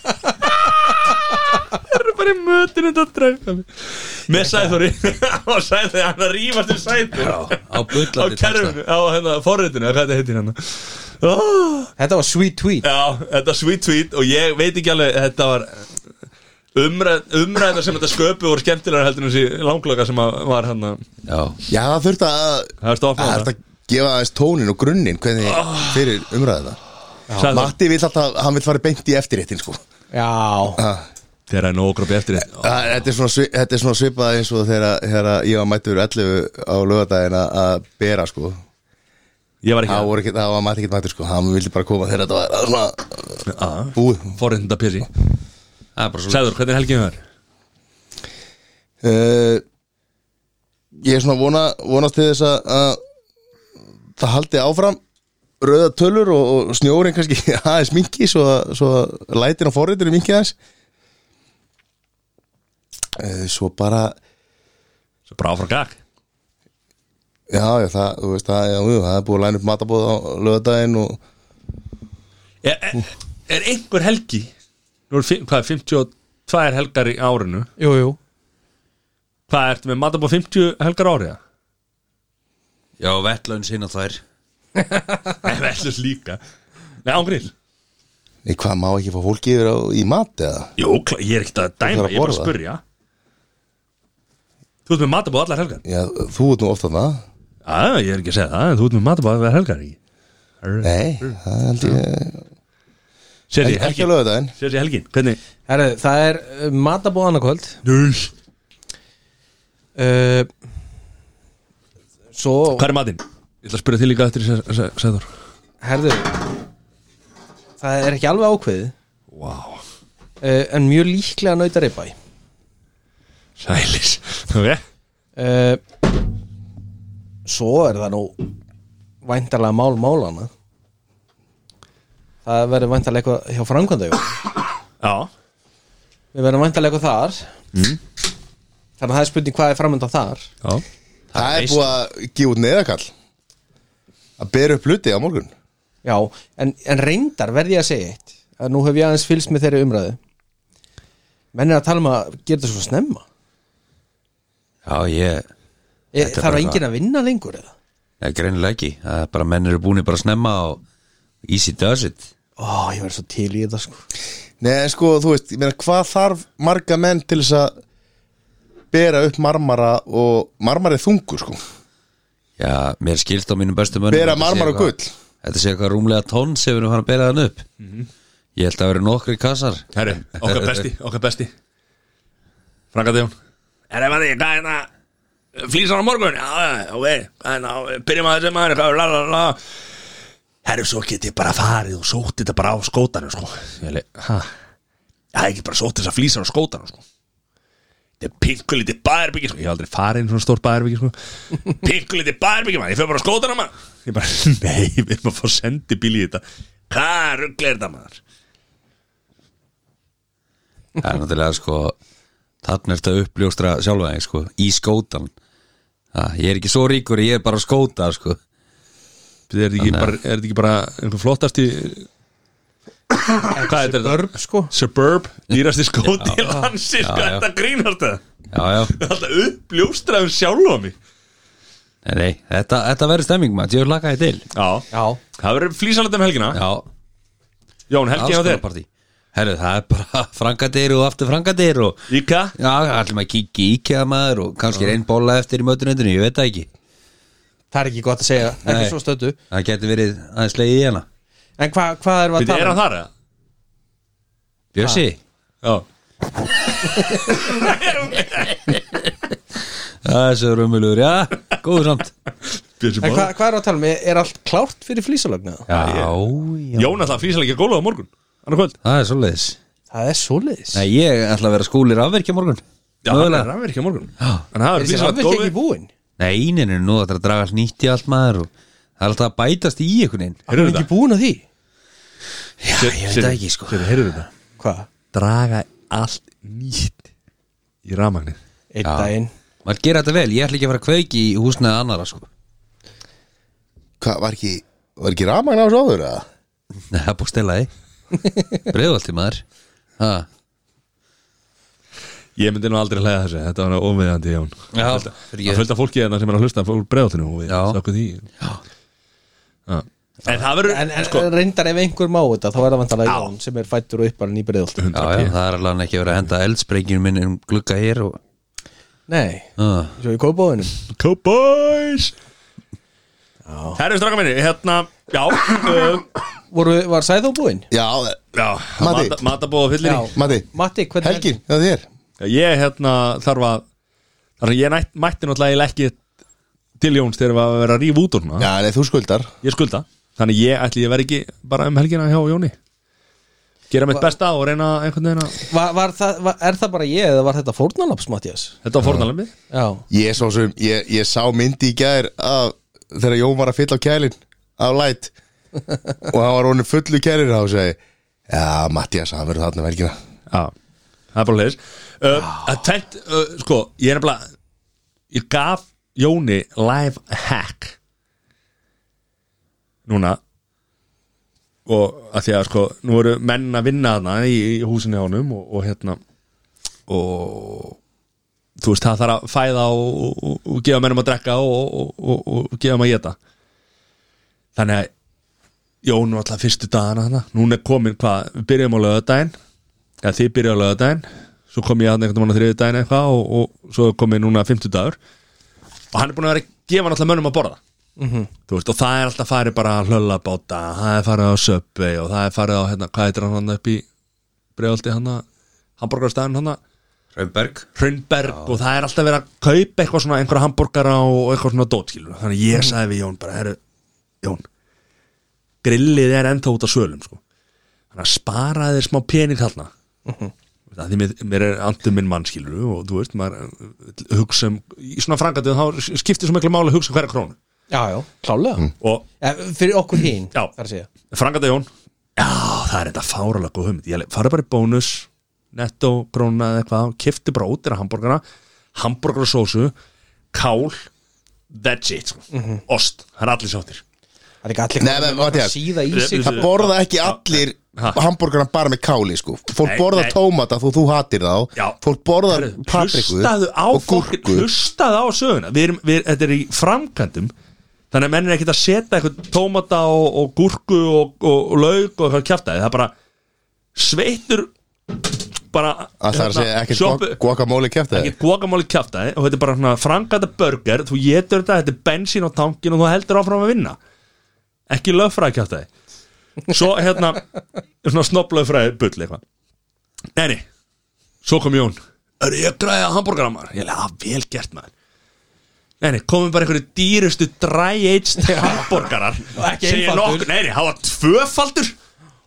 Speaker 1: Það er bara í mötinu þetta að dræfa mig Með sæðþóri Og sæðþóri, hann að rífast um sæðþóri
Speaker 2: Já, á
Speaker 1: Á
Speaker 2: bullandi texta
Speaker 1: kerfinu, á hérna, forritinu eða Hvað þetta heitir hérna. hann oh.
Speaker 4: Þetta var sweet tweet
Speaker 1: Já, þetta sweet tweet og ég veit ekki alveg þetta var umræð, umræðna sem þetta sköpu voru skemmtilega heldur en þessi langloka sem að var hérna. hann að
Speaker 2: Já,
Speaker 3: Já, það þurft að
Speaker 1: það er
Speaker 3: Það Ah.
Speaker 1: stoppað
Speaker 3: þurft Ah, að gefa aðeins tónin og grunnin hvernig fyrir umræðina
Speaker 1: það
Speaker 3: Matti vil alltaf, hann vil fara beint í eftirréttin sko
Speaker 4: Já,
Speaker 3: Ah,
Speaker 1: Þegar hann ógrópi eftir þetta
Speaker 3: það- Þetta er svona svi- þetta er svona svipað eins og þegar þegar ég var mættur 11 á lögadaginn að- að bera sko
Speaker 1: Ég var
Speaker 3: Það
Speaker 1: ekki
Speaker 3: voru ekki, það var Matti ekki mættur sko Hann vildi bara koma þegar þetta var svona
Speaker 1: að
Speaker 3: búið
Speaker 1: forritnda pjössi
Speaker 2: það er bara svo
Speaker 1: Sæður, hvernig ah. er helginu þar?
Speaker 3: uh, Ég er svona vona, vonast til þess að, að það haldi áfram rauða tölur og, og snjórin kannski aðeins minki svo, að- svo að lætin og forritinu minki aðeins uh, Svo bara
Speaker 1: Svo bara áfram gag
Speaker 3: Já, já, það, þú veist, það, já, jú, það er búið að læna upp matabóð á lögadaginn og
Speaker 1: Er, er, er einhver helgi Nú er fimm- hvað, 52 helgar í árinu
Speaker 4: jú, jú
Speaker 1: Hvað ertu með matabóð 50 helgar áriða?
Speaker 2: Já, vettlaun sinna þær
Speaker 1: Nei, vellus líka Nei, ángríl
Speaker 3: Nei, hvað, má ekki fá fólki yfir á, í mat eða?
Speaker 1: Jú, klá- ég er ekkert að dæma, ég er
Speaker 3: þarf að
Speaker 1: bara að
Speaker 3: borða.
Speaker 1: spurja Þú ert með matabóð allar helgar
Speaker 3: Já, þú ert nú ofta það
Speaker 1: Já, ég er ekki að segja það, en þú ert með matabóð allar helgar ekki
Speaker 3: Nei, það held ég
Speaker 1: Sér því
Speaker 3: Ekki, ekki á
Speaker 1: helgin,
Speaker 3: lögadaginn
Speaker 1: sér því helgin, hvernig
Speaker 4: Herru, það er uh, matabóð annarkvöld
Speaker 1: Null.
Speaker 4: uh, Svo,
Speaker 1: Hvað er matinn? Ég ætla að spyrja til líka eftir Sæður
Speaker 4: herðu Það er ekki alveg ákveðið
Speaker 1: Vá,
Speaker 4: uh, En mjög líklega nautar í bæ
Speaker 1: sælis Ok,
Speaker 4: uh, Svo er það nú Væntarlega mál málana Það verður væntarlega eitthvað hjá framkvæmdau
Speaker 1: já
Speaker 4: Við verðum væntarlega eitthvað þar Þannig að það er spurning hvað er framöndan þar
Speaker 1: Já,
Speaker 3: Það er
Speaker 2: veist.
Speaker 3: búið að gefa út neðakall Að bera upp hluti á morgun
Speaker 4: Já, en, en reyndar verði ég að segja eitt að nú hef ég aðeins fylst með þeirri umræðu menn er að tala um að gera þetta svo snemma
Speaker 2: Já, ég, Þetta
Speaker 4: ég,
Speaker 2: er
Speaker 4: þarf
Speaker 2: bara
Speaker 4: enginn að vinna lengur eða
Speaker 2: ég greinilega ekki Það er bara menn eru búinir bara að snemma og easy does it
Speaker 4: Ó, ég verði svo til í þetta sko
Speaker 3: Nei, en sko, þú veist, ég meina, hvað þarf marga menn til þess að bera upp marmara og marmari þungur, sko
Speaker 2: Já, mér skilst á mínum bestu mönnum
Speaker 3: Bera
Speaker 2: Þetta sé
Speaker 3: marmar og
Speaker 2: eitthvað-
Speaker 3: gull.
Speaker 2: Þetta sé eitthvað rúmlega tonn sem við erum hann að bera þann upp Ég held að vera nokkri kassar
Speaker 1: herri, okkar besti, okkar besti Franka Dejón Herri, maður, hvað er hérna Flýsan á morgun, já, já, ok Hvað er hérna, byrjum að þessi maður hvað, hérna? la, la, la. Herri, svo get ég bara farið og sótt þetta bara á skótanum, sko Ég leik, hæ Það er ekki bara sótt þess að flýsan á skótanum, sko Þetta er pinkulítið bæðarbyggi, sko Ég hef aldrei farið inn í svona stór bæðarbyggi, sko Pinkulítið bæðarbyggi, maður, ég fyrir bara á skótanum, maður Ég bara, nei, við erum að fá sendibíl í þetta Hvað rugglir þetta, maður?
Speaker 2: Það er náttúrulega sko Þannig er þetta uppljóstra sjálfa þig sko Í skótan Það, Ég er ekki svo ríkur, ég er bara að skóta sko
Speaker 1: Bíddu, Er þetta ekki, bara- er þetta ekki bara einhver flottasti Hvað er þetta?
Speaker 4: Börb sko
Speaker 1: Suburb, dýrasti skóti landsins Hvað er
Speaker 2: já.
Speaker 1: þetta að grínast það?
Speaker 2: Já, já,
Speaker 1: Það er alltaf uppljóstraðum sjálfa mig
Speaker 2: nei, nei Þetta, þetta verður stemming maður, ég vil laka þið til
Speaker 1: Já,
Speaker 4: Já,
Speaker 1: það verður flýsalega um helgina
Speaker 2: Já,
Speaker 1: Jón, helgina á þér
Speaker 2: partí herru, það er bara frangadeir og aftur frangadeir og
Speaker 1: Íka
Speaker 2: já, allir maður kikki í IKEA maður og kannski er einn bolla eftir í mötunendinu, ég veit það ekki
Speaker 4: Það er ekki gott að segja,
Speaker 2: Nei.
Speaker 4: ekki svo stöndu
Speaker 2: það getur verið aðeins leið í hana
Speaker 4: En hva, hvað erum við að
Speaker 1: Við
Speaker 4: tala
Speaker 1: erum
Speaker 4: um?
Speaker 1: þar eða?
Speaker 2: Bjössi,
Speaker 1: Já
Speaker 2: það er svo rumulur, já, góður samt
Speaker 1: Bjössi
Speaker 4: En
Speaker 1: bara
Speaker 4: hvað, hvað erum við að tala um? Er- Er allt klárt fyrir flýsalögnu?
Speaker 2: já, já,
Speaker 1: Jónas það flýsar ekki að góla á morgun Annar kvöld
Speaker 2: það er svoleiðis
Speaker 4: Það er svoleiðis
Speaker 2: Nei, ég ætla að vera skúlir afverkja morgun
Speaker 1: Já, hann er rafverki á morgun Þannig að það
Speaker 4: Er
Speaker 1: er
Speaker 4: þessi
Speaker 1: flýsar að
Speaker 4: afvirkja
Speaker 1: góla
Speaker 4: ekki búin?
Speaker 2: Nei, neina, nú þetta er að draga allt nýtt í allt maður og það er alltaf að bætast í einhvern veginn
Speaker 4: Er
Speaker 1: Heyrðu
Speaker 4: ekki
Speaker 1: þetta?
Speaker 4: búin að því?
Speaker 2: Já, ég veit það ekki sko
Speaker 1: Sér, heyrðu þetta
Speaker 4: Hvað?
Speaker 1: Draga allt nýtt Í rafmagnið
Speaker 4: Einn
Speaker 2: Já.
Speaker 4: daginn
Speaker 2: Maður gera þetta vel, ég ætla ekki að fara að kveiki í húsnaði annara sko
Speaker 3: Hvað, var ekki, var ekki rafmagn á þessu áður eða?
Speaker 2: Nei, það er búið stelaði Breiðvalti maður ha.
Speaker 1: Ég myndi nú aldrei hlæða þessu Þetta var ómiðjandi Jón
Speaker 2: Já,
Speaker 1: Það fölta fólki hérna sem er að hlusta fólk bregðaltinu og við
Speaker 2: Já.
Speaker 1: sökum því Já. En það verður sko,
Speaker 4: En, en reyndar ef einhver má þetta þá er það vantanlega Jón sem er fættur og uppalinn í breiðult
Speaker 2: já, já, það er alveg ekki að vera að henda eldsprengjum minn um glugga hér og
Speaker 4: Nei,
Speaker 2: ha.
Speaker 4: svo í kópáðinu
Speaker 1: Cowboys Herri stráka minni, hérna Já, uh,
Speaker 4: Var sæð þú búin?
Speaker 3: Já,
Speaker 1: já
Speaker 3: Mati.
Speaker 1: mata, Matabóð og fyllir
Speaker 3: Matti,
Speaker 4: Matti, hvernig
Speaker 3: Helgi, það er þér
Speaker 1: Ég hérna þarf að Þar að ég nætt, mætti náttúrulega eiginlega ekki til Jóns þegar við að vera að rífa út úr hana
Speaker 3: Já, nei, þú skuldar
Speaker 1: Ég skulda, þannig ég ætli ég veri ekki bara um helgina hjá Jóni Gera mitt besta og reyna einhvern veginn að
Speaker 4: Var, var það, var, er það bara ég eða var þetta fórnalaps, Mattias?
Speaker 1: Þetta var fornalemið
Speaker 4: Já,
Speaker 3: Ég svo sem, ég, ég sá myndi í gær af þegar Jón var að fylla á kælin af læt og hann var honum fullu kælir og hann segi Já, Mattias, hann verður þarna um helgina
Speaker 1: Já, það er bara leiðis uh, að Tvennt, uh, sko, ég er nefnilega Ég gaf Jóni live hack Núna Og að því að sko Nú eru menn að vinna þarna í, í húsinu hjá honum og, og hérna Og Þú veist, það þarf að fæða og, og, og, og gefa mennum að drekka og, og, og, og, og gefa maður að geta Þannig að Jón var alltaf fyrstu dagana hana Núna er komin hvað, við byrjum á lögadaginn eða þið byrjaði á lögadaginn svo kom ég aðna einhvern veginn á þriðudaginn eitthvað og, og svo kom ég núna fimmtudagur og hann er búin að vera að gefa náttúrulega mönnum að borða þú veist og það er alltaf farið bara að hlölla báta, það er farið á söpvei og það er farið á hérna, hvað heitir hann hann upp í bregjaldi hann hambúrgarstæðin hann
Speaker 2: Raunberg
Speaker 1: Hrunberg og það er alltaf verið að kaupa eitthvað svona einhverja hambúrgara og eitthvað svona dótskilur þannig ég sagði við Jón bara herru, Jón grillið er ennþá út af sölum sko. þannig að spara þér smá pening þarna það því mér, mér er andum minn mannskilur og þú veist, maður eh, hugsa um, í svona frangandi þá skiptir svo miklu máli að hugsa um hverja krónu
Speaker 4: já, já klálega
Speaker 3: Mm.
Speaker 1: og
Speaker 4: eh, Fyrir okkur hinn,
Speaker 1: Já.
Speaker 4: þar að segja
Speaker 1: frangandi Jón já, það er þetta fáralega góð hugmynd ég le- farið bara í bónus, netto, króna eða eitthvað, kifti bara út þeirra hambúrgana hambúrgarsósu kál, that's it sko.
Speaker 3: Mhm.
Speaker 1: ost, það er allir sáttir
Speaker 4: Það er ekki allir
Speaker 3: Nei, nei, Matthías.
Speaker 4: að síða í sig
Speaker 3: Það borða ekki allir
Speaker 1: Ha.
Speaker 3: hambúrgarna bara með káli sko Fólk
Speaker 1: Nei,
Speaker 3: borða
Speaker 1: nei.
Speaker 3: tómata þó þú hatir þá
Speaker 1: Já.
Speaker 3: Fólk borðar papriku
Speaker 1: hlustaðu á
Speaker 3: og
Speaker 1: fólkin
Speaker 3: gúrku
Speaker 1: hlustaðu á söguna við erum, við, þetta er í framkvæmdum þannig að menn er ekkert að setja eitthvað tómata og, og gúrku og, og, og lauk og eitthvað kjartaði, það er bara sveitur bara
Speaker 3: Að það er að segja ekkert
Speaker 1: hérna, sjoppu-
Speaker 3: guac- guacamole kæfti
Speaker 1: ekkert guacamáli kjartaði og þetta er bara svona framkvæmda burger þú getur þetta, þetta er bensín á tankin og þú heldur áfram að vinna ekki lögfræði kjartaði svo hérna, svona snobblögfræði bull eitthvað Nei, nei, svo kom Jón Er ég að græða hambúrgaramar? Ég leði að vel gert maður Nei, nei, komum bara einhverju dýrustu dry-aged hambúrgarar
Speaker 4: ekki
Speaker 1: Sem ég
Speaker 4: einfaldur.
Speaker 1: nokkuð- Nei, nei, það var tvöfaldur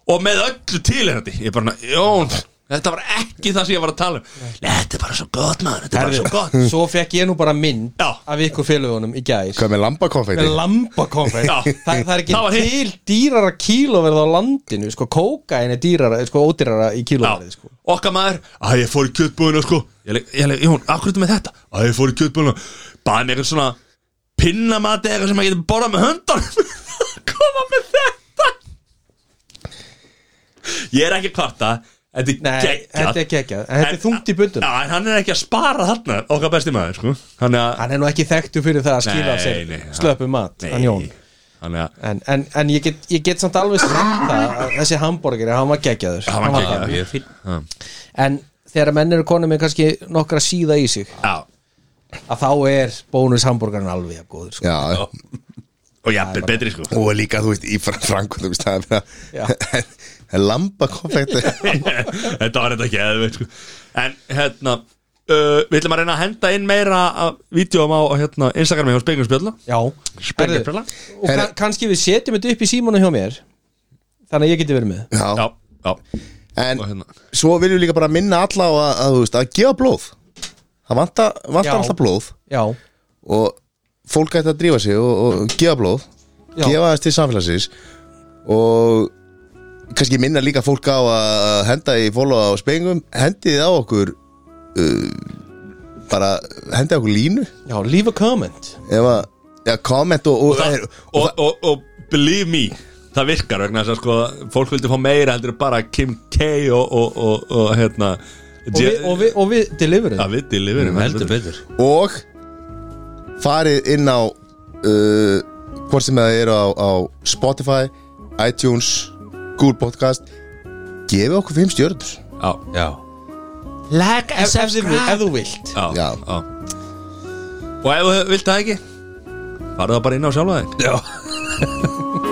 Speaker 1: Og með öllu tilherandi Ég bara, Jón, þetta var ekki það sem ég var að tala um Nei, þetta er bara svo gott maður Þetta er bara svo gott
Speaker 4: Svo fekk ég nú bara mynd
Speaker 1: Já.
Speaker 4: af ykkur félagunum í gær
Speaker 3: Hvað með
Speaker 4: með
Speaker 3: lambakonfekti?
Speaker 4: lambakonfekt
Speaker 1: Já.
Speaker 4: Þa, það er ekki
Speaker 1: Það var hitt.
Speaker 4: til dýrara kílóverð á landinu sko, kókain er dýrara, sko, ódýrara í
Speaker 1: Já,
Speaker 4: kílóverði sko.
Speaker 1: okkar maður Æ, ég fór í kjötbúðina sko Ég leik, ég leik, Jón, akkur þetta með þetta Æ, ég fór í kjötbúðina Bæði mér eitthvað svona Pinnamati eitthvað sem maður getur borðað með höndan Koma með þetta Ég er ekki að kvarta Þetta er
Speaker 4: Nei,
Speaker 1: geggjað.
Speaker 4: þetta er geggjað, en þetta er
Speaker 1: En-
Speaker 4: þungt í bundun
Speaker 1: Já, en hann er ekki að spara þarna Okkar besti maður, sko Hann er að
Speaker 4: Hann er nú ekki þekktu fyrir það að skila
Speaker 1: Nei,
Speaker 4: af sér
Speaker 1: nei, hann-
Speaker 4: slöpum mat, hann Jón
Speaker 1: þannig að
Speaker 4: en, en, en ég, get, ég get samt alveg sagt það að þessi hambúrgeri, hann var geggjaður
Speaker 1: Hann var geggjaður.
Speaker 2: ég er fín
Speaker 4: En þegar menn eru konum með kannski nokkra síða í sig
Speaker 1: já,
Speaker 4: að þá er bónus hambúrgarinn alveg jafn góður sko.
Speaker 3: já, já.
Speaker 1: og já, be- betri sko
Speaker 3: og líka, þú veist, í Frankúð þú veist, það
Speaker 4: Já.
Speaker 3: er það er lamba konfekt
Speaker 1: þetta var þetta ekki eða sko. en hérna uh, við ætlum að reyna að henda inn meira af vídjóum á hérna, Instagrami hjá Spengjumspjölla
Speaker 4: Já,
Speaker 1: Spengjumspjölla
Speaker 4: og kann, kannski við setjum þetta upp í símónu hjá mér þannig að ég geti verið með
Speaker 1: já,
Speaker 3: já,
Speaker 1: já,
Speaker 3: en
Speaker 1: og hérna
Speaker 3: svo viljum við líka bara minna alla á að, að, þú veist, að gefa blóð það vantar vanta
Speaker 4: Já.
Speaker 3: alltaf blóð
Speaker 4: Já,
Speaker 3: og fólk ætti að drífa sig og, og gefa blóð
Speaker 4: Já.
Speaker 3: gefa þess til samfélagsins og kannski minna líka fólk á að henda í fóla á spengum hendið á okkur uh, bara hendið á okkur línu
Speaker 4: já, leave a comment
Speaker 3: ef að ja, comment og, og,
Speaker 1: það, og, og, og believe me það virkar vegna þess að sko fólk vildi fá meira heldur en bara Kim K og, og, og, og hérna
Speaker 4: og við, og við, Mm, og við deliverum
Speaker 1: að við deliverum
Speaker 2: heldur betur
Speaker 3: og farið inn á uh, hvort sem það eru á, á Spotify, iTunes Google Podcast gefið okkur fimm stjörnur
Speaker 1: já,
Speaker 2: já
Speaker 4: Like and subscribe Ef þú vilt
Speaker 1: já, já.
Speaker 3: Já.
Speaker 1: og ef þú vilt það ekki farðu það bara inn á sjálfa þig
Speaker 2: já